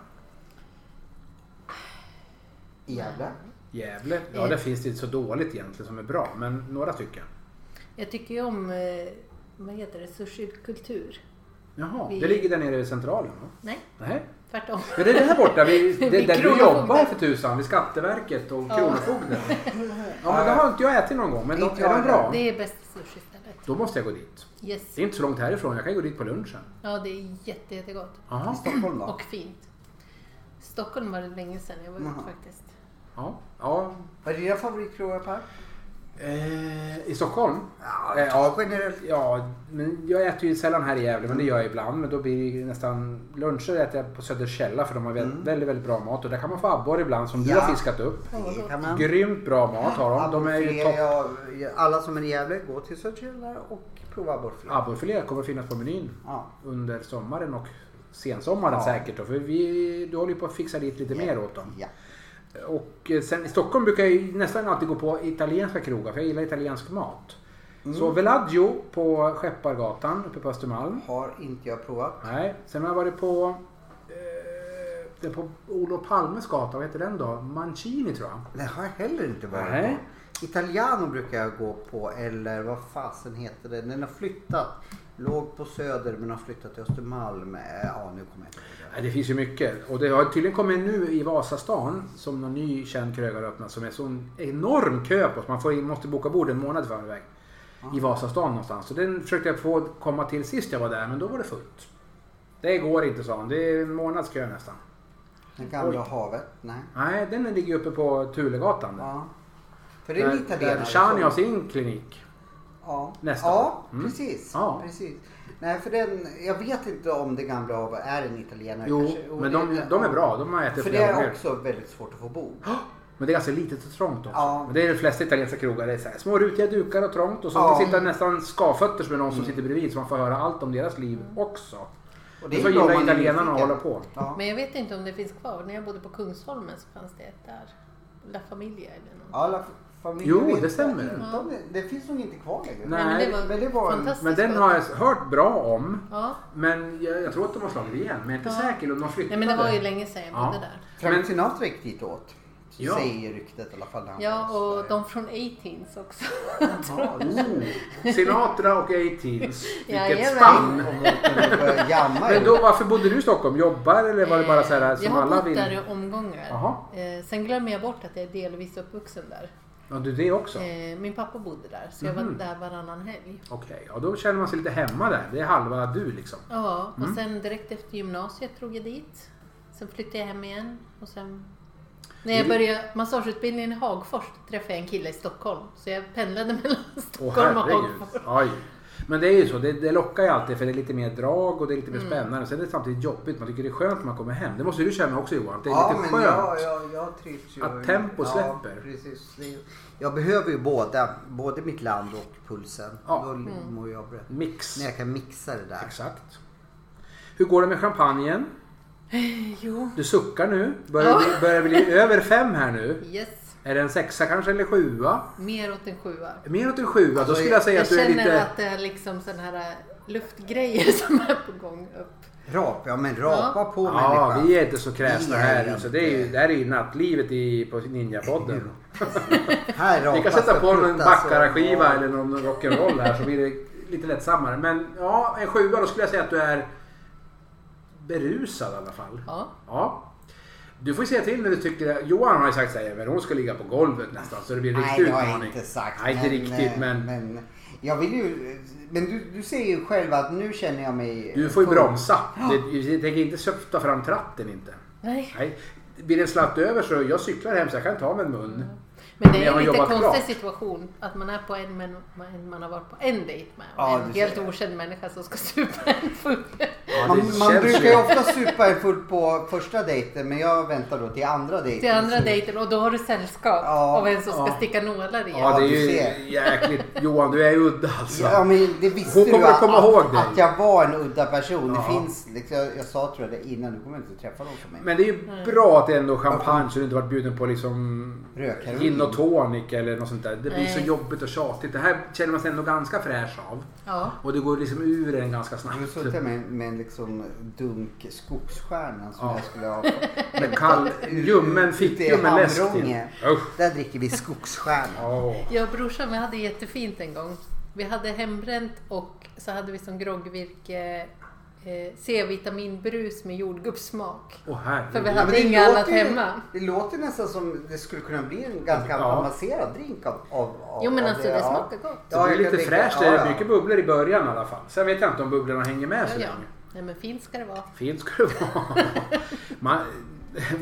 [SPEAKER 2] I Gävle?
[SPEAKER 1] Gävle? Ja, det finns det inte så dåligt egentligen som är bra, men några tycker jag.
[SPEAKER 3] Jag tycker ju om, eh, vad heter det, sushikultur.
[SPEAKER 1] Jaha,
[SPEAKER 3] Vi-
[SPEAKER 1] det ligger där nere vid Centralen va?
[SPEAKER 3] Nej,
[SPEAKER 1] Nej.
[SPEAKER 3] tvärtom.
[SPEAKER 1] Ja, det är det här borta, vi, det,
[SPEAKER 3] Vid
[SPEAKER 1] där du
[SPEAKER 3] Kronofogden.
[SPEAKER 1] jobbar för tusan, vid Skatteverket och
[SPEAKER 3] Ja.
[SPEAKER 1] Kronofogden. Ja, men det har inte jag ätit någon gång, men de,
[SPEAKER 2] Inte
[SPEAKER 1] är de
[SPEAKER 2] jag
[SPEAKER 1] bra?
[SPEAKER 3] Det är bästa sushistället.
[SPEAKER 1] Då måste jag gå dit.
[SPEAKER 3] Yes.
[SPEAKER 1] Det är inte så långt härifrån, jag kan gå dit på lunchen.
[SPEAKER 3] Ja, det är jätte, jättegott.
[SPEAKER 2] I
[SPEAKER 1] Jaha.
[SPEAKER 2] Stockholm då?
[SPEAKER 3] Och fint. Stockholm var det länge sedan jag var ute
[SPEAKER 2] Jaha.
[SPEAKER 3] faktiskt.
[SPEAKER 1] Ja. ja.
[SPEAKER 2] Vad är dina favoritkrogar Per?
[SPEAKER 1] Eh, I Stockholm? Eh,
[SPEAKER 2] Ja, generellt.
[SPEAKER 1] Ja, men jag äter ju sällan här i Gävle, men det gör jag ibland. Men då blir det ju nästan luncher äter jag på Söderkälla för de har vä- väldigt, väldigt bra mat. Och där kan man få abborre ibland som du
[SPEAKER 2] Mm. Ja.
[SPEAKER 1] har fiskat upp.
[SPEAKER 2] Det kan man.
[SPEAKER 1] Grymt bra mat har de. De är ju
[SPEAKER 2] Abborrfilé,
[SPEAKER 1] topp.
[SPEAKER 2] ja, alla som är i Gävle, gå till Södertälje och prova abborrfilé.
[SPEAKER 1] Abborrefilé kommer att finnas på menyn
[SPEAKER 2] Ja.
[SPEAKER 1] under sommaren och sensommaren
[SPEAKER 2] Ja.
[SPEAKER 1] säkert. Då, för vi, du håller ju på att fixa dit lite mer åt dem.
[SPEAKER 2] Ja.
[SPEAKER 1] Och eh, sen i Stockholm brukar jag ju nästan alltid gå på italienska krogar för jag gillar italiensk mat. Så Velaggio på Skeppargatan uppe på Östermalm.
[SPEAKER 2] Har inte jag provat.
[SPEAKER 1] Nej, sen har jag varit på, eh, det är på Olof Palmes gata, vad heter den då? Mancini tror jag.
[SPEAKER 2] Det har jag heller inte varit
[SPEAKER 1] Nej.
[SPEAKER 2] på. Italiano brukar jag gå på eller vad fasen heter det? Den har flyttat. Låg på Söder men har flyttat till Östermalm. Eh, Ja, nu kommer jag inte ihåg.
[SPEAKER 1] Nej, det finns ju mycket. Och det har tydligen kommit nu i Vasastan som någon ny känd krögare har öppnat som är sån enorm kö på. Så man får, in- måste boka bord en månad i förväg.
[SPEAKER 2] det.
[SPEAKER 1] i Vasastan någonstans. Så den försökte jag få komma till sist jag var där, men då var det fullt. Det går inte, sa han. Det är en månads kö nästan.
[SPEAKER 2] Det gamla havet, nej.
[SPEAKER 1] Nej, den ligger uppe på Tulegatan. där.
[SPEAKER 2] Ja. För det är liksom. en
[SPEAKER 1] där där
[SPEAKER 2] italienare.
[SPEAKER 1] Shani
[SPEAKER 2] som-
[SPEAKER 1] har sin klinik.
[SPEAKER 2] Ja,
[SPEAKER 1] Nästa.
[SPEAKER 2] ja
[SPEAKER 1] Mm.
[SPEAKER 2] precis.
[SPEAKER 1] Ja.
[SPEAKER 2] precis. Nej, för den, jag vet inte om det gamla havet är en italienare.
[SPEAKER 1] Jo,
[SPEAKER 2] kanske. Och
[SPEAKER 1] men
[SPEAKER 2] det-
[SPEAKER 1] de, de är bra. De har jag ätit
[SPEAKER 2] För det
[SPEAKER 1] flera
[SPEAKER 2] är
[SPEAKER 1] gånger.
[SPEAKER 2] också väldigt svårt att få bord.
[SPEAKER 1] Men det är ganska litet och trångt också.
[SPEAKER 2] Ja.
[SPEAKER 1] Men det är de flesta italienska krogar. Det är så här, små rutiga dukar och trångt. Och så
[SPEAKER 2] Ja.
[SPEAKER 1] ja. sitter nästan skavfötters med någon
[SPEAKER 3] Mm.
[SPEAKER 1] som sitter bredvid. Så man får höra allt om deras liv också.
[SPEAKER 2] Och
[SPEAKER 1] Och
[SPEAKER 2] det
[SPEAKER 1] så
[SPEAKER 2] är bra om
[SPEAKER 1] gillar
[SPEAKER 2] man är
[SPEAKER 1] italienarna att
[SPEAKER 2] nyfiken.
[SPEAKER 1] hålla på.
[SPEAKER 2] Ja.
[SPEAKER 3] Men jag vet inte om det finns kvar. När jag bodde på Kungsholmen så fanns det ett där. La Famiglia eller något.
[SPEAKER 2] Alla familjer
[SPEAKER 1] Jo,
[SPEAKER 2] vet
[SPEAKER 1] det stämmer.
[SPEAKER 2] Inte om det, det finns nog inte kvar längre.
[SPEAKER 1] Nej.
[SPEAKER 3] men det var,
[SPEAKER 2] men det var en-
[SPEAKER 3] fantastiskt.
[SPEAKER 1] Men den
[SPEAKER 3] gott.
[SPEAKER 1] har jag hört bra om.
[SPEAKER 3] Ja.
[SPEAKER 1] Men jag, jag tror att de har slagit igen. Men jag är inte
[SPEAKER 3] Ja.
[SPEAKER 1] säker om de flyttade.
[SPEAKER 3] Nej men det var ju länge sedan jag bodde
[SPEAKER 1] Ja.
[SPEAKER 3] där.
[SPEAKER 2] Frank
[SPEAKER 1] Men-
[SPEAKER 2] Sinatra gick dit åt.
[SPEAKER 1] Ja.
[SPEAKER 2] Säger ryktet i alla fall. när han
[SPEAKER 3] Ja
[SPEAKER 2] var i
[SPEAKER 3] och
[SPEAKER 2] Sverige.
[SPEAKER 3] de från A-Teens också.
[SPEAKER 2] Ja, just det.
[SPEAKER 1] Oh, Sinatra och 18s. Vilket
[SPEAKER 3] Jajamän.
[SPEAKER 1] spann!
[SPEAKER 2] Om de börjar jamma
[SPEAKER 1] Men
[SPEAKER 2] ju.
[SPEAKER 1] då, varför bodde du i Stockholm? Jobbar eller var det bara så här
[SPEAKER 3] Eh, Jag
[SPEAKER 1] som
[SPEAKER 3] har
[SPEAKER 1] alla
[SPEAKER 3] bott
[SPEAKER 1] vill?
[SPEAKER 3] där i omgångar.
[SPEAKER 1] Jaha.
[SPEAKER 3] Eh, Sen glömmer jag bort att jag är delvis uppvuxen där.
[SPEAKER 1] Ja, du det också?
[SPEAKER 3] Eh, Min pappa bodde där så jag var
[SPEAKER 1] Mhm.
[SPEAKER 3] där varannan helg.
[SPEAKER 1] Okej, ja då känner man sig lite hemma där. Det är halva du liksom.
[SPEAKER 3] Ja, och sen direkt efter gymnasiet drog jag dit. Sen flyttade jag hem igen och sen... När jag
[SPEAKER 1] Är det-
[SPEAKER 3] började massageutbildningen i Hagfors träffade jag en kille i Stockholm. Så jag pendlade mellan
[SPEAKER 1] Åh
[SPEAKER 3] Stockholm och
[SPEAKER 1] herregud.
[SPEAKER 3] Hagfors.
[SPEAKER 1] Oj. Men det är ju så, det, det lockar ju alltid för det är lite mer drag och det är lite mer
[SPEAKER 3] Mm.
[SPEAKER 1] spännande. Sen är det samtidigt jobbigt, man tycker det är skönt när man kommer hem. Det måste ju du känna också Johan, det är
[SPEAKER 2] Ja,
[SPEAKER 1] lite
[SPEAKER 2] men
[SPEAKER 1] skönt.
[SPEAKER 2] jag, jag, jag trivs ju.
[SPEAKER 1] Att tempo
[SPEAKER 2] Ja,
[SPEAKER 1] släpper.
[SPEAKER 2] precis. Det- Jag behöver ju båda. Både mitt land och pulsen.
[SPEAKER 1] Ja.
[SPEAKER 2] Då
[SPEAKER 3] Mm.
[SPEAKER 2] mår jag bra.
[SPEAKER 1] Mix.
[SPEAKER 2] När jag kan mixa det där.
[SPEAKER 1] Exakt. Hur går det med champagnen?
[SPEAKER 3] Jo.
[SPEAKER 1] Du suckar nu. Börjar, bli, börjar bli över fem här nu.
[SPEAKER 3] Yes.
[SPEAKER 1] Är det en sexa kanske eller sjua?
[SPEAKER 3] Mer åt en sjua.
[SPEAKER 1] Mer åt en sjua.
[SPEAKER 2] Alltså,
[SPEAKER 1] Då skulle jag säga
[SPEAKER 3] Jag
[SPEAKER 1] att du är
[SPEAKER 3] känner
[SPEAKER 1] lite...
[SPEAKER 3] att det är liksom sån här äh, luftgrejer som är på gång upp.
[SPEAKER 2] Rap, ja men rapa på
[SPEAKER 1] Ja,
[SPEAKER 2] människan.
[SPEAKER 1] vi är inte så kräsna
[SPEAKER 2] Vi är
[SPEAKER 1] här.
[SPEAKER 2] inte-
[SPEAKER 1] Så det, är ju, det här är ju nattlivet i, på Ninjapodden.
[SPEAKER 2] Här
[SPEAKER 1] Vi kan
[SPEAKER 2] rapas
[SPEAKER 1] sätta
[SPEAKER 2] och
[SPEAKER 1] på någon
[SPEAKER 2] prutas och-
[SPEAKER 1] Baccara-skiva eller någon rock'n'roll här så blir det lite lättsammare. Men ja, en sjua då skulle jag säga att du är berusad i alla fall.
[SPEAKER 3] Ja.
[SPEAKER 1] Ja. Du får ju säga till när du tycker... Johan har ju sagt såhär, men hon ska ligga på golvet nästan så det blir en
[SPEAKER 2] Nej,
[SPEAKER 1] riktig
[SPEAKER 2] det har
[SPEAKER 1] utmaning.
[SPEAKER 2] jag inte sagt.
[SPEAKER 1] Nej, inte
[SPEAKER 2] men,
[SPEAKER 1] riktigt
[SPEAKER 2] eh,
[SPEAKER 1] men,
[SPEAKER 2] jag vill ju, men du, du ser ju själv att nu känner jag mig...
[SPEAKER 1] du får ju
[SPEAKER 2] full.
[SPEAKER 1] bromsa. Du, du tänker inte söfta fram tratten inte.
[SPEAKER 3] Nej.
[SPEAKER 1] Nej. Blir det en slatt över så jag cyklar hem så jag kan ta med en mun.
[SPEAKER 2] Mm.
[SPEAKER 3] Men det
[SPEAKER 1] Men
[SPEAKER 3] är
[SPEAKER 1] jag har
[SPEAKER 3] en lite
[SPEAKER 1] jobbat
[SPEAKER 3] konstig
[SPEAKER 1] klart.
[SPEAKER 3] situation att man är på en men man- man har varit på en dejt med och
[SPEAKER 2] Ja,
[SPEAKER 3] en
[SPEAKER 2] du ser
[SPEAKER 3] helt
[SPEAKER 2] det.
[SPEAKER 3] okänd människa som ska supa en full.
[SPEAKER 1] Ja, det
[SPEAKER 2] Man, man
[SPEAKER 1] känns
[SPEAKER 2] brukar ju ofta supa en full på första dejten men jag väntar då till andra dejten.
[SPEAKER 3] till andra dejten och då har du sällskap
[SPEAKER 2] Ja,
[SPEAKER 3] av en som ska
[SPEAKER 1] ja.
[SPEAKER 3] sticka nålar i en.
[SPEAKER 1] Ja, det är
[SPEAKER 2] du
[SPEAKER 1] ju
[SPEAKER 2] ser.
[SPEAKER 1] jäkligt... Johan, du är ju udda alltså.
[SPEAKER 2] Ja men det visste
[SPEAKER 1] Hon kommer
[SPEAKER 2] du
[SPEAKER 1] att komma
[SPEAKER 2] att,
[SPEAKER 1] ihåg dig.
[SPEAKER 2] att jag var en udda person. Det
[SPEAKER 1] Ja.
[SPEAKER 2] finns, liksom, jag, jag sa tror jag det innan, du kommer inte att träffa någon som mig.
[SPEAKER 1] Men det är ju
[SPEAKER 3] Mm.
[SPEAKER 1] bra att det ändå är champagne så du inte varit bjuden på liksom
[SPEAKER 2] Rökheroin.
[SPEAKER 1] gin och tonic eller något sånt där. Det blir
[SPEAKER 3] Nej.
[SPEAKER 1] så jobbigt och tjatigt. Det här känner man sig ändå ganska fräsch av.
[SPEAKER 3] Ja.
[SPEAKER 1] Och det går liksom ur en ganska snabbt.
[SPEAKER 2] Jag har suttit med, med en liksom dunk skogsstjärna som
[SPEAKER 1] Ja.
[SPEAKER 2] jag skulle ha.
[SPEAKER 1] Med kall, ljummen fickljummen läsk till.
[SPEAKER 2] Hamrånge.
[SPEAKER 1] Usch.
[SPEAKER 2] Där dricker vi skogsstjärna.
[SPEAKER 1] Åh.
[SPEAKER 3] Jag och brorsan vi hade jättefint en gång. Vi hade hembränt och så hade vi som groggvirke eh, C-vitaminbrus med jordgubbssmak.
[SPEAKER 1] Åh
[SPEAKER 3] För vi
[SPEAKER 1] herregud.
[SPEAKER 3] hade
[SPEAKER 2] det
[SPEAKER 3] inget
[SPEAKER 2] låter
[SPEAKER 3] annat
[SPEAKER 2] ju-
[SPEAKER 3] hemma.
[SPEAKER 2] Det låter nästan som det skulle kunna bli en ganska
[SPEAKER 1] Ja.
[SPEAKER 2] avancerad drink av, av, av
[SPEAKER 3] Jo men
[SPEAKER 2] av
[SPEAKER 3] alltså det
[SPEAKER 2] ja.
[SPEAKER 3] smakar gott.
[SPEAKER 1] Det
[SPEAKER 2] jag
[SPEAKER 1] blir
[SPEAKER 2] kan
[SPEAKER 1] lite
[SPEAKER 2] tänka-
[SPEAKER 1] fräscht. Det
[SPEAKER 2] ja,
[SPEAKER 1] är
[SPEAKER 2] ja.
[SPEAKER 1] mycket bubblor i början i alla fall. Sen vet jag inte om bubblorna hänger med så
[SPEAKER 3] Ja, ja.
[SPEAKER 1] länge.
[SPEAKER 3] Nej men fint ska det vara.
[SPEAKER 1] Fint ska det vara. Man,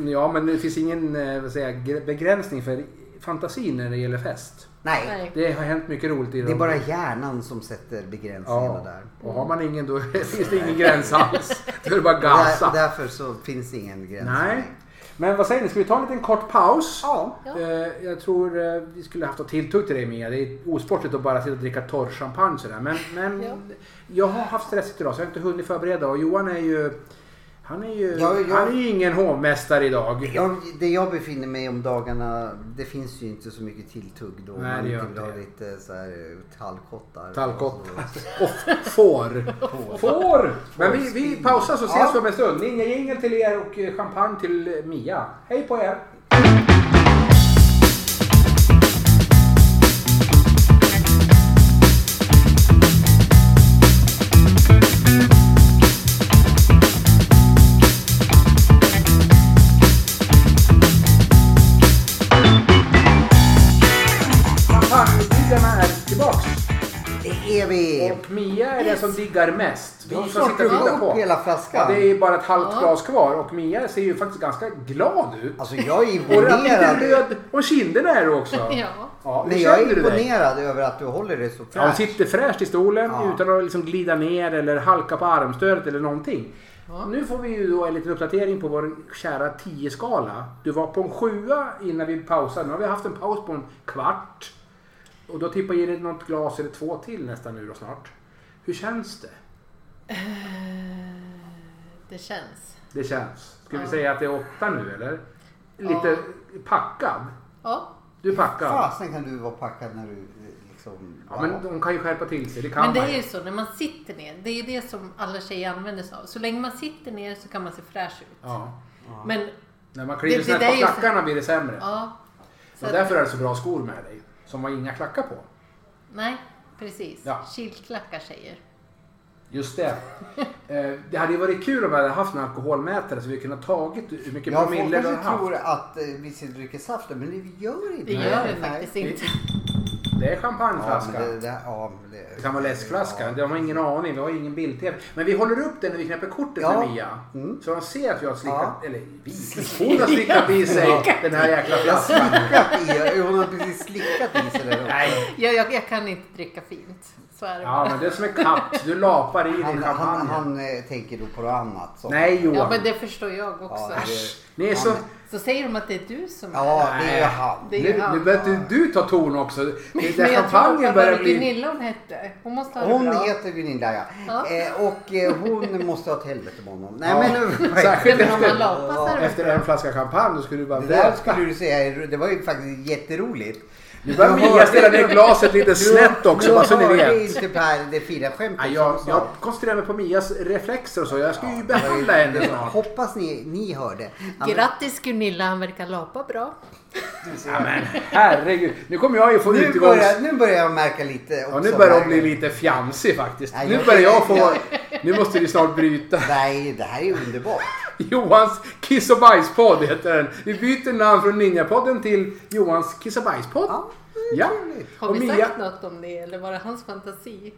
[SPEAKER 1] ja, men det finns ingen eh, vad säger, jag, gre- begränsning för fantasin när det gäller fest.
[SPEAKER 2] Nej,
[SPEAKER 3] Nej.
[SPEAKER 1] Det har hänt mycket roligt i
[SPEAKER 2] det är bara hjärnan som sätter begränsningarna
[SPEAKER 1] ja.
[SPEAKER 2] där.
[SPEAKER 1] Och har man ingen då finns det ingen gräns alls. Då är det bara
[SPEAKER 2] där.
[SPEAKER 1] gasa.
[SPEAKER 2] Därför så finns det ingen gräns. för
[SPEAKER 1] Nej.
[SPEAKER 2] mig.
[SPEAKER 1] Men vad säger ni, ska vi ta en liten kort paus?
[SPEAKER 2] Ja.
[SPEAKER 3] Ja.
[SPEAKER 1] Eh, Jag tror eh, vi skulle haft något tilltugg till dig Mia. Det är osportligt att bara sitta och dricka torr champagne sådär. Men, men
[SPEAKER 3] Ja.
[SPEAKER 1] jag har haft stressigt idag så jag har inte hunnit förbereda. Och Johan är ju... Han är ju,
[SPEAKER 2] Ja, jag-
[SPEAKER 1] Han är ju ingen hovmästare idag.
[SPEAKER 2] Jag, det jag befinner mig om dagarna, det finns ju inte så mycket tilltugg då.
[SPEAKER 1] Nej,
[SPEAKER 2] man
[SPEAKER 1] det gör
[SPEAKER 2] inte vill
[SPEAKER 1] inte
[SPEAKER 2] ha
[SPEAKER 1] det.
[SPEAKER 2] lite så här eh, tallkottar.
[SPEAKER 1] Tallkott.
[SPEAKER 2] Och
[SPEAKER 1] Och får. Får! Men vi, vi pausar så ses
[SPEAKER 2] Ja.
[SPEAKER 1] vi om en stund. Ninja jingel till er och eh, champagne till eh, Mia. Hej på er! Champagnebilarna är tillbaks.
[SPEAKER 2] vi!
[SPEAKER 1] Och Mia är den
[SPEAKER 3] Yes.
[SPEAKER 1] som diggar mest.
[SPEAKER 2] Du har
[SPEAKER 1] Vi får
[SPEAKER 2] snart
[SPEAKER 1] sitta och titta
[SPEAKER 2] druckit upp
[SPEAKER 1] på.
[SPEAKER 2] hela
[SPEAKER 1] Ja,
[SPEAKER 2] flaskan.
[SPEAKER 1] det är bara ett halvt
[SPEAKER 3] Ja.
[SPEAKER 1] glas kvar och Mia ser ju faktiskt ganska glad ut.
[SPEAKER 2] Alltså jag är
[SPEAKER 1] Och att inte är
[SPEAKER 2] imponerad.
[SPEAKER 1] röd om kinderna är du också.
[SPEAKER 3] Ja.
[SPEAKER 1] Ja, hur
[SPEAKER 2] Men jag
[SPEAKER 1] känner
[SPEAKER 2] är
[SPEAKER 1] du dig?
[SPEAKER 2] imponerad över att du håller det så
[SPEAKER 1] Ja, hon
[SPEAKER 2] fräscht.
[SPEAKER 1] sitter fräscht i stolen
[SPEAKER 2] Ja.
[SPEAKER 1] utan att liksom glida ner eller halka på armstödet eller någonting.
[SPEAKER 3] Ja.
[SPEAKER 1] Nu får vi ju då en liten uppdatering på vår kära 10-skala. Du var på en sjua innan vi pausade. Nu har vi haft en paus på en kvart. Och då tippar i dig något glas eller två till nästan nu då snart. Hur känns det?
[SPEAKER 3] Eh, Det känns.
[SPEAKER 1] Det känns. Ska vi
[SPEAKER 3] Ja.
[SPEAKER 1] säga att det är åtta nu eller? Lite packad.
[SPEAKER 3] Ja.
[SPEAKER 1] Du är packad.
[SPEAKER 2] Fasen kan du vara packad när du eh, liksom...
[SPEAKER 1] Ja, men de kan ju skärpa till sig. Det kan
[SPEAKER 3] Men det
[SPEAKER 1] man
[SPEAKER 3] är ju så när man sitter ner. Det är ju det som alla tjejer använder sig av. Så länge man sitter ner så kan man se fräsch ut.
[SPEAKER 1] Ja.
[SPEAKER 3] Men
[SPEAKER 1] När man kliver
[SPEAKER 3] Det- det
[SPEAKER 1] snett
[SPEAKER 3] där är
[SPEAKER 1] på
[SPEAKER 3] ju så-
[SPEAKER 1] klackarna blir det sämre.
[SPEAKER 3] ja. Så
[SPEAKER 1] Och
[SPEAKER 3] att-
[SPEAKER 1] därför är det så bra skor med dig. Som har inga klackar på.
[SPEAKER 3] Nej, precis.
[SPEAKER 1] Ja.
[SPEAKER 3] Kilklackar tjejer.
[SPEAKER 1] Just det. Eh, det hade ju varit kul om vi hade haft en alkoholmätare så vi kunde ha tagit hur mycket
[SPEAKER 2] Ja, folk
[SPEAKER 1] promille du har
[SPEAKER 2] kanske
[SPEAKER 1] haft.
[SPEAKER 2] tror att eh, vi sitter och dricker saft, men det gör inte
[SPEAKER 3] Det gör
[SPEAKER 2] Nej,
[SPEAKER 3] vi
[SPEAKER 2] nej.
[SPEAKER 3] faktiskt
[SPEAKER 1] nej.
[SPEAKER 3] inte.
[SPEAKER 1] Det är
[SPEAKER 2] Ja,
[SPEAKER 1] champagneflaska.
[SPEAKER 2] men det,
[SPEAKER 1] det...
[SPEAKER 2] det, ja, men det,
[SPEAKER 1] kan vara läskflaska.
[SPEAKER 2] Ja.
[SPEAKER 1] De har ingen aning. Vi har ingen bild-tv. Men vi håller upp den när vi knäpper kortet
[SPEAKER 2] Ja.
[SPEAKER 1] med
[SPEAKER 2] Mm.
[SPEAKER 1] Mia. Så de ser att jag har slickat... Eller vi.
[SPEAKER 3] Slickat.
[SPEAKER 1] Hon har slickat i sig den här jäkla
[SPEAKER 2] Jag har
[SPEAKER 1] flaskan.
[SPEAKER 2] slickat i, hon har precis slickat i sig där också.
[SPEAKER 1] Nej.
[SPEAKER 3] Jag, jag, jag kan inte dricka fint. Så är det
[SPEAKER 1] Ja, men det är som en katt. Du lapar i din
[SPEAKER 2] Han,
[SPEAKER 1] champagne.
[SPEAKER 2] han, han eh, tänker då på något annat. Så.
[SPEAKER 1] Nej, Johan.
[SPEAKER 3] Ja, men det förstår jag också.
[SPEAKER 2] Ja, det-
[SPEAKER 1] Ni är så...
[SPEAKER 3] Så säger de att det är du som är
[SPEAKER 2] Ja, det är ju
[SPEAKER 1] Nej.
[SPEAKER 2] han.
[SPEAKER 3] Det är ju
[SPEAKER 1] Nu,
[SPEAKER 3] han.
[SPEAKER 1] nu börjar inte du ta ton också. Det-
[SPEAKER 3] Men
[SPEAKER 1] Där
[SPEAKER 3] jag tror
[SPEAKER 1] champagnen
[SPEAKER 3] att
[SPEAKER 1] börjar
[SPEAKER 3] var
[SPEAKER 1] bli...
[SPEAKER 3] Gunilla hon hette. Hon måste ha det
[SPEAKER 2] Hon
[SPEAKER 3] bra.
[SPEAKER 2] heter Gunilla ja.
[SPEAKER 3] Ja.
[SPEAKER 2] Eh, och eh, hon måste ha ett helvete med honom. Nej
[SPEAKER 1] Ja.
[SPEAKER 2] men
[SPEAKER 1] Särskilt
[SPEAKER 3] Men om man
[SPEAKER 1] efter,
[SPEAKER 3] lapas så är det
[SPEAKER 1] efter en flaska champagne. Då skulle du bara...
[SPEAKER 2] Det där
[SPEAKER 1] Där ska
[SPEAKER 2] skulle du säga, är- det var ju faktiskt jätteroligt.
[SPEAKER 1] Nu börjar Mia ställa ner glaset lite snett också, bara så ni
[SPEAKER 2] hörde
[SPEAKER 1] vet.
[SPEAKER 2] inte Per det fina
[SPEAKER 1] Nej,
[SPEAKER 2] skämtet
[SPEAKER 1] jag,
[SPEAKER 2] som
[SPEAKER 1] jag
[SPEAKER 2] sa.
[SPEAKER 1] koncentrerar mig på Mias reflexer och så. Jag ska ju behandla henne snart.
[SPEAKER 2] Hoppas ni, ni hörde. Ja, men-
[SPEAKER 3] Grattis Gunilla, han verkar lapa bra.
[SPEAKER 1] Ja, men herregud. Nu kommer jag ju få
[SPEAKER 2] Nu
[SPEAKER 1] utegångs...
[SPEAKER 2] börjar, nu börjar jag märka lite också.
[SPEAKER 1] Ja, nu börjar hon
[SPEAKER 2] här.
[SPEAKER 1] bli lite fjamsig faktiskt.
[SPEAKER 2] Nej,
[SPEAKER 1] Nu
[SPEAKER 2] jag-
[SPEAKER 1] börjar jag få... Nu måste vi snart bryta.
[SPEAKER 2] Nej, det här är ju underbart.
[SPEAKER 1] Johans kiss och bajspodd heter den. Vi byter namn från Ninjapodden till Johans kiss och bajspodd.
[SPEAKER 2] Ja,
[SPEAKER 1] Ja.
[SPEAKER 3] Har
[SPEAKER 1] Och
[SPEAKER 3] vi
[SPEAKER 1] Mia,
[SPEAKER 3] sagt något om det eller var det hans fantasi?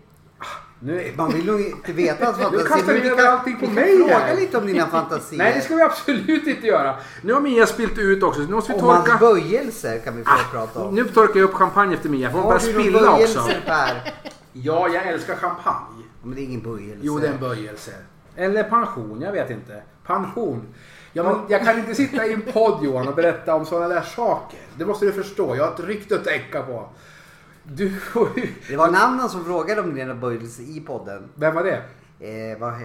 [SPEAKER 1] nu,
[SPEAKER 2] Man vill nog inte veta att
[SPEAKER 1] Nu kastar
[SPEAKER 2] men
[SPEAKER 1] du
[SPEAKER 2] vi
[SPEAKER 1] över
[SPEAKER 2] kan-
[SPEAKER 1] allting på
[SPEAKER 2] vi kan
[SPEAKER 1] mig
[SPEAKER 2] Fråga
[SPEAKER 1] här.
[SPEAKER 2] lite om dina fantasier.
[SPEAKER 1] nej, det ska vi absolut inte göra. Nu har Mia spilt ut också, så nu måste vi
[SPEAKER 2] Om hans
[SPEAKER 1] torka. Ah,
[SPEAKER 2] böjelser kan vi få prata om.
[SPEAKER 1] Nu torkar jag upp champagne efter Mia, för hon
[SPEAKER 2] Har
[SPEAKER 1] börjar
[SPEAKER 2] du någon
[SPEAKER 1] spilla också.
[SPEAKER 2] böjelse Per?
[SPEAKER 1] Ja, jag älskar champagne.
[SPEAKER 2] Men det är ingen böjelse.
[SPEAKER 1] Jo, det är en böjelse. Eller pension, jag vet inte. Pension. Ja, men jag kan inte sitta i en podd Johan och berätta om sådana där saker. Det måste du förstå. Jag har ett rykte att tänka på. Du
[SPEAKER 2] Det var en annan som frågade om dina böjelser i podden.
[SPEAKER 1] Vem var det?
[SPEAKER 2] Eh, vad, vad,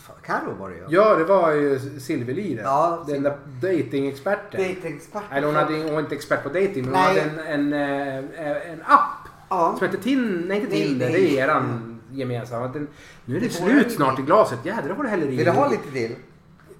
[SPEAKER 2] vad, Karo var det ju.
[SPEAKER 1] Ja, det var ju Silverli det.
[SPEAKER 2] Ja,
[SPEAKER 1] Den där datingexperten.
[SPEAKER 2] Dejtingexperten.
[SPEAKER 1] Eller hon, hade, hon var inte expert på dating men
[SPEAKER 2] Nej.
[SPEAKER 1] hon hade en, en, eh, en app.
[SPEAKER 2] Ja.
[SPEAKER 1] Som hette Tin, nej inte
[SPEAKER 2] Nej,
[SPEAKER 1] Tinder,
[SPEAKER 2] nej.
[SPEAKER 1] det är eran gemensamma. Den, nu är det,
[SPEAKER 2] Det får jag
[SPEAKER 1] slut
[SPEAKER 2] inte.
[SPEAKER 1] snart i glaset. Jädrar vad du häller i.
[SPEAKER 2] Vill du ha lite till?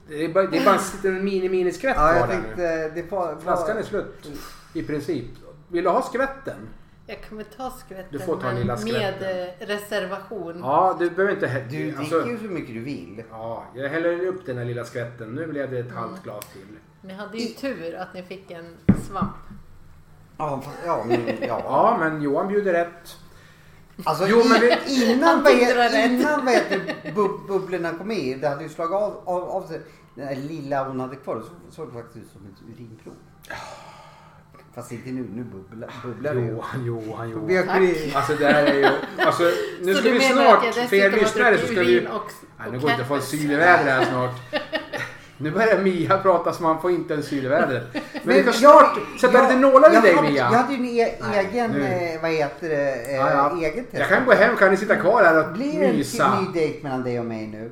[SPEAKER 1] Det är bara, det är bara en liten mini-mini-skvätt
[SPEAKER 2] Ja,
[SPEAKER 1] kvar
[SPEAKER 2] jag
[SPEAKER 1] där nu.
[SPEAKER 2] tänkte... Det var, var...
[SPEAKER 1] Flaskan är slut i princip. Vill du ha skvätten?
[SPEAKER 2] Mm.
[SPEAKER 3] Jag kommer ta skvätten
[SPEAKER 1] Du får ta
[SPEAKER 3] men
[SPEAKER 1] lilla
[SPEAKER 3] med
[SPEAKER 1] skvätten.
[SPEAKER 3] eh, reservation.
[SPEAKER 1] Ja, du behöver inte hä-
[SPEAKER 2] Du
[SPEAKER 1] alltså,
[SPEAKER 2] dricker ju så mycket du vill.
[SPEAKER 1] Ja, jag häller upp den här lilla skvätten. Nu blev det ett halvt glas till.
[SPEAKER 3] Ni hade ju tur att ni fick en svamp.
[SPEAKER 2] Ja, fast- ja, men, ja.
[SPEAKER 1] Ja, men Johan bjuder rätt.
[SPEAKER 2] Alltså,
[SPEAKER 1] Jo, men
[SPEAKER 2] i- innan, vad
[SPEAKER 3] tyckte det var
[SPEAKER 2] heter,
[SPEAKER 3] rätt.
[SPEAKER 2] innan vad heter, bub, bubblorna kom i, det hade ju slagit av, av, av sig. Den där lilla hon hade kvar, så såg det faktiskt ut som ett urinprov. Fast inte nu, nu bubblar, bubblar det ju.
[SPEAKER 1] Johan, Johan,
[SPEAKER 2] Vi
[SPEAKER 1] Johan.
[SPEAKER 2] har kri-
[SPEAKER 1] Alltså det här är ju... Alltså, nu
[SPEAKER 3] Så
[SPEAKER 1] ska vi
[SPEAKER 3] du menar
[SPEAKER 1] snart...
[SPEAKER 3] att jag
[SPEAKER 1] För
[SPEAKER 3] dessutom
[SPEAKER 1] er
[SPEAKER 3] har
[SPEAKER 1] lyssnare så
[SPEAKER 3] druckit
[SPEAKER 1] ska vi...
[SPEAKER 3] urin och-
[SPEAKER 1] Nej,
[SPEAKER 3] och
[SPEAKER 1] nu går det inte att få en
[SPEAKER 3] kaffes.
[SPEAKER 1] syl i vädret här snart. Nu börjar Mia prata så man får inte en syl i vädret. Men vi ska snart sätta lite nålar i
[SPEAKER 2] jag
[SPEAKER 1] dig
[SPEAKER 2] hade- Jag
[SPEAKER 1] Mia.
[SPEAKER 2] hade ju en e-
[SPEAKER 1] Nej,
[SPEAKER 2] egen,
[SPEAKER 1] nu.
[SPEAKER 2] eh, vad heter det, eh,
[SPEAKER 1] Ja, ja.
[SPEAKER 2] egen test.
[SPEAKER 1] Jag kan gå hem, kan ni sitta kvar här och
[SPEAKER 2] Blir det en
[SPEAKER 1] mysa?
[SPEAKER 2] till ny dejt mellan dig och mig nu?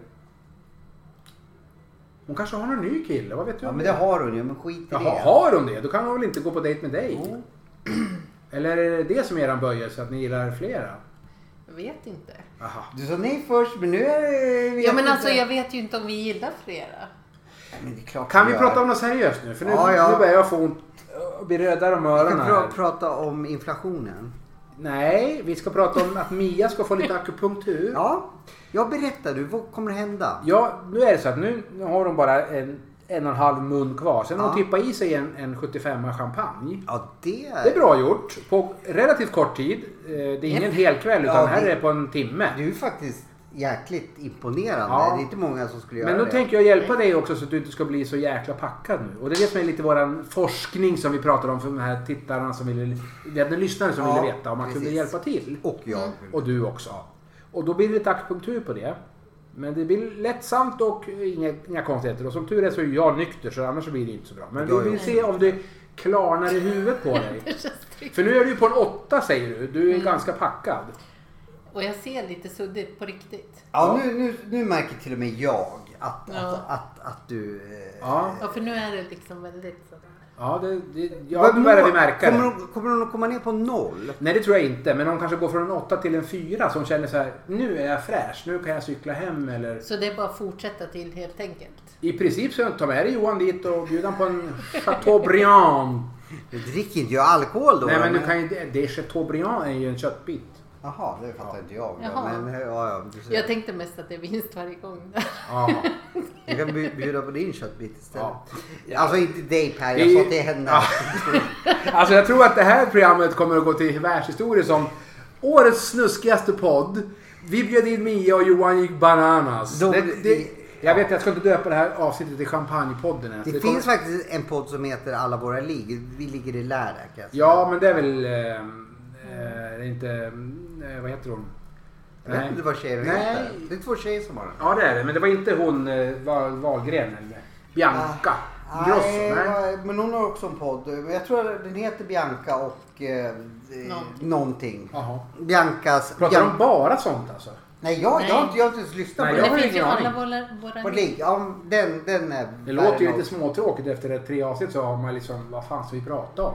[SPEAKER 1] Hon kanske har någon ny kille, vad vet du
[SPEAKER 2] Ja
[SPEAKER 1] om
[SPEAKER 2] men
[SPEAKER 1] det?
[SPEAKER 2] det har hon ju, men skit i
[SPEAKER 1] Jaha,
[SPEAKER 2] det.
[SPEAKER 1] har hon det? Då kan hon väl inte gå på dejt med dig? Eller är det det som är eran böjelse, att ni gillar flera?
[SPEAKER 3] Jag vet inte.
[SPEAKER 1] Aha.
[SPEAKER 2] Du sa nej först, men nu är det... vet
[SPEAKER 3] Ja men
[SPEAKER 2] inte.
[SPEAKER 3] alltså jag vet ju inte om vi gillar flera.
[SPEAKER 2] Ja, men det är klart
[SPEAKER 1] Kan vi
[SPEAKER 2] gör.
[SPEAKER 1] prata om något seriöst nu? För nu,
[SPEAKER 2] Ja, ja.
[SPEAKER 1] nu börjar jag få ont och bli rödare om
[SPEAKER 2] Vi
[SPEAKER 1] öronen
[SPEAKER 2] kan
[SPEAKER 1] här.
[SPEAKER 2] pra- prata om inflationen.
[SPEAKER 1] Nej, vi ska prata om att Mia ska få lite akupunktur. Ja.
[SPEAKER 2] Ja, jag berättar du. Vad kommer hända?
[SPEAKER 1] nu är det så att nu nu har hon bara en, en och en halv mun kvar. Sen har hon
[SPEAKER 2] Ja.
[SPEAKER 1] tippat i sig en, en 75 champagne.
[SPEAKER 2] Ja, det...
[SPEAKER 1] Det är bra gjort. På relativt kort tid. Eh, Det är ingen hel kväll utan
[SPEAKER 2] Ja,
[SPEAKER 1] här
[SPEAKER 2] det-
[SPEAKER 1] är det på en timme.
[SPEAKER 2] Du är faktiskt jäkligt imponerande.
[SPEAKER 1] Ja.
[SPEAKER 2] Det är inte många som skulle göra
[SPEAKER 1] Men då
[SPEAKER 2] det.
[SPEAKER 1] tänker jag hjälpa dig också så att du inte ska bli så jäkla packad nu. Och det är det som är lite våran forskning som vi pratade om för de här tittarna som ville... Vi hade en lyssnare som
[SPEAKER 2] Ja,
[SPEAKER 1] ville veta om man kunde
[SPEAKER 2] precis.
[SPEAKER 1] hjälpa till.
[SPEAKER 2] Och jag.
[SPEAKER 3] Mm.
[SPEAKER 1] Och du också. Och då blir det lite akupunktur på det. Men det blir lättsamt och inga, inga konstigheter. Och som tur är så är jag nykter så annars så blir det inte så bra. Men
[SPEAKER 2] Ja,
[SPEAKER 1] vi vill
[SPEAKER 2] ja.
[SPEAKER 1] se om det klarnar i huvudet på dig.
[SPEAKER 3] Det känns tryggt.
[SPEAKER 1] För nu är du ju på en åtta säger du. Du är ganska packad.
[SPEAKER 3] Och jag ser lite suddigt på riktigt.
[SPEAKER 2] Ja, nu, nu, nu märker till och med jag att,
[SPEAKER 3] Ja.
[SPEAKER 2] att, att, att du... eh,
[SPEAKER 1] Ja,
[SPEAKER 3] Ja, för nu är det liksom väldigt sådär.
[SPEAKER 1] ja, det, det, ja
[SPEAKER 2] Vad-
[SPEAKER 1] nu börjar vi märka
[SPEAKER 2] kommer
[SPEAKER 1] det.
[SPEAKER 2] hon, kommer hon att komma ner på noll?
[SPEAKER 1] Nej det tror jag inte. Men hon kanske går från en åtta till en fyra som känner så här. Nu är jag fräsch. Nu kan jag cykla hem eller.
[SPEAKER 3] Så det är bara att fortsätta till helt enkelt.
[SPEAKER 1] I princip så ta med dig Johan dit och bjud honom på en Chateaubriand.
[SPEAKER 2] Du dricker inte jag alkohol då?
[SPEAKER 1] Nej men du
[SPEAKER 2] men-
[SPEAKER 1] kan ju... Det är Chateaubriand är ju en köttbit.
[SPEAKER 2] Jaha, det fattar inte jag.
[SPEAKER 3] Jaha.
[SPEAKER 2] Men, eh, ja, ja, du, ser.
[SPEAKER 3] Jag tänkte mest att det är vinst varje gång.
[SPEAKER 1] Ja.
[SPEAKER 2] du kan bju- bjuda på din köttbit istället.
[SPEAKER 1] Ja.
[SPEAKER 2] Alltså inte dig Per,
[SPEAKER 1] Det är
[SPEAKER 2] jag
[SPEAKER 1] ju-
[SPEAKER 2] sa till henne.
[SPEAKER 1] Ja. Alltså jag tror att det här programmet kommer att gå till världshistorien som årets snuskigaste podd. Vi bjöd in Mia och Johan gick bananas.
[SPEAKER 2] De-
[SPEAKER 1] det, det, jag vet, jag ska inte döpa det här avsnittet till Champagnepodden ens.
[SPEAKER 2] Det,
[SPEAKER 1] Det kommer-
[SPEAKER 2] finns faktiskt en podd som heter Alla våra ligg. Vi ligger i lärda kan jag säga.
[SPEAKER 1] Ja, men det är väl... Eh, eh, inte... Eh, vad heter hon?
[SPEAKER 2] Jag vet inte vad tjejer
[SPEAKER 1] Nej.
[SPEAKER 2] heter. Det är två tjejer som har den.
[SPEAKER 1] Ja, det är det. Men det var inte hon eh, Wahl- Wahlgren eller Bianca Grosso.
[SPEAKER 2] Ah, Nej,
[SPEAKER 1] Nej.
[SPEAKER 2] men hon har också en podd. Men Jag tror att den heter Bianca och eh, någonting.
[SPEAKER 3] Någonting.
[SPEAKER 2] någonting.
[SPEAKER 1] Jaha.
[SPEAKER 2] Biancas...
[SPEAKER 1] Pratar de
[SPEAKER 2] Bian-
[SPEAKER 1] bara sånt alltså?
[SPEAKER 2] Nej, jag, jag, har
[SPEAKER 3] Nej.
[SPEAKER 2] inte, jag har inte ens lyssnat
[SPEAKER 1] Nej,
[SPEAKER 2] på
[SPEAKER 1] jag
[SPEAKER 2] den.
[SPEAKER 1] har
[SPEAKER 3] det finns ju
[SPEAKER 1] ingen aning.
[SPEAKER 3] alla våra, våra
[SPEAKER 2] Vår ligg, ja, den, den är
[SPEAKER 1] Det
[SPEAKER 2] värre
[SPEAKER 1] låter ju
[SPEAKER 2] än
[SPEAKER 1] lite
[SPEAKER 2] oss.
[SPEAKER 1] småtråkigt efter det tre avsnitt så har man liksom, vad fan ska vi prata om?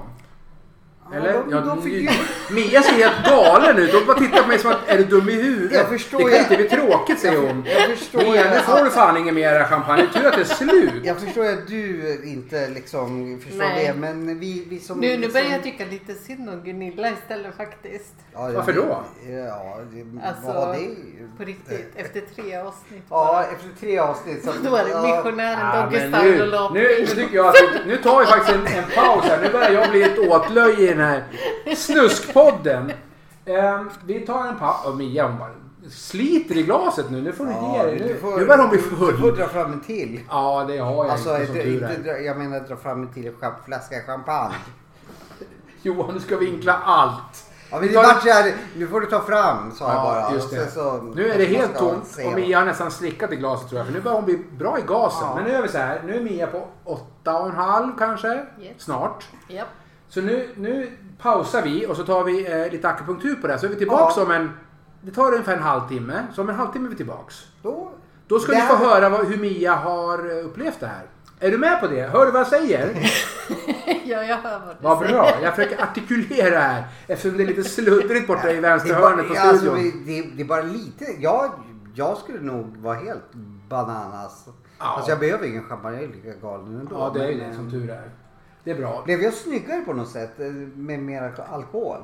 [SPEAKER 2] Ja,
[SPEAKER 1] Eller?
[SPEAKER 2] de-
[SPEAKER 1] Ja,
[SPEAKER 2] de fick ju-
[SPEAKER 1] Mia ser helt galen ut. Hon bara tittar på mig som att, är du dum i huvudet?
[SPEAKER 2] Jag förstår
[SPEAKER 1] det kan
[SPEAKER 2] ju.
[SPEAKER 1] inte bli tråkigt säger hon.
[SPEAKER 2] Jag förstår ju
[SPEAKER 1] Mia, nu får
[SPEAKER 2] att,
[SPEAKER 1] du fan ingen mer champagne. Tur att det är slut.
[SPEAKER 2] jag förstår ju att du inte liksom förstår
[SPEAKER 3] Nej.
[SPEAKER 2] det men vi, vi som...
[SPEAKER 3] Nu, nu börjar
[SPEAKER 2] som-
[SPEAKER 3] jag
[SPEAKER 1] liksom?
[SPEAKER 3] tycka lite synd om Gunilla istället faktiskt.
[SPEAKER 2] Ja, det-
[SPEAKER 1] Varför då?
[SPEAKER 2] Ja, det,
[SPEAKER 3] Alltså,
[SPEAKER 2] vad har det är
[SPEAKER 3] på
[SPEAKER 1] Eh,
[SPEAKER 3] riktigt. Efter tre avsnitt
[SPEAKER 2] Ja,
[SPEAKER 3] bara.
[SPEAKER 2] efter tre avsnitt så...
[SPEAKER 3] Då är det
[SPEAKER 2] ja.
[SPEAKER 3] missionären,
[SPEAKER 1] Ja,
[SPEAKER 3] Doggy
[SPEAKER 1] men
[SPEAKER 3] Style och
[SPEAKER 1] nu, nu,
[SPEAKER 3] Loppis.
[SPEAKER 1] nu tycker jag att vi, nu tar vi faktiskt en, en paus här. Nu börjar jag bli ett åtlöje i den här snuskpodden. Ehm, vi tar en paus. Och Mia hon bara sliter i glaset nu. Nu får du
[SPEAKER 2] Ja,
[SPEAKER 1] ge dig.
[SPEAKER 2] du
[SPEAKER 1] Nu,
[SPEAKER 2] får-
[SPEAKER 1] nu börjar hon bli
[SPEAKER 2] Du får
[SPEAKER 1] full.
[SPEAKER 2] dra fram en till.
[SPEAKER 1] Ja, det har jag
[SPEAKER 2] Alltså,
[SPEAKER 1] inte som
[SPEAKER 2] inte,
[SPEAKER 1] tur är.
[SPEAKER 2] inte, dra- jag menar dra fram en till champ- flaska champagne.
[SPEAKER 1] Johan, du ska vinkla allt.
[SPEAKER 2] Ja, men
[SPEAKER 1] Vi
[SPEAKER 2] det
[SPEAKER 1] tar-
[SPEAKER 2] var så här, nu får du ta fram sa jag
[SPEAKER 1] Ja,
[SPEAKER 2] bara.
[SPEAKER 1] just
[SPEAKER 2] Och
[SPEAKER 1] det.
[SPEAKER 2] sen så-
[SPEAKER 1] nu är det helt
[SPEAKER 2] ska man
[SPEAKER 1] tomt
[SPEAKER 2] se
[SPEAKER 1] och
[SPEAKER 2] vad-
[SPEAKER 1] Mia har nästan slickat i glaset tror jag. För nu börjar hon bli bra i gasen.
[SPEAKER 2] Ja.
[SPEAKER 1] Men nu är vi så här. Nu är Mia på åtta och en halv kanske.
[SPEAKER 3] Yes.
[SPEAKER 1] Snart.
[SPEAKER 3] Japp.
[SPEAKER 1] Så nu, nu pausar vi och så tar vi eh, lite akupunktur på det här. Så är vi tillbaks
[SPEAKER 2] Ja.
[SPEAKER 1] om en... Det tar ungefär en halvtimme. Så om en halvtimme är vi tillbaks.
[SPEAKER 2] Då,
[SPEAKER 1] Då ska
[SPEAKER 2] Det
[SPEAKER 1] ni få
[SPEAKER 2] här-
[SPEAKER 1] höra vad, hur Mia har eh, upplevt det här. Är du med på det? Hör du vad jag säger?
[SPEAKER 3] ja, jag hör vad du
[SPEAKER 1] Vad
[SPEAKER 3] säger.
[SPEAKER 1] bra. Jag försöker artikulera här eftersom det är lite sluddrigt borta i
[SPEAKER 2] det,
[SPEAKER 1] vänstra
[SPEAKER 2] är
[SPEAKER 1] hörnet på
[SPEAKER 2] bara, alltså,
[SPEAKER 1] studion.
[SPEAKER 2] vi- det, det är bara lite. Jag, jag skulle nog vara helt bananas.
[SPEAKER 1] Ja.
[SPEAKER 2] Alltså jag behöver ingen champagne, jag är lika galen ändå.
[SPEAKER 1] Ja, det är ju
[SPEAKER 2] men,
[SPEAKER 1] det som
[SPEAKER 2] eh,
[SPEAKER 1] tur är. Det är bra.
[SPEAKER 2] Blev jag snyggare på något sätt eh, med mer alkohol?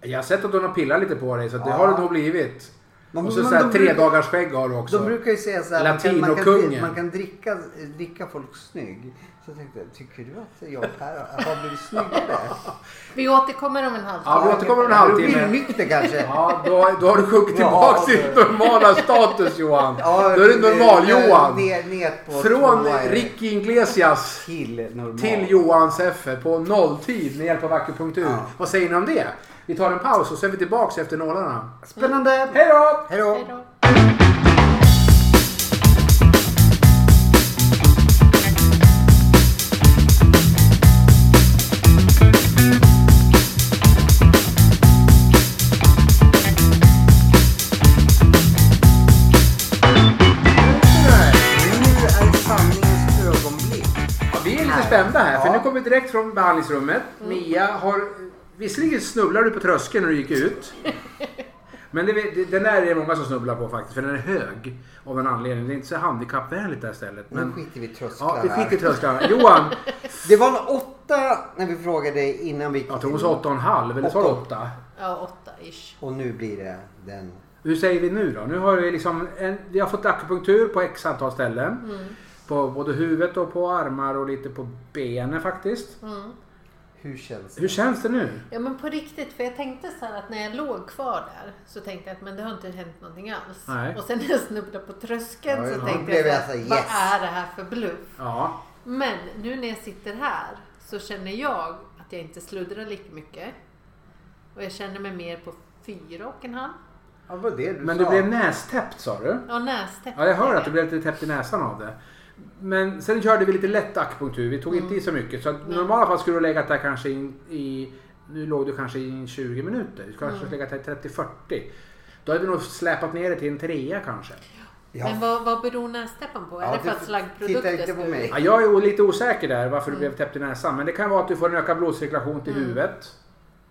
[SPEAKER 1] Jag har sett att hon har pillat lite på dig så det
[SPEAKER 2] Ja.
[SPEAKER 1] har det nog blivit.
[SPEAKER 2] Men-
[SPEAKER 1] och så,
[SPEAKER 2] men
[SPEAKER 1] så här,
[SPEAKER 2] de
[SPEAKER 1] tre
[SPEAKER 2] brukar-
[SPEAKER 1] dagars skägg har du
[SPEAKER 2] De
[SPEAKER 1] också.
[SPEAKER 2] brukar ju säga så här, man kan, man kan,
[SPEAKER 1] Latinokungen.
[SPEAKER 2] man kan dricka, eh, dricka folk snygg. Så jag tänkte, tycker du att jag och Per har blivit snyggare?
[SPEAKER 3] Vi återkommer om en halvtimme.
[SPEAKER 1] Ja, vi återkommer om en
[SPEAKER 2] Ja, Du
[SPEAKER 1] halvtimme.
[SPEAKER 2] blir nykter kanske?
[SPEAKER 1] Ja, då, då har du sjunkit
[SPEAKER 2] Ja,
[SPEAKER 1] tillbaka
[SPEAKER 2] alltså.
[SPEAKER 1] till din normala status Johan.
[SPEAKER 2] Ja,
[SPEAKER 1] då är du
[SPEAKER 2] eh,
[SPEAKER 1] normal-Johan.
[SPEAKER 2] Ner, ner på
[SPEAKER 1] Från
[SPEAKER 2] tvåa är det.
[SPEAKER 1] Ricky Iglesias
[SPEAKER 2] till normal.
[SPEAKER 1] till Johan Seffer på nolltid med hjälp av akupunktur.
[SPEAKER 2] Ja.
[SPEAKER 1] Vad säger ni om det? Vi tar en paus och så är vi tillbaka efter nålarna.
[SPEAKER 2] Spännande!
[SPEAKER 1] Hej då!
[SPEAKER 2] Hej då!
[SPEAKER 3] Hej då.
[SPEAKER 2] Nu är det sanningens ögonblick.
[SPEAKER 1] Ja, vi är lite
[SPEAKER 2] Här.
[SPEAKER 1] spända här, för
[SPEAKER 2] Ja.
[SPEAKER 1] nu kommer vi direkt från behandlingsrummet. Mia har... Visserligen snubblade du på tröskeln när du gick ut. Men det, det, den där är det många som snubblar på faktiskt, för den är hög av en anledning. Det är inte så handikappvänligt det här stället.
[SPEAKER 2] Nu
[SPEAKER 1] Men,
[SPEAKER 2] skiter vi i
[SPEAKER 1] ja,
[SPEAKER 2] trösklarna.
[SPEAKER 1] vi skiter i trösklarna. Johan,
[SPEAKER 2] det var en åtta när vi frågade innan vi gick
[SPEAKER 1] jag tror hon sa åtta och en halv, eller sa du
[SPEAKER 2] Åtta.
[SPEAKER 1] åtta?
[SPEAKER 3] Ja, åtta-ish.
[SPEAKER 2] Och nu blir det den.
[SPEAKER 1] Hur säger vi nu då? Nu har vi liksom en, vi har fått akupunktur på x antal ställen. På både huvudet och på armar och lite på benen faktiskt.
[SPEAKER 3] Mm.
[SPEAKER 2] Hur känns det?
[SPEAKER 1] Hur känns det nu?
[SPEAKER 3] Ja men på riktigt, för jag tänkte så här att när jag låg kvar där så tänkte jag att men det har inte hänt någonting alls.
[SPEAKER 1] Nej.
[SPEAKER 3] Och sen när jag snubblade på tröskeln
[SPEAKER 2] Ja,
[SPEAKER 3] så
[SPEAKER 2] då
[SPEAKER 3] tänkte
[SPEAKER 2] blev
[SPEAKER 3] jag,
[SPEAKER 2] jag
[SPEAKER 3] så
[SPEAKER 2] så här,
[SPEAKER 3] här, vad
[SPEAKER 2] yes."
[SPEAKER 3] är det här för bluff?
[SPEAKER 1] Ja,
[SPEAKER 3] Men nu när jag sitter här så känner jag att jag inte sluddrar lika mycket. Och jag känner mig mer på fyra och en halv.
[SPEAKER 2] Ja, vad det du
[SPEAKER 1] men
[SPEAKER 2] sa.
[SPEAKER 1] du blev nästäppt sa du?
[SPEAKER 3] Ja, nästäpp.
[SPEAKER 1] Ja, jag hör att du blev lite täppt i näsan av det. Men sen körde vi lite lätt akupunktur. Vi tog inte i så mycket. Så att i normala fall skulle du ha legat där kanske in, i... Nu låg du kanske i 20 minuter. Du skulle kanske ha legat där i 30-40. Då hade vi nog släpat ner det till en trea kanske.
[SPEAKER 2] Ja,
[SPEAKER 3] Men vad, vad beror nästäppen på?
[SPEAKER 2] Ja,
[SPEAKER 3] är det för
[SPEAKER 2] du
[SPEAKER 3] att slaggprodukter
[SPEAKER 2] tittar inte på
[SPEAKER 3] ska
[SPEAKER 2] mig.
[SPEAKER 3] ut?
[SPEAKER 1] Ja, jag är o- lite osäker där varför
[SPEAKER 2] Mm.
[SPEAKER 1] du blev täppt i näsan. Men det kan vara att du får en ökad blodcirkulation till huvudet.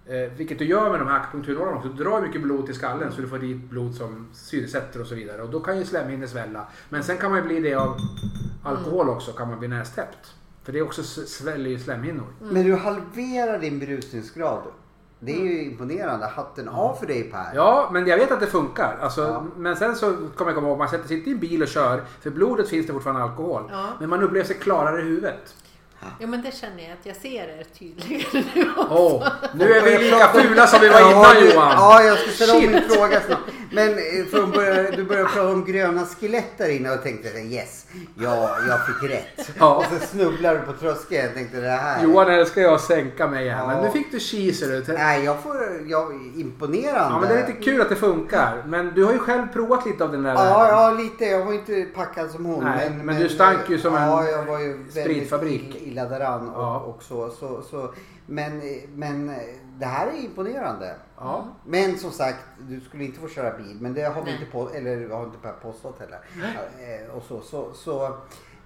[SPEAKER 1] Eh, vilket du gör med de här akupunkturnålarna också. Du drar ju mycket blod till skallen så du får dit blod som syresätter och så vidare. Och då kan ju slemhinnor svälla. Men sen kan man ju bli det av alkohol
[SPEAKER 2] Mm.
[SPEAKER 1] också, kan man bli nästäppt. För det är också s- sväller ju slemhinnor.
[SPEAKER 2] Men du halverar din berusningsgrad. Det är ju imponerande. Hatten av för dig Per.
[SPEAKER 1] Ja, men jag vet att det funkar. Alltså,
[SPEAKER 2] Ja.
[SPEAKER 1] Men sen så kommer jag komma ihåg, man sätter sig inte i en bil och kör. För i blodet finns det fortfarande alkohol.
[SPEAKER 3] Ja.
[SPEAKER 1] Men man upplever sig klarare i huvudet.
[SPEAKER 3] Ja, men det känner jag att jag ser er tydligare nu också.
[SPEAKER 1] Åh, nu är vi lika fula som vi var
[SPEAKER 2] Ja,
[SPEAKER 1] innan
[SPEAKER 2] du-
[SPEAKER 1] Johan.
[SPEAKER 2] Ja, jag ska ställa om
[SPEAKER 1] Shit.
[SPEAKER 2] min fråga snart. Men eh, från början, du började prata om gröna skelett där inne och tänkte så här, yes, ja, jag fick rätt.
[SPEAKER 1] Ja.
[SPEAKER 2] Och så snubblar du på tröskeln och tänkte det här.
[SPEAKER 1] Johan älskar jag att sänka mig här. Men
[SPEAKER 2] Ja.
[SPEAKER 1] nu fick du cheese. du.
[SPEAKER 2] Nej, jag får, jag, imponerande.
[SPEAKER 1] Ja, men det är lite kul att det funkar. Men du har ju själv provat lite av den där
[SPEAKER 2] Ja, ja, lite. Jag var inte packad som hon.
[SPEAKER 1] Nej, men du stank ju som en
[SPEAKER 2] ja, jag var ju väldigt
[SPEAKER 1] spritfabrik.
[SPEAKER 2] ill- illa däran och,
[SPEAKER 1] Ja.
[SPEAKER 2] och så. så, så. Men, men det här är imponerande.
[SPEAKER 1] Ja.
[SPEAKER 2] Men som sagt, du skulle inte få köra bil. Men det har vi
[SPEAKER 3] Nej.
[SPEAKER 2] inte, på, eller har inte Per påstått heller. Eh, Och så, så, så,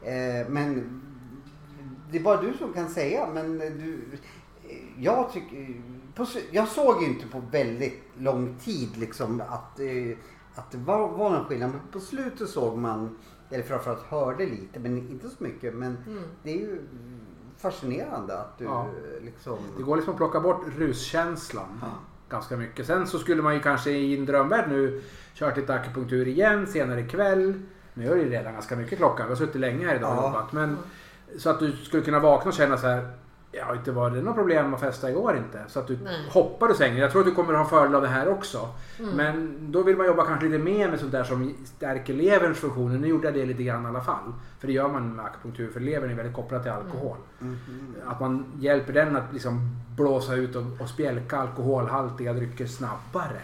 [SPEAKER 2] eh, men det är bara du som kan säga. Men du, eh, jag tycker... På, jag såg ju inte på väldigt lång tid liksom att, eh, att det var, var någon skillnad. Men på slutet såg man, eller framförallt hörde lite, men inte så mycket. Men det är ju fascinerande att du
[SPEAKER 1] Ja.
[SPEAKER 2] liksom...
[SPEAKER 1] Det går liksom att plocka bort ruskänslan
[SPEAKER 2] Ja.
[SPEAKER 1] ganska mycket. Sen så skulle man ju kanske i en drömvärld nu kört lite akupunktur igen senare ikväll. Nu är det ju redan ganska mycket klockan. Vi har suttit länge här idag och
[SPEAKER 2] Ja.
[SPEAKER 1] jobbat. Men, så att du skulle kunna vakna och känna så här. Ja, inte var det något problem att festa igår inte. Så att du
[SPEAKER 3] Nej.
[SPEAKER 1] hoppar ur sängen. Jag tror att du kommer att ha fördel av det här också. Men då vill man jobba kanske lite mer med sånt där som stärker leverns funktioner. Nu gjorde jag det lite grann i alla fall. För det gör man med akupunktur. För levern är väldigt kopplad till alkohol.
[SPEAKER 2] Mhm.
[SPEAKER 1] Att man hjälper den att liksom blåsa ut och, och spjälka alkoholhaltiga drycker snabbare.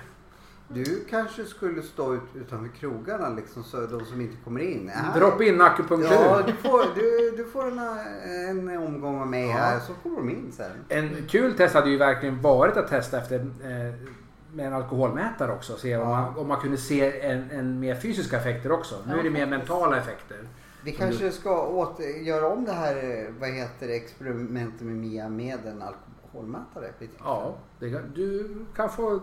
[SPEAKER 2] Du kanske skulle stå ut, utanför krogarna liksom, så de som inte kommer in. Här.
[SPEAKER 1] Dropp in akupunktur.
[SPEAKER 2] Ja, du får, du, du får en, eh, en omgång av mig
[SPEAKER 1] Ja.
[SPEAKER 2] här så kommer de in sen.
[SPEAKER 1] En kul test hade ju verkligen varit att testa efter eh, med en alkoholmätare också. Se om,
[SPEAKER 2] Ja.
[SPEAKER 1] man, om man kunde se en, en mer fysiska effekter också. Nu är det mer mentala effekter.
[SPEAKER 2] Vi kanske ska åter, göra om det här, eh, vad heter det, experimentet med Mia med en alkoholmätare. vid tillfälle.
[SPEAKER 1] Ja, det, kan- du kan få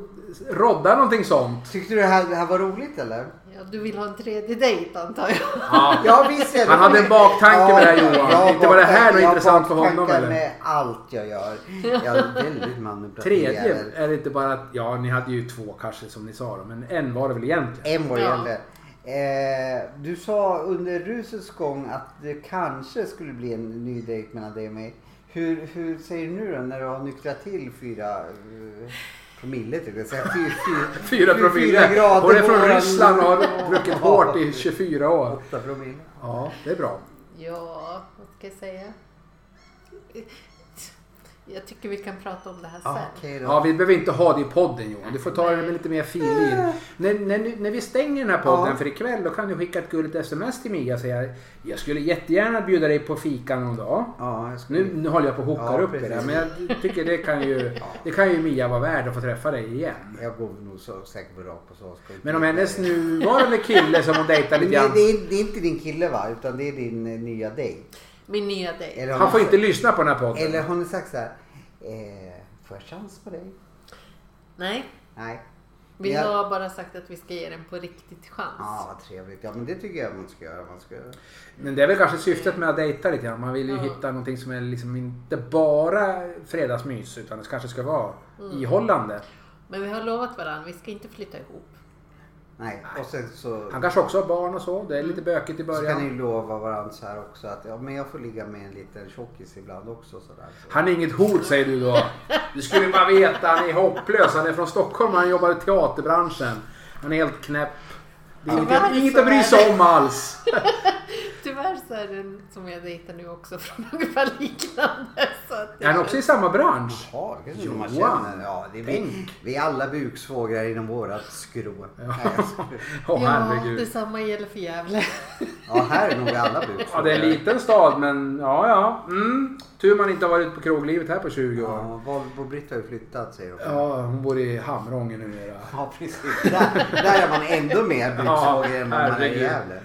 [SPEAKER 1] rodda någonting sånt.
[SPEAKER 2] Tyckte du det här, det här var roligt eller?
[SPEAKER 3] Ja, du vill ha en tredje dejt antar jag.
[SPEAKER 2] Ja, visst är det
[SPEAKER 1] Han hade en baktanke med det här,
[SPEAKER 2] jag-
[SPEAKER 1] Johan.
[SPEAKER 2] jag
[SPEAKER 1] Inte var det här
[SPEAKER 2] baktankar-
[SPEAKER 1] något
[SPEAKER 2] jag
[SPEAKER 1] intressant för honom,
[SPEAKER 2] baktankar
[SPEAKER 1] eller?
[SPEAKER 2] med allt jag gör. Jag är väldigt manipulativ.
[SPEAKER 1] Tredje
[SPEAKER 2] jävel.
[SPEAKER 1] är det inte bara att, ja ni hade ju två kanske som ni sa då, men en var det väl egentligen.
[SPEAKER 2] En var det
[SPEAKER 3] Ja.
[SPEAKER 2] gällde. Eh, du sa under rusets gång att det kanske skulle bli en ny dejt mellan dig och mig. Hur, hur säger du nu då när du har nyktrat till fyra eh, promille till det? Fyra, fyra,
[SPEAKER 1] Fyra
[SPEAKER 2] fyra
[SPEAKER 1] promille.
[SPEAKER 2] grader
[SPEAKER 1] Hon är från
[SPEAKER 2] våran-
[SPEAKER 1] Ryssland och har druckit hårt i 24 år.
[SPEAKER 2] åtta promille.
[SPEAKER 1] Ja, det är bra.
[SPEAKER 3] Ja, vad ska jag säga? Jag tycker vi kan prata om det här sen.
[SPEAKER 2] Ah, Okej
[SPEAKER 1] Ja,
[SPEAKER 2] då.
[SPEAKER 1] vi behöver inte ha det i podden Johan. Du får ta det med lite mer filin. När, när, ni- när vi stänger den här podden
[SPEAKER 2] Eh. Ja.
[SPEAKER 1] för ikväll då kan du skicka ett gulligt sms till Mia och säga jag skulle jättegärna bjuda dig på fika någon dag.
[SPEAKER 2] Ja, jag skulle...
[SPEAKER 1] Nu, nu håller jag på att hooka
[SPEAKER 2] Ja,
[SPEAKER 1] upp det där
[SPEAKER 2] precis.
[SPEAKER 1] men jag tycker det kan, ju, det kan ju Mia vara värd att få träffa dig igen.
[SPEAKER 2] Jag går nog så säkert på rakt på sak.
[SPEAKER 1] Men om hennes nuvarande kille som hon dejtar
[SPEAKER 2] Men
[SPEAKER 1] lite
[SPEAKER 2] det, det,
[SPEAKER 1] grann.
[SPEAKER 2] är, det är inte din kille va? Utan det är din eh, nya dejt.
[SPEAKER 3] Min nya dejt.
[SPEAKER 2] Eller har
[SPEAKER 1] Han
[SPEAKER 2] ni-
[SPEAKER 1] får inte lyssna på den här podden.
[SPEAKER 2] Eller har ni sagt så här. Eh, får jag chans på dig?
[SPEAKER 3] Nej,
[SPEAKER 2] Nej.
[SPEAKER 3] vi
[SPEAKER 2] Ja.
[SPEAKER 3] har bara sagt att vi ska ge den på riktigt chans.
[SPEAKER 2] Ja, vad trevligt. Ja, men det tycker jag man ska göra. Man ska göra.
[SPEAKER 1] Men det är väl kanske syftet med att dejta lite grann. Man vill ju
[SPEAKER 3] Ja.
[SPEAKER 1] hitta någonting som är liksom inte bara fredagsmys utan
[SPEAKER 3] Mm.
[SPEAKER 1] det kanske ska vara ihållande.
[SPEAKER 3] Men vi har lovat varandra, vi ska inte flytta ihop.
[SPEAKER 2] Nej, och sen så...
[SPEAKER 1] Han kanske också har barn och så.
[SPEAKER 3] Mm.
[SPEAKER 1] Det är lite bökigt i
[SPEAKER 2] Så kan ni
[SPEAKER 1] början.
[SPEAKER 2] lova varandra så här också att ja, men jag får ligga med en liten tjockis ibland också. Så där. Så.
[SPEAKER 1] Han är inget hot säger du då. Du skulle bara veta, han är hopplös. Han är från Stockholm, han jobbar i teaterbranschen. Han är helt knäpp. Det är
[SPEAKER 3] Tyvärr
[SPEAKER 1] inget,
[SPEAKER 3] så
[SPEAKER 1] inget att bry sig om alls.
[SPEAKER 3] Tyvärr så är den som jag dejtar nu också från ungefär liknande. Så att
[SPEAKER 1] Är han också i samma bransch?
[SPEAKER 2] Ja, det är så man
[SPEAKER 1] Johan,
[SPEAKER 2] känner. Ja, det är vi,
[SPEAKER 1] tänk.
[SPEAKER 2] vi är alla buksvågrar inom vårat skrå. Ja.
[SPEAKER 1] Åh
[SPEAKER 3] ja,
[SPEAKER 1] herregud.
[SPEAKER 3] detsamma gäller för Gävle.
[SPEAKER 2] ja, här är nog alla
[SPEAKER 1] Ja,
[SPEAKER 2] buksvågrar.
[SPEAKER 1] det är en liten stad men ja, ja. Mm. Tur man inte har varit på kroglivet här på 20 år.
[SPEAKER 2] Ja, Volvo-Britt har ju flyttat säger de.
[SPEAKER 1] Ja, hon bor i Hamrången numera.
[SPEAKER 2] Ja, precis. Där, där är man ändå mer buksvågare än vad man är i
[SPEAKER 1] herregud.
[SPEAKER 2] Gävle.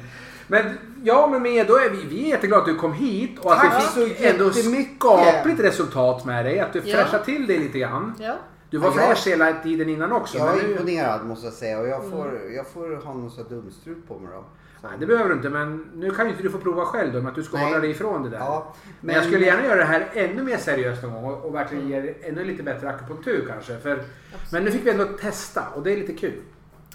[SPEAKER 1] Men ja, men med då är vi, vi är jätteglada att du kom hit och att
[SPEAKER 2] Tack
[SPEAKER 1] vi fick
[SPEAKER 2] så
[SPEAKER 1] ändå
[SPEAKER 2] jättemycket.
[SPEAKER 1] skapligt resultat med dig. Att du
[SPEAKER 3] Ja.
[SPEAKER 1] fräschade till dig lite grann.
[SPEAKER 3] Ja.
[SPEAKER 1] Du var
[SPEAKER 2] Ja, jag-
[SPEAKER 1] fräsch hela tiden innan också.
[SPEAKER 2] Jag
[SPEAKER 1] men
[SPEAKER 2] är
[SPEAKER 1] nu,
[SPEAKER 2] imponerad måste jag säga och jag får, jag får ha någon sån här dumstrut på mig då.
[SPEAKER 1] nej,
[SPEAKER 2] Så-
[SPEAKER 1] Mm. det behöver du inte, men nu kan ju inte du få prova själv då, men att du ska
[SPEAKER 2] Nej.
[SPEAKER 1] hålla dig ifrån det där.
[SPEAKER 2] Ja,
[SPEAKER 1] men... jag skulle gärna göra det här ännu mer seriöst någon gång och, och verkligen ge dig ännu lite bättre akupunktur kanske. För, men nu fick vi ändå testa och det är lite kul.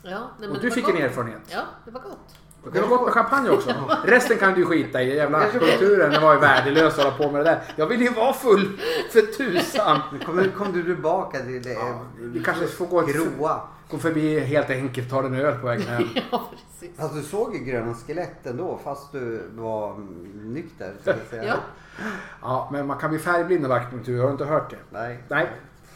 [SPEAKER 3] Ja, nej, men
[SPEAKER 1] Och
[SPEAKER 3] det
[SPEAKER 1] du
[SPEAKER 3] var
[SPEAKER 1] fick
[SPEAKER 3] gott.
[SPEAKER 1] en erfarenhet.
[SPEAKER 3] Ja, det var gott.
[SPEAKER 1] Det var gott med champagne också. Resten kan du skita i. Jävla akupunkturen den var ju värdelös att hålla på med det där. Jag ville ju vara full för tusan.
[SPEAKER 2] Nu kom, kom du tillbaka till det
[SPEAKER 1] Ja, vi kanske får gå, ett,
[SPEAKER 2] gråa.
[SPEAKER 1] gå förbi helt enkelt, ta en öl på vägen hem.
[SPEAKER 3] Ja, precis.
[SPEAKER 2] Fast du såg ju gröna skelett ändå fast du var mm, nykter. Ska jag säga.
[SPEAKER 3] Ja.
[SPEAKER 1] Ja, men man kan bli färgblind av akupunktur, har du inte hört det?
[SPEAKER 2] Nej.
[SPEAKER 1] Nej,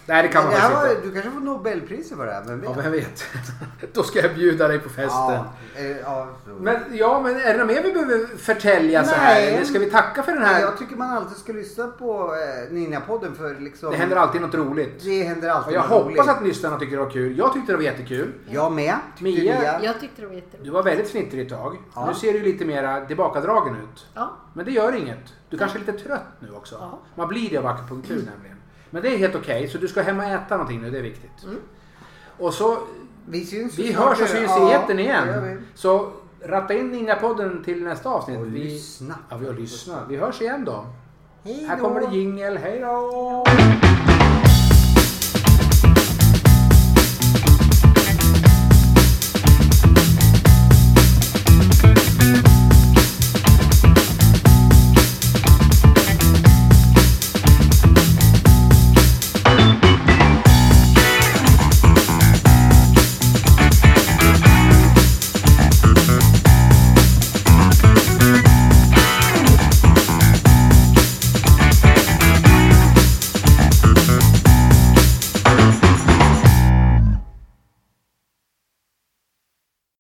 [SPEAKER 1] Nej det kan man
[SPEAKER 2] Det här
[SPEAKER 1] faktiskt
[SPEAKER 2] var-
[SPEAKER 1] inte.
[SPEAKER 2] Du kanske får Nobelpriset för det här, vem vet?
[SPEAKER 1] Ja, vem vet. Då ska jag bjuda dig på festen.
[SPEAKER 2] Ja, eh, ja, så.
[SPEAKER 1] Men ja, men är det något mer vi behöver förtälja så här?
[SPEAKER 2] Nej.
[SPEAKER 1] Eller ska vi tacka för den här?
[SPEAKER 2] Jag tycker man alltid ska lyssna på eh, Ninja-podden för liksom...
[SPEAKER 1] Det händer alltid något roligt.
[SPEAKER 2] Det händer
[SPEAKER 1] Och
[SPEAKER 2] alltid
[SPEAKER 1] jag
[SPEAKER 2] något
[SPEAKER 1] hoppas
[SPEAKER 2] roligt.
[SPEAKER 1] att lyssnarna tycker det var kul. Jag tyckte det var jättekul.
[SPEAKER 2] Jag med. tyckte
[SPEAKER 1] Mia-
[SPEAKER 2] Mia.
[SPEAKER 3] Jag tyckte det var jätteroligt.
[SPEAKER 1] Du var väldigt fnittrig ett tag.
[SPEAKER 2] Ja.
[SPEAKER 1] Nu ser du lite mer tillbakadragen ut.
[SPEAKER 3] Ja,
[SPEAKER 1] Men det gör inget. Du kanske är lite trött nu också.
[SPEAKER 3] Ja.
[SPEAKER 1] Man blir det av akupunktur
[SPEAKER 2] Mm.
[SPEAKER 1] nämligen. Men det är helt okej, så du ska hem och äta någonting nu, det är viktigt. Och så,
[SPEAKER 2] Vi syns ju
[SPEAKER 1] vi
[SPEAKER 2] Mm. snart
[SPEAKER 1] hörs och
[SPEAKER 2] nu.
[SPEAKER 1] syns
[SPEAKER 2] Ja,
[SPEAKER 1] i etern igen.
[SPEAKER 2] det gör vi.
[SPEAKER 1] Så ratta in Ninja-podden till nästa avsnitt.
[SPEAKER 2] Och
[SPEAKER 1] vi...
[SPEAKER 2] lyssna.
[SPEAKER 1] Ja, vi har lyssnat. Vi hörs igen då.
[SPEAKER 2] Hej
[SPEAKER 1] Här
[SPEAKER 2] då.
[SPEAKER 1] kommer det jingel, hej då!